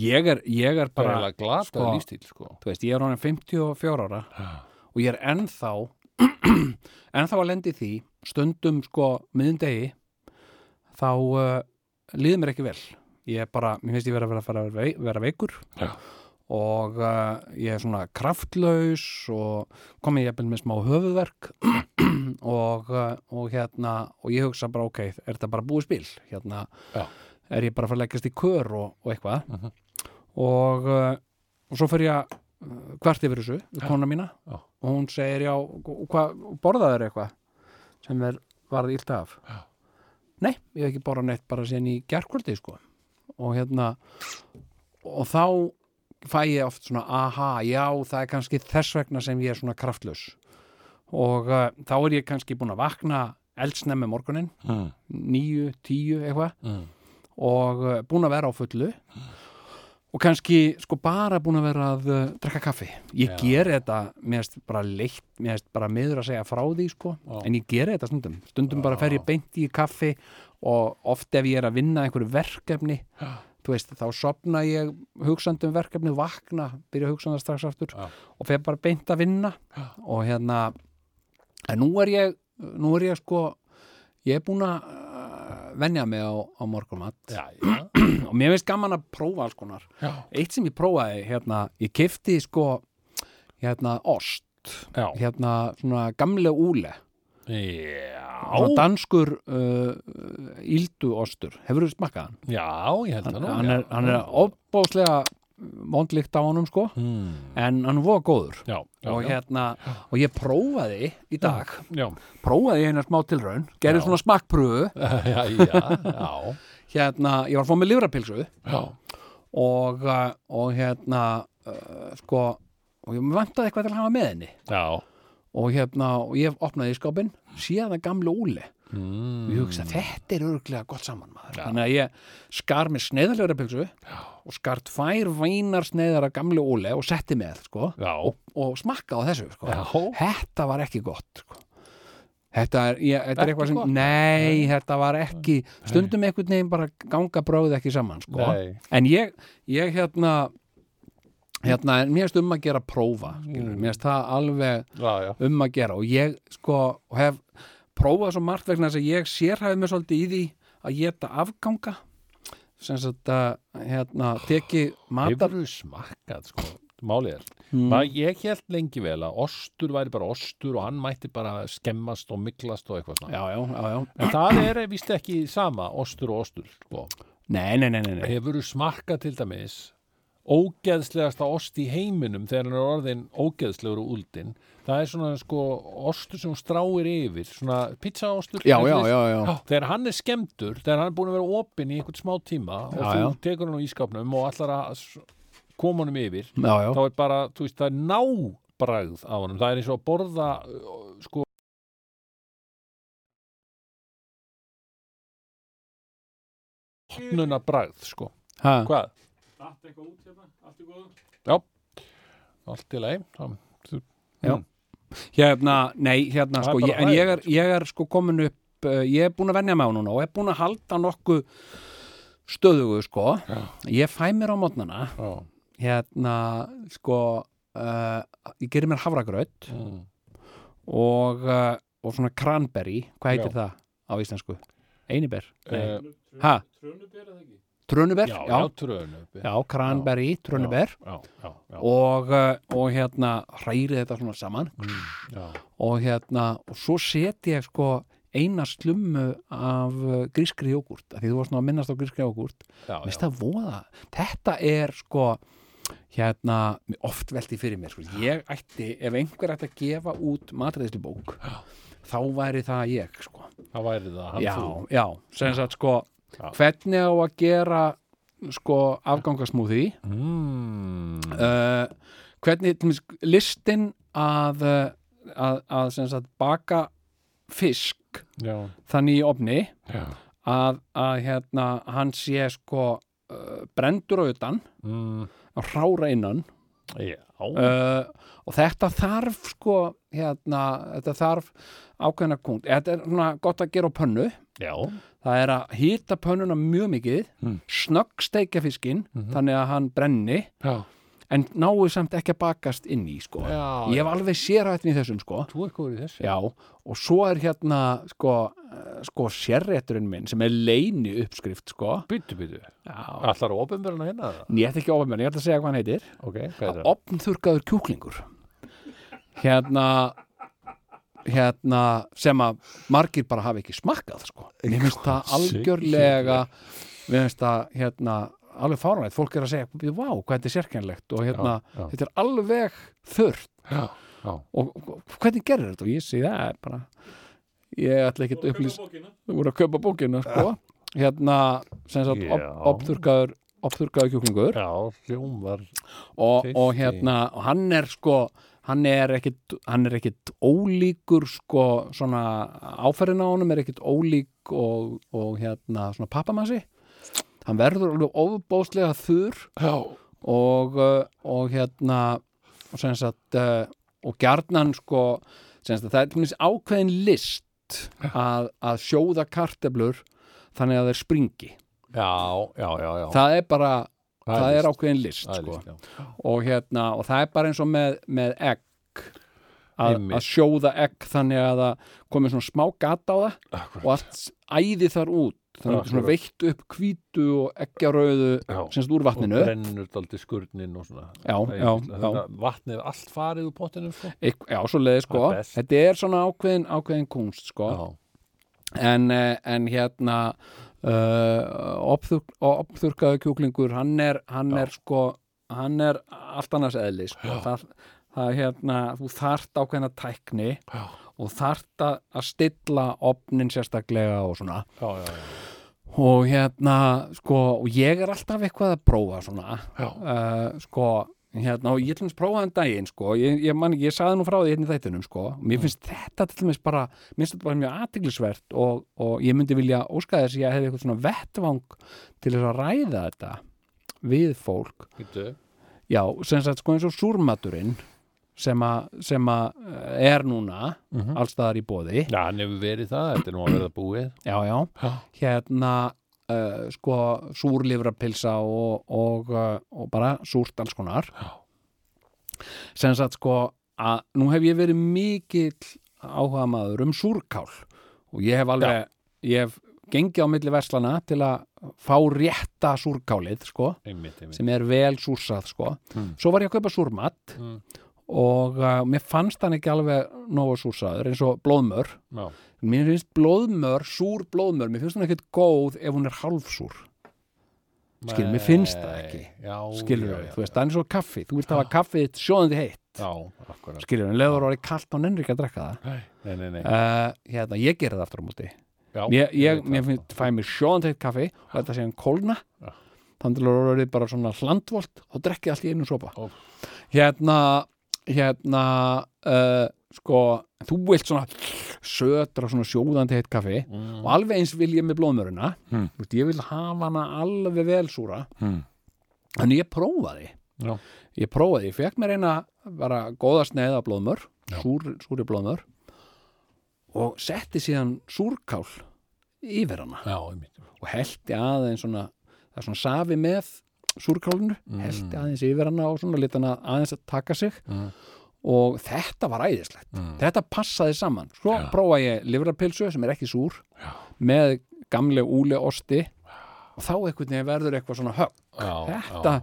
S2: Ég er, ég
S4: það
S2: er
S4: er
S2: bara,
S4: eiginlega glata
S2: sko,
S4: lífstíl, sko
S2: þú veist, ég er honum 54 ára og ég er ennþá, ennþá að lendi því, stundum, sko, miðum degi, þá uh, líður mér ekki vel. Ég er bara, mér finnst ég vera, vera að fara að vera, vei- vera veikur
S4: Já.
S2: og uh, ég er svona kraftlaus og komið ég eppil með smá höfuverk og, uh, og hérna, og ég hugsa bara, ok, er þetta bara búið spil? Hérna,
S4: Já. Mhm.
S2: er ég bara að fara að leggast í kör og, og eitthvað og, uh, og svo fyrir ég að uh, hvert yfir þessu, við kona mína
S4: Já.
S2: og hún segir, já, og hvað, borðaður eitthvað sem er varð illt af já. nei, ég hef ekki borðað neitt bara síðan í gerkvöldi, sko og hérna og þá fæ ég oft svona aha, já, það er kannski þess vegna sem ég er svona kraftlaus og uh, þá er ég kannski búin að vakna eldsnemmi morgunin
S4: mm.
S2: níu, tíu eitthvað
S4: Mm.
S2: og uh, búin að vera á fullu og kannski sko bara búin að vera að uh, drekka kaffi ég
S4: Já.
S2: geri þetta, mér erst bara leitt mér erst bara miður að segja frá því sko
S4: Já.
S2: en ég geri þetta stundum, stundum bara fer ég beint í kaffi og oft ef ég er að vinna einhverju verkefni þú veist, þá sopna ég hugsandi um verkefni, vakna, byrja að hugsa um það strax aftur
S4: Já.
S2: og fer bara beint að vinna og hérna en nú er ég, nú er ég sko ég er búin að uh, venja mig á, á morgunmat
S4: Já, já,
S2: og mér finnst gaman að prófa alls konar
S4: já,
S2: eitt sem ég prófaði, hérna, ég kefti sko, hérna, ost
S4: já.
S2: hérna, svona gamle úle svona
S4: Já,
S2: danskur uh, íldu ostur, hefur þú smakkað hann?
S4: ég held það nú
S2: hann,
S4: já.
S2: er, hann er opbóðslega vondlíkt á honum sko
S4: mm.
S2: en hann er voða góður
S4: Já, já,
S2: og,
S4: já,
S2: hérna, og ég prófaði í dag
S4: já,
S2: prófaði hérna smá tilraun gerði
S4: Já.
S2: svona smakkpröfu
S4: já, já,
S2: hérna, ég var að fá mig lífrapilsu
S4: já,
S2: og, uh, og hérna uh, sko og ég vantaði eitthvað til að hafa með henni
S4: já,
S2: og hérna, og ég opnaði í skápinn síðan það gamle úli mm. og ég hugsa, þetta er örglega gott saman maður þannig að ég skar mér sneiðarlega pilsu og skar tvær vænar sneiðar af gamle úli og setti með sko,
S4: já,
S2: og, og smakka á þessu sko.
S4: Já.
S2: þetta var ekki gott sko. þetta er, ég, þetta er
S4: Ekki
S2: eitthvað sem
S4: gott?
S2: nei, þetta var ekki stundum einhvern veginn bara ganga bróð ekki saman sko.
S4: Nei.
S2: en ég, ég hérna hérna, en mér finnst um að gera prófa skilur, mér finnst það alveg
S4: já, já.
S2: um að gera og ég sko og hef prófað svo margt vegna þess að ég sérhæði mig svolítið í því að geta afganga sem sagt að hérna, teki matar
S4: Hefurðu smakkað, sko, málið er
S2: Hmm.
S4: Maður, ég held lengi vel að ostur væri bara ostur og hann mætti bara skemmast og miklast og eitthvað svona
S2: já, já, já, já,
S4: En það er vist ekki sama, ostur og ostur sko.
S2: nei, nei, nei, nei, nei.
S4: Hefurðu smakkað til dæmis ógeðslegasta ost í heiminum þegar hann er orðin ógeðslegur og úldin það er svona sko ostur sem hún stráir yfir, svona pizzaostur
S2: Já,
S4: er
S2: já,
S4: þess-
S2: já, já.
S4: þegar hann er skemmtur, þegar hann er búin að vera opinn í einhvern smá tíma og
S2: Já,
S4: þú
S2: já.
S4: tekur hann á ískapnum og allar að s- koma honum yfir
S2: Já, já.
S4: þá er bara, þú veist, það er nábragð á honum, það er eins og að borða uh, sko opnuna bragð, sko
S2: Ha,
S4: hvað?
S6: Datt eitthvað út hérna, allt í góðu
S4: allt í leið
S2: Já. Hérna, nei,
S4: Það
S2: hérna
S4: er
S2: sko,
S4: bara
S2: ég, en ég er,
S4: hræðilegt,
S2: ég er sko komin upp eh, ég er búin að venja með hún núna og er búin að halda nokkuð stöðugu sko ég fæ mér á mótnana
S4: Já.
S2: hérna, sko uh, ég gerir mér havragraut
S4: Mm.
S2: og, uh, og svona cranberry, hvað heitir
S4: Já.
S2: það á íslensku? Einiber?
S4: Eh,
S2: ha?
S6: Trönuber eða ekki?
S2: Trönuber,
S4: Já,
S2: já,
S4: já, trönuber.
S2: Já, cranberry, trönuber
S4: já, já, já.
S2: Og, uh, og hérna hrærið þetta svona saman
S4: Mm, já.
S2: og hérna og svo seti ég sko eina slummu af uh, grískri jógurt af því þú varst nú að minnast á grískri jógurt
S4: Já,
S2: Mér finnst það voða þetta er sko hérna oft velti fyrir mér sko. ég ætti, ef einhver ætti að gefa út matreiðslubók þá væri það ég sko
S4: Það væri það, hann
S2: já,
S4: þú.
S2: já, sem sagt sko hvernig á að gera sko afgangasmúði mm. uh, hvernig til dæmis, listin að uh, að, að sem sagt baka fisk
S4: Já.
S2: þannig í ofni
S4: Já.
S2: að, að hérna hann sé sko uh, brendur á utan
S4: Mm.
S2: rára innan
S4: Já.
S2: Uh, og þetta þarf sko hérna, þetta þarf ákveðna kund, þetta er svona gott að gera á pönnu
S4: Já. Hmm.
S2: það er að hýta pönnuna mjög mikið mm. snöggsteikja fiskinn þannig að hann brenni
S4: Mhm. Já.
S2: en náu samt ekki að bakast inn í sko.
S4: Já,
S2: ég hef alveg sérrættin í þessum sko.
S4: Þú er góður í þessu.
S2: já, og svo er hérna sko, eh, sko sérrætturinn minn sem er leini uppskrift sko.
S4: Byttu, byttu.
S2: já,
S4: Allar ofinverðina hérna? eða?
S2: en ég ætti ekki ofan menn, ég ætla að segja hvað hann heitir
S4: Ok, hvað er það?
S2: opnþurkaður kjúklingur hérna hérna sem að margir bara hafa ekki smakkað sko. mér finnst það algjörlega mér finnst það hérna alveg fáranlegt, fólk er að segja vá, hvað þetta er sérkennlegt og hérna
S4: Já, já.
S2: þetta er alveg þurrt
S4: Já, já.
S2: og og hvernig gerir þetta og ég segi það er bara ég ætla ekki að upplýsa þú voru að kaupa bókina sko. hérna sem sagt op,
S4: Já.
S2: opþurkaður opþurkaður kjúklingur
S4: Já, hljómar.
S2: og,
S4: Fifty.
S2: og hérna og hann er sko hann er ekkit, hann er ekkit ólíkur sko svona áferðin á honum er ekkit ólík og, og hérna svona pappamassi hann verður alveg ofbóðslega þurr
S4: Já.
S2: og, uh, og hérna og sem sagt uh, og gjarnan sko sem sagt, það er til minnst ákveðin list að, að sjóða karteblur þannig að þeir springi
S4: Já, já, já, já.
S2: það er bara,
S4: Það er
S2: það, er,
S4: list.
S2: ákveðin list,
S4: Það er
S2: sko
S4: líkt, já.
S2: og hérna, og það er bara eins og með, með egg að,
S4: Einmitt.
S2: að sjóða egg þannig að það komið svona smá gata á það og allt æði þar út þannig að svona
S4: Akkurat.
S2: veitt upp hvítu og eggjarauðu
S4: Já.
S2: semst úr vatninu
S4: Og brennur daldi skurnin og svona.
S2: Já,
S4: Það er
S2: já,
S4: líkt. Þetta Vatnið er allt farið úr pottinum, sko.
S2: Ekk, já, svo leiði sko,
S4: Það er best.
S2: þetta er svona ákveðin, ákveðin kunst sko en, eh, en hérna uh, opþurk, opþurkaðu kjúklingur hann er, hann er sko hann er allt annars eðli sko. það, það er hérna, þú þarft ákveðina tækni já. og þarft að að stilla opnin sérstaklega og svona
S4: Já, já, já.
S2: og hérna sko, og ég er alltaf eitthvað að prófa svona uh, sko, hérna, og ég til dæmis prófaði en daginn, sko, ég, ég man ekki, ég saði nú frá því hérna í þættinum, sko, og mér finnst þetta til dæmis bara, mér finnst þetta bara mjög athyglisvert og, og ég myndi vilja óska þess að ég hefði eitthvað svona vettvang til þess að ræða þetta við fólk,
S4: Býttu.
S2: já, sem sagt sko eins og súrmaturinn sem að, sem að eh, er núna allstaðar í bóði
S4: Já, hann hefur verið það, þetta er nú að verða búið.
S2: já, já, hérna uh, sko súrlifrapilsa og, og, uh, og bara súrt alls konar sem sagt sko að nú hef ég verið mikill áhuga maður um súrkál og ég hef alveg, ég hef gengið á milli verslana til að fá rétta súrkálið sko
S4: Einmitt, einmitt.
S2: sem er vel súrsað sko svo var ég að kaupa súrmat
S4: Mm.
S2: og uh, mér fannst hann ekki alveg nógu súrsaður eins og blóðmör
S4: Já.
S2: mér finnst blóðmör, súr blóðmör mér finnst hún ekkert góð ef hún er hálfsúr skilur, mér finnst það ekki
S4: Já,
S2: skilur,
S4: já, Ah. já,
S2: þú veist, það er eins og kaffi þú vilt hafa kaffið þitt sjóðandi heitt
S4: Já, akkurat.
S2: skilur, en leður orðið kalt á nennir ekki að drekka það
S4: Nei, nei, nei.
S2: uh, hérna, ég gerði það aftur á móti
S4: Já,
S2: ég, ég,
S4: veit
S2: mér
S4: það.
S2: finn, fæ mér sjóðan teitt kaffi og þetta sé hann kólna
S4: Já.
S2: þannig til að orðið bara svona hlandvolt og drekkið allt í einu sopa
S4: Ó.
S2: hérna hérna uh, sko, þú vilt svona södra svona sjóðandi heitt kaffi og alveg eins vil ég
S4: Hmm.
S2: með blóðmöruna mm. ég vil hafa hana alveg velsúra mm. en ég prófaði
S4: Já.
S2: ég prófaði, ég fekk mér eina bara góða sneið af blóðmör súr, súri blóðmör og setti síðan súrkál yfir hana
S4: Já, einmitt.
S2: og hellti aðeins svona það er svona safi með súrkálinu hellti aðeins yfir hana og svona lit hana aðeins að taka sig
S4: Mm.
S2: og þetta var æðislegt
S4: Mm.
S2: þetta passaði saman svo ja. prófaði ég livrapilsu sem er ekki súr Já. með gamle úle osti og þá einhvern veginn verður eitthvað svona högg
S4: Já,
S2: þetta,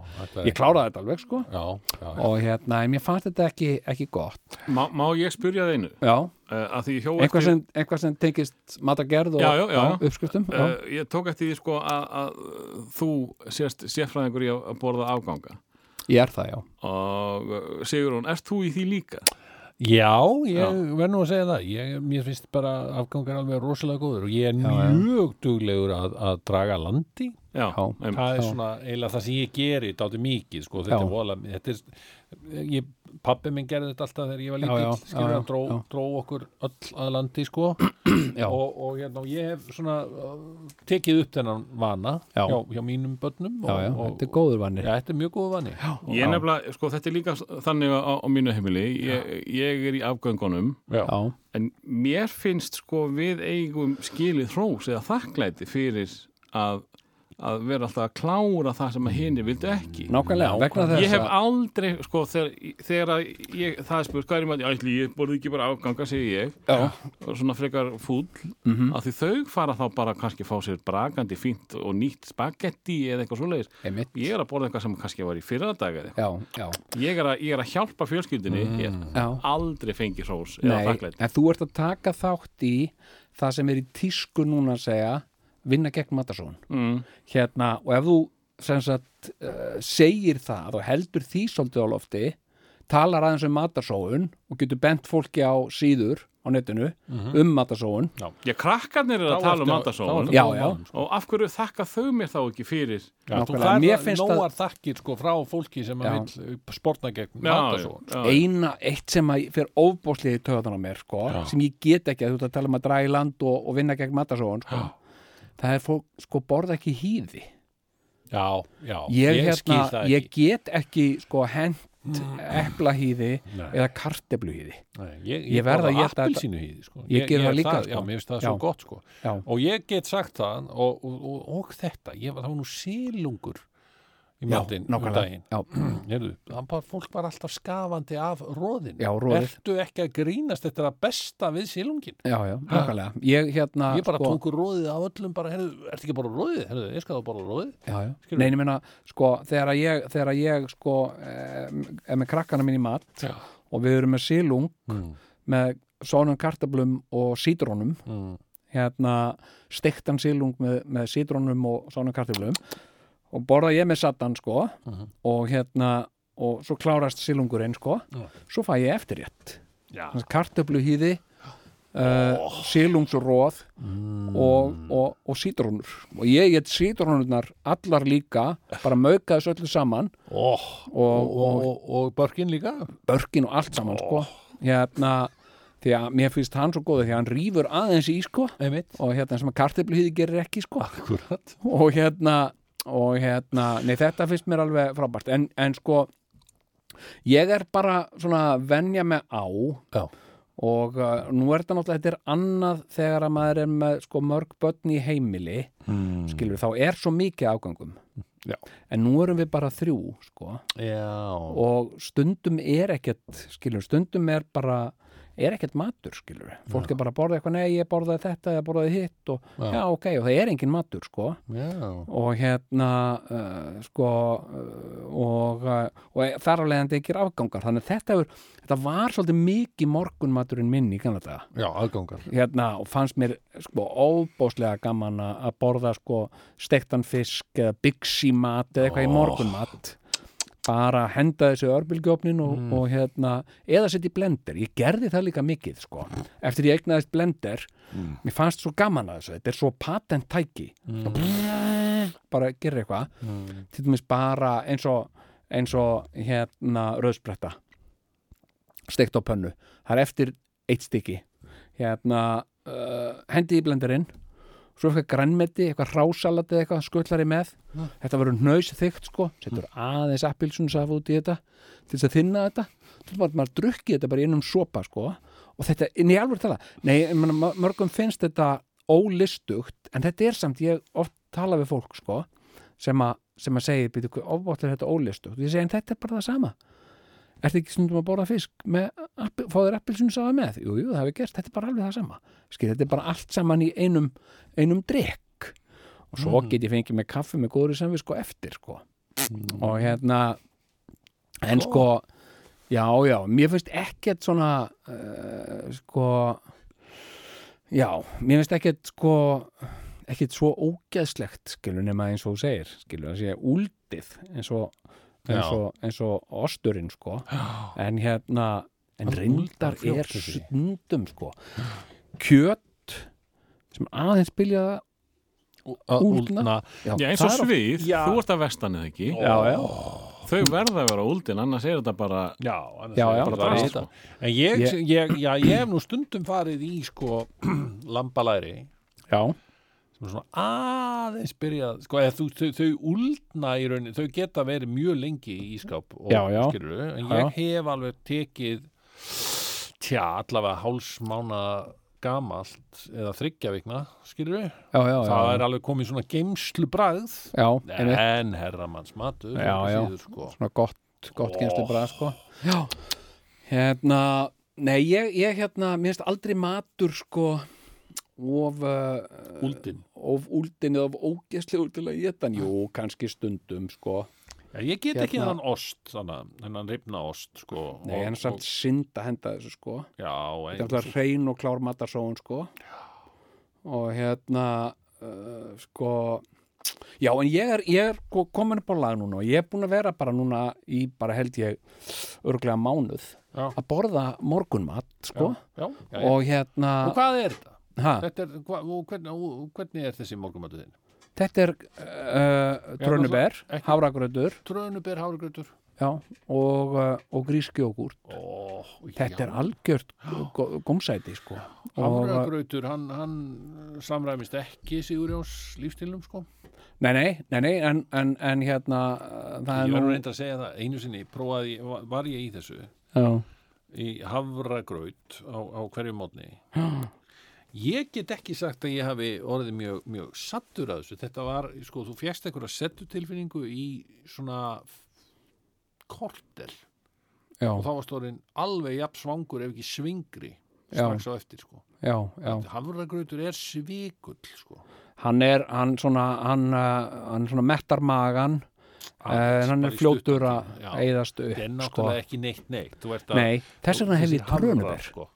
S4: já, þetta er-
S2: ég kláraði þetta alveg sko
S4: Já, já, já.
S2: og hérna, en mér fannst þetta ekki, ekki gott
S6: Má, má ég spyrja það einu?
S2: Já.
S6: Uh, að því ég hjó
S2: eitthvað sem, eitthvað sem tengist matagerð og
S6: já, já, já.
S2: uppskriftum já.
S6: Uh, ég tók eftir því sko að, að þú sést sérfræðingur í að að borða afganga
S2: ég er það, já
S6: og uh, Sigurún, ert þú í því líka?
S4: Já, ég verð nú að segja það ég, Mér finnst bara afgangar alveg rosalega góður og ég er mjög duglegur að, að draga að landi
S6: Já, einmitt.
S4: Það er
S6: Já.
S4: svona eiginlega það sem ég geri dátum mikið, sko,
S2: Já.
S4: þetta er vola þetta er, ég, Pappi minn gerði þetta alltaf þegar ég var
S2: Já, já,
S4: lítill, skilur
S2: já,
S4: hann dró,
S2: já.
S4: dró okkur öll að landi, sko
S2: Já.
S4: og, og hérna, og ég hef svona uh, tekið upp þennan vana
S2: Já.
S4: hjá, hjá mínum börnum og,
S2: já, já,
S4: og,
S2: þetta er góður vanni
S4: Já, þetta er mjög góð vani Já,
S6: Ég nefnilega, sko þetta er líka s- þannig á, á mínu heimili, ég, ég er í afgöngunum
S4: já.
S2: já,
S6: en mér finnst sko við eigum skilið hrós eða þakklæti fyrir að, að vera alltaf að klára það sem að hinni vildu ekki
S2: nákvæmlega, vegna þess
S6: Ég hef
S2: að-
S6: aldrei, sko, þegar, þegar að ég, það er spurt, hvað er í maður, ætli, ég borði ekki bara afganga, segi ég,
S2: Já. Mhm.
S6: og svona frekar fúll, að því þau fara þá bara kannski fá sér brakandi fínt og nýtt spagetti eða eitthvað svoleiðis.
S2: Einmitt.
S6: Ég er að borða eitthvað sem kannski var í fyrra dag eða eitthvað.
S2: já, já,
S6: Ég er að, ég er að hjálpa fjölskyldinni, ég
S2: já.
S6: hef aldrei fengi hrós eða
S2: Mm. Nei,
S6: þakklæti.
S2: en þú ert að taka þátt í það sem er í tísku núna að segja vinna gegn matasón
S6: Mm.
S2: hérna, og ef þú sem sagt, uh, segir það og heldur því svolítið á lofti talar aðeins um matasóun og getur bent fólki á síður á netinu um matasóun
S6: Mhm. Já, krakkarnir eru að
S4: Þá
S6: tala
S4: ertu að-
S6: um
S4: þá
S6: matasóun
S4: ertu
S2: Já,
S4: góð
S2: já.
S4: vani, sko.
S6: og af hverju þakka þau mér þá ekki fyrir?
S4: Þú
S2: Nákvæmlega. Mér
S4: færðar
S2: finnst að-
S4: nóar þakkir sko frá fólki sem
S2: Já.
S4: að vil sportna gegn matasón.
S6: já, já.
S2: eina, eitt sem að fyrir ofbóðsliði töðan á mér, sko, sem ég get ekki að þú ert að tala um að draga í land og, og vinna gegn matasóun, sko það er fólk, sko, borða ekki hýði
S4: Já, já,
S2: ég,
S4: skil
S2: hérna,
S4: það
S2: ég
S4: ekki
S2: get ekki sko hent eplahýði
S4: Nei.
S2: eða kartebluhýði
S4: Nei, Ég,
S2: ég verð að éta þetta-
S4: appelsínu hýði sko.
S2: Ég geri það líka,
S4: það,
S2: sko.
S4: Já, mér finnst það svo
S2: Já.
S4: gott sko.
S2: Já.
S4: Og ég get sagt það og, og, og, og þetta, ég, var- það var nú sílungur í matinn um daginn
S2: já,
S4: Heyrðu, hann bara, fólk var alltaf skafandi af róðin
S2: Já, roðið.
S4: Ertu ekki að grínast þetta er að besta við sílungin?
S2: já, já, nákvæmlega ég hérna
S4: Ég bara
S2: sko,
S4: tóku róðið af öllum bara, heyrðu, ertu ekki bara róðið? Heyrðu, ég skal það bara róðið
S2: já, já.
S4: Skilurðu?
S2: Nei, ég meina, sko, þegar að ég, þegar að ég sko, eh, er með krakkana mín í mat
S4: Já.
S2: og við erum með silung
S4: Mm.
S2: með sónum kartablum og sítrónum
S4: Mm.
S2: hérna, stektan silung með, með sítrónum og sónum kartablum og borða ég með satan, sko og hérna, og svo klárast silungurinn, sko,
S4: Já.
S2: svo fæ ég eftirrétt kartöfluhýði uh, silungsróð og, og, og sítrónur og ég get sítrónurnar allar líka bara mauka þessu öllu saman
S4: oh,
S2: og,
S4: og,
S2: og,
S4: og, og börkin líka
S2: börkin og allt saman sko. hérna því að mér finnst hann svo góður því að hann rýfur aðeins í sko
S4: Einmitt.
S2: og hérna sem að kartöfluhýði gerir ekki sko
S4: Akkurat
S2: og hérna og hérna, nei þetta finnst mér alveg frábært en, en sko ég er bara svona að venja mig á
S4: Já.
S2: og uh, nú er þetta náttúrulega, þetta er annað þegar að maður er með sko mörg börn í heimili mm. skilur, þá er svo mikið afgangum
S4: Hmm. Já.
S2: en nú erum við bara þrjú sko
S4: Já
S2: og stundum er ekkert skilur, stundum er bara er ekkert matur, skilur fólk er bara að borða eitthvað, nei, ég borðaði þetta, ég borðaði hitt og já, ok, og það er engin matur, sko
S4: Já,
S2: og hérna uh, sko uh, og, uh, og þar af leiðandi ekki afgangar þannig að þetta, hefur, þetta var svolítið mikið morgunmaturinn minn í kannan þetta
S4: já aðgangar
S2: hérna og fannst mér sko óbóðslega gaman að að borða sko stektan fisk eða byggsimat eða eitthvað í morgunmat bara henda þessu örbylgjófnin og, og hérna, eða setja í blender ég gerði það líka mikið sko eftir ég eignaðist blender mér fannst svo gaman að þessu, þetta er svo patent tæki bara gera eitthvað til dæmis bara eins og, eins og hérna rauðspretta steikt á pönnu það er eftir eitt stykki hérna uh, hendi í blenderinn svo eitthvað grænmeti, eitthvað hrásalat eða eitthvað skullari með
S11: Mm.
S2: þetta verður nöys þygt sko setur aðeins appilsunusaf út í þetta til þess að þinna þetta til þess að maður drukki þetta bara inn um sopa sko og þetta, en ég alveg tala nei, ég meina, ma- mörgum finnst þetta ólistugt en þetta er samt, ég oft tala við fólk sko sem að, sem að segja, býtu, ofbótt er þetta ólistugt og ég segi, en þetta er bara það sama Ertu ekki stundum að borða fisk með, appi- fá þér appilsunsafa með? Jú, jú, það hefur gerst, þetta er bara alveg það sama. Skil, þetta er bara allt saman í einum, einum drikk. Og svo
S4: Mhm.
S2: get ég fengið með kaffi með góður sem við sko eftir, sko.
S4: Mm.
S2: Og hérna, en sko, já, já, mér finnst ekkert svona, uh, sko, já, mér finnst ekkert, sko, ekkert svo ógeðslegt, skilur, nema eins og þú segir, skilur, það sé úldið, eins og eins
S4: Já.
S2: og, eins og osturinn sko en hérna en
S4: Hann
S2: reyndar
S4: úldar
S2: er
S4: fljótt, þessi.
S2: stundum sko kjöt sem aðeins bylja það úldna Já,
S6: Já, eins
S2: það
S6: og
S2: er oft-
S6: svið,
S4: Já.
S6: þú ert að vestan eða ekki
S2: Já, já.
S6: Þau verða að vera úldin, annars er þetta bara
S4: Já, annars
S2: Já,
S4: er
S2: já.
S4: bara
S6: Bara
S4: drast,
S6: vita.
S4: sko. En ég,
S2: Ég-
S4: ég, já, ég hef nú stundum farið í sko lambalæri
S2: já,
S4: sem er svona aðeins byrjað sko, eða þú, þau, þau úldna í rauninni þau geta verið mjög lengi í ískáp og,
S2: Já, já.
S4: skilurðu, en
S2: Já, já.
S4: ég hef alveg tekið tja, allavega hálsmána gamalt eða þryggja vikna skilur við,
S2: já, já,
S4: það
S2: já,
S4: er alveg komið svona geimslu bragð
S2: já, einmitt.
S4: en herramanns matur
S2: já, já,
S4: Síður, sko.
S2: svona gott, gott oh. genslu bara sko. já, hérna nei, ég, ég hérna, mér finnst aldrei matur sko of uh,
S4: Úldinn.
S2: of úldin eða of ógeðslegur til að geta hann, jú, kannski stundum sko,
S4: Já, ég get ekki
S2: Hérna-
S4: hennan ost, þannig, hennan rifna ost, sko.
S2: nei,
S4: og-
S2: en samt
S4: og-
S2: synd að henda þessu sko
S4: Já, en...
S2: þetta er alltaf hrein og klár matarsóun sko og hérna uh, sko já en ég er, ég er ko- komin upp á lag núna og ég er búin að vera bara núna í bara held ég örglega mánuð
S4: Já.
S2: að borða morgunmat sko
S4: Já, já, já. Og,
S2: og Ah. hérna
S4: hvað er þetta?
S2: ha,
S4: þetta er, hva, og, hvernig, og, hvernig er þessi morgumötu þinn?
S2: þetta er uh, trönuber,
S4: ekki-
S2: hafragröður
S4: Trönubér, hárgrötur?
S2: já, og, uh, og grískjókur
S4: Ó,
S2: þetta er algjört gó- gómsæti sko og, uh,
S4: Hárgrötur, hann, hann samræmist ekki Sigurjóns lífstilum, sko.
S2: eh, nei, nei, nei, nei en, en, en hérna uh, það
S4: Ég
S2: er
S4: verður
S2: nú
S4: reynda að segja það, einu sinni prófaði, ég- var ég í þessu,
S2: já
S4: í havragraut á, á hverju mótni ég get ekki sagt að ég hafi orðið mjög, mjög sattur að þessu þetta var, sko, þú fjast einhverja settutilfinningu í svona korter
S2: já,
S4: og þá var stórin alveg jafn svangur ef ekki svingri
S2: Já.
S4: strax á eftir, sko
S2: já, já.
S4: hafragrautur er svikull, sko
S2: Hann er, hann svona, hann, uh, hann svona mettar magan, uh,
S4: Aðeins,
S2: en hann
S4: bara
S2: er
S4: í
S2: fljótur
S4: stuttan
S2: að
S4: tíma. Já.
S2: eyðast
S4: þetta er
S2: upp, sko.
S4: náttúrulega ekki neitt neitt Þú ert að-
S2: Nei, þess vegna hef
S4: þessir
S2: ég
S4: hafrar,
S2: trönuber,
S4: sko.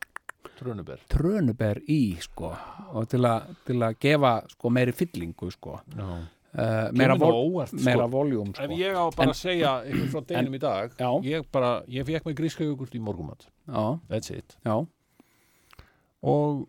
S4: trönuber
S2: trönuber í, sko, og til, a, til að gefa, sko, meiri fyllingu, sko,
S4: no.
S2: uh, meira,
S4: nú
S2: vol,
S4: óvart, sko.
S2: meira voljúm, sko.
S4: Ef ég á bara að segja ykkur frá deginum í dag
S2: Já.
S4: ég bara, ég fekk mig grískaugugurt í morgumat
S2: Já,
S4: that's it
S2: já,
S4: og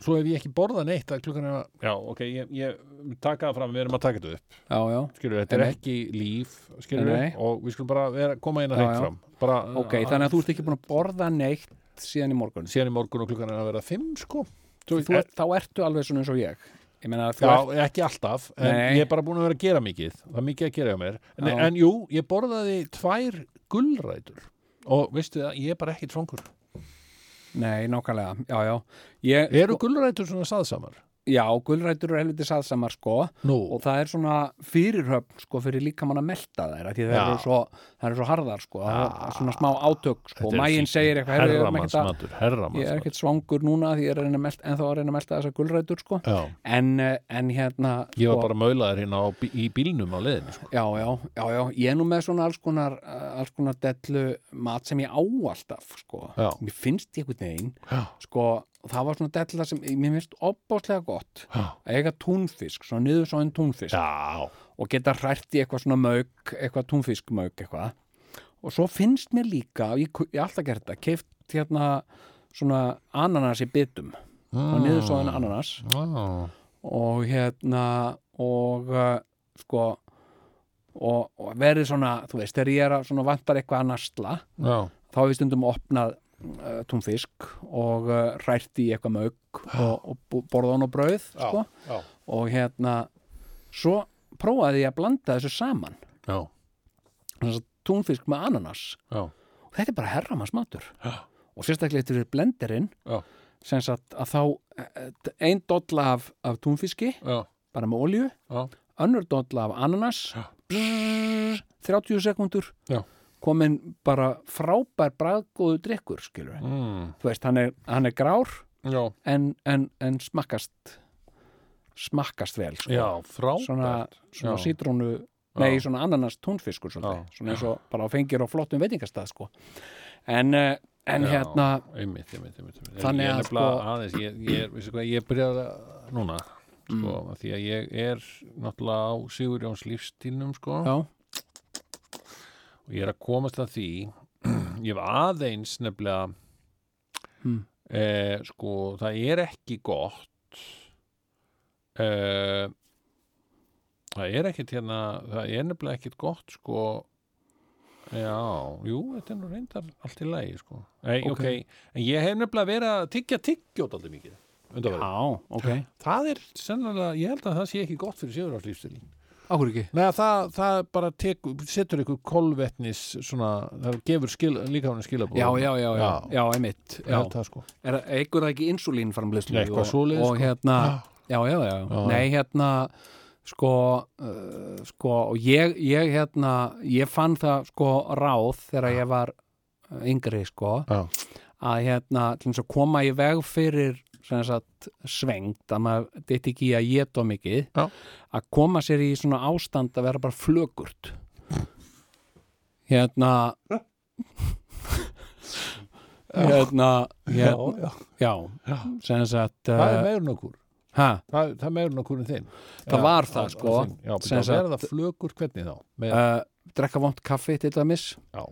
S4: svo ef ég ekki borðað neitt að klukkan er að já, ok, ég, ég taka það fram, við erum að taka þetta upp
S2: já, já.
S4: skilur, þetta er
S2: Nei.
S4: ekki líf skilur,
S2: Nei.
S4: og við skulum bara vera, koma inn að
S2: Já,
S4: hreint
S2: já.
S4: fram bara,
S2: Ok, þannig að þú ert ekki búin að borða neitt síðan í morgun.
S4: síðan í morgun og klukkan er að vera fimm, sko þú,
S2: Þú ert, þá ertu alveg svona eins og ég. Ég meina, þú
S4: Já,
S2: ert,
S4: ekki alltaf, en
S2: Nei.
S4: ég er bara búin að vera að gera mikið það er mikið að gera hjá mér en,
S2: Já.
S4: en jú, ég borðaði tvær gullrætur og veistu það, ég er bara ekki svongur
S2: nei, nákvæmlega, já, já. Ég,
S4: Eru gulrætur svona saðsamar?
S2: já, gulrætur eru helviti saðsamar, sko.
S4: Nú,
S2: og það er svona fyrirhöfn sko fyrir líkamann að melta þær af því það
S4: Já.
S2: eru svo, það eru svo harðar sko það er svona smá átök sko
S4: Þetta er
S2: mægin
S4: fínt.
S2: segir eitthvað "Heyrðu, ég er ekkert að-
S4: herramannsmatur,
S2: ég er
S4: herramannsmatur
S2: ekkert svangur núna því ég er að reyna að melta, en þá að reyna að melta þessar gulrætur sko
S4: Já,
S2: en, eh, en hérna
S4: ég var
S2: sko,
S4: bara maulaður hérna á, bí- í bílnum á leiðinu sko.
S2: já, já, já, já, ég er nú með svona alls konar, eh, alls konar dellu mat sem ég á alltaf sko
S4: Já.
S2: mér finnst ég einhvern veginn
S4: Já.
S2: sko, og það var svona della sem mér finnst opbáslega gott
S4: Já.
S2: að eiga túnfisk, svona niður svo en túnfisk
S4: Já,
S2: og geta hrært í eitthvað svona mög, eitthvað túnfiskmög eitthvað og svo finnst mér líka, ég, ku- ég hef alltaf gert þetta, keift hérna svona ananas í bitum
S4: Ah.
S2: og niður svo ananas
S4: já,
S2: og hérna og uh, sko og, og verið svona, þú veist, þegar ég er að svona vantar eitthvað að nasla
S4: já,
S2: þá hef ég stundum opnað uh, eh, túnfisk og uh, hrært í eitthvað mög og, og borða hann á brauð sko
S4: Ah. já.
S2: og hérna svo prófaði ég að blanda þessu saman
S4: Já.
S2: Þess að túnfisk með ananas
S4: Já.
S2: og þetta er bara herramannsmatur og sérstaklega þetta er blenderinn
S4: Já.
S2: sem sagt að þá eh, ein dolla af, af túnfiski
S4: Já.
S2: bara með olíu
S4: Já.
S2: önnur dolla af ananas brrr, 30 sekundur
S4: Já.
S2: komin bara frábær bragðgóðu drikkur skilur
S4: Mm.
S2: þú veist, hann er, hann er grár
S4: Já.
S2: en, en, en smakkast smakkast vel sko.
S4: Já, frábært.
S2: svona, svona
S4: Já.
S2: sítrónu nei, svona ananas túnfiskur svolítið. svona eins og bara á fengir á flottum veitingastað sko. en, eh, en
S4: Já,
S2: hérna
S4: einmitt, einmitt, einmitt, einmitt.
S2: Þannig
S4: ég er
S2: að,
S4: nefnilega
S2: sko-
S4: aðeins, ég, ég, veistu hvað, ég byrjaði að- núna sko, mm. því að ég er náttúrulega á Sigurjóns lífstínum sko
S2: Já.
S4: og ég er að komast að því ég hef aðeins nefnilega
S2: Mm.
S4: eh, sko, það er ekki gott eh, það er ekkit hérna það er nefnilega ekkit gott sko já, jú, þetta er nú reyndar allt í lagi sko Nei,
S2: Ok.
S4: ok, en ég hef nefnilega verið að tyggja tyggjótt aldrei mikið undanfarið.
S2: já, ok,
S4: það er sennilega, ég held að það sé ekki gott fyrir Sigurjóns
S2: áhverju ekki
S4: Nei, það, það bara tek, setur ykkur kolvetnis svona, það gefur skil, líka hann skilabóð
S2: já, já, já, já, já, einmitt já.
S4: held það, sko.
S2: er eitthvað það ekki insulínframleyslu
S4: Nei, eitthvað
S2: og,
S4: svoleiðis,
S2: og
S4: sko.
S2: hérna já, já, já, nei, hérna sko, uh, sko og ég, ég, hérna, ég fann það sko ráð þegar ég var uh, yngri, sko
S4: Já.
S2: að hérna, til þess að koma í veg fyrir sem sagt svengt að maður ditt ekki í að geta of mikið
S4: Já.
S2: að koma sér í svona ástand að vera bara flögurt hérna hérna hérna
S4: já.
S2: Já, sem sagt
S4: það er
S2: uh,
S4: meirun okkur
S2: ha,
S4: það, það er meirun okkur en þinn
S2: það
S4: Já,
S2: var
S4: á-
S2: það
S4: á
S2: sko
S4: þinn. já,
S2: sem
S4: það verða
S2: sagt,
S4: það flögur hvernig þá með,
S2: uh, drekka vont kaffi til dæmis
S4: Já.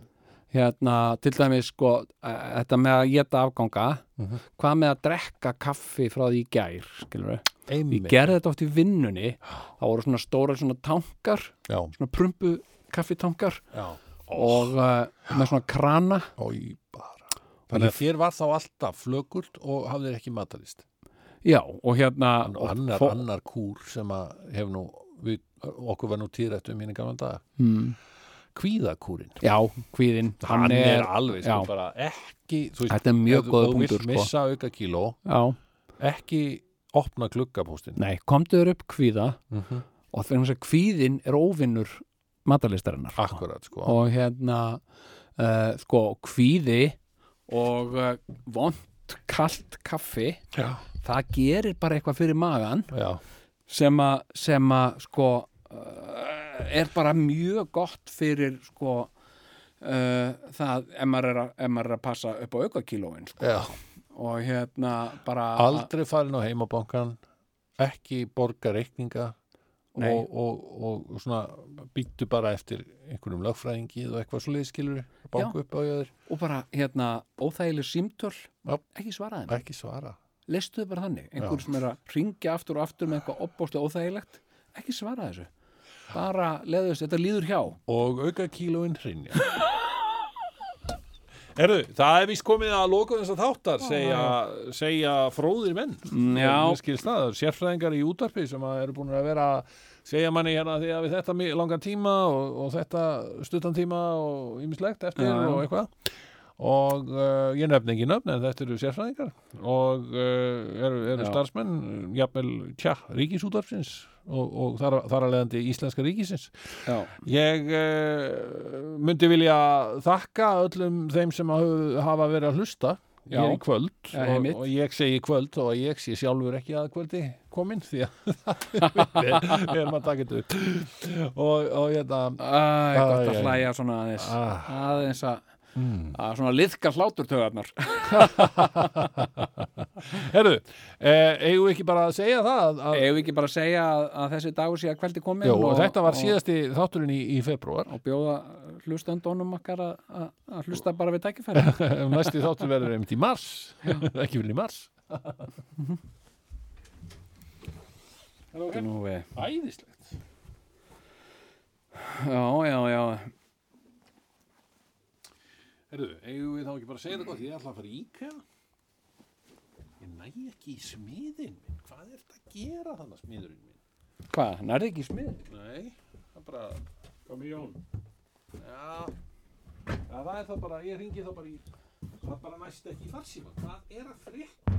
S2: hérna, til dæmis sko uh, þetta með að geta afganga
S4: Mhm.
S2: hvað með að drekka kaffi frá því í gær skilur við, ég
S4: einmitt
S2: gerði þetta oft í vinnunni það voru svona stóra svona tankar
S4: já,
S2: svona prumpu kaffitankar
S4: já,
S2: og uh, með svona krana
S4: og í bara þannig að þér var þá alltaf flögurt og hafðir ekki matalist
S2: já, og hérna
S4: og
S2: og
S4: annar,
S2: fó-
S4: annar kúr sem að hef nú við, okkur var nú týrætt um hérna gaman dag
S2: mm,
S4: kvíðakúrin
S2: já, hvíðin
S4: hann, er, alveg sko,
S2: já.
S4: bara ekki þú veist,
S2: Þetta er mjög
S4: ef
S2: góður
S4: þú vilt
S2: punktur, sko.
S4: missa auka kíló,
S2: já,
S4: ekki opna gluggapóstin
S2: nei, komdu þér upp hvíða
S4: mm -hmm.
S2: og þegar þess að kvíðin er óvinnur matalistarinnar
S4: akkurat sko
S2: og hérna uh, sko kvíði og uh, vond kalt kaffi
S4: já,
S2: það gerir bara eitthvað fyrir magan
S4: já,
S2: sem að sem að sko uh, er bara mjög gott fyrir sko uh, það ef maður, er að, ef maður er að passa upp á aukakílóin sko.
S4: já.
S2: og hérna bara
S4: aldrei farin á heimabankan ekki borga reikninga
S2: Nei.
S4: og, og, og, og svona býttu bara eftir einhverjum lögfræðingi og eitthvað svo leiðskilur banku upp á jöður,
S2: og bara hérna óþægileg símtöl
S4: Já.
S2: ekki svaraði
S4: ekki svara
S2: lestu þau bara þannig einhver sem er að ringja aftur og aftur með eitthvað opbóstlega óþægilegt ekki svara þessu bara leðu þessu, þetta líður hjá
S4: og auka kílóin hrinja Erðu, það er víst komið að loka þess að þáttar segja, segja fróðir menn
S2: já.
S4: Mér skilst það, það eru sérfræðingar í útarpi sem að eru búin að vera að segja manni hérna því að við þetta mi- langan tíma og, og þetta stuttan tíma og ýmislegt eftir
S2: Já, já.
S4: og eitthvað og uh, ég nefn ekki nöfn en þetta eru sérfræðingar og uh, eru, eru
S2: Já.
S4: starfsmenn jafnvel, tja, ríkisútarpsins og, og þar, þar að leiðandi íslenska ríkisins
S2: já,
S4: Ég uh, myndi vilja þakka öllum þeim sem hafa- hafa verið að hlusta
S2: Já.
S4: hér í kvöld
S2: Já,
S4: og,
S2: einmitt.
S4: og ég segi kvöld og ég sé sjálfur ekki að kvöldi komin því að við við erum að taka þetta upp og, og hérna
S2: Æ, gott
S4: Æ,
S2: að
S4: æ,
S2: hlæja svona aðeins
S4: ah,
S2: aðeins að, að svona liðka hláturtögarnar
S4: Herru, eh, eigum við ekki bara að segja það að,
S2: ef við ekki bara að segja að, að þessi dagur sé að kveldi komin
S4: Jó, og þetta var síðasti þátturinn í, í februar
S2: og bjóða hlustandónum okkar að- að að hlusta bara við tækifæri
S4: næsti þáttur verður einmitt í mars ekki fyrir í mars
S2: Þetta er nú við
S4: Æðislegt
S2: já, já, já,
S4: Herru, eigum við þá ekki bara að segja það gott ég ætla að fara í IKEA Ég næ næ ekki í smiðin minn hvað er þetta að gera þannig smiðurinn minn
S2: Hvað, nærði ekki smið?
S4: nei, það er bara
S12: Komi Jón
S4: já, já það er það bara, ég ringi þá bara í það bara næst ekki í farsíma hvað er að frétta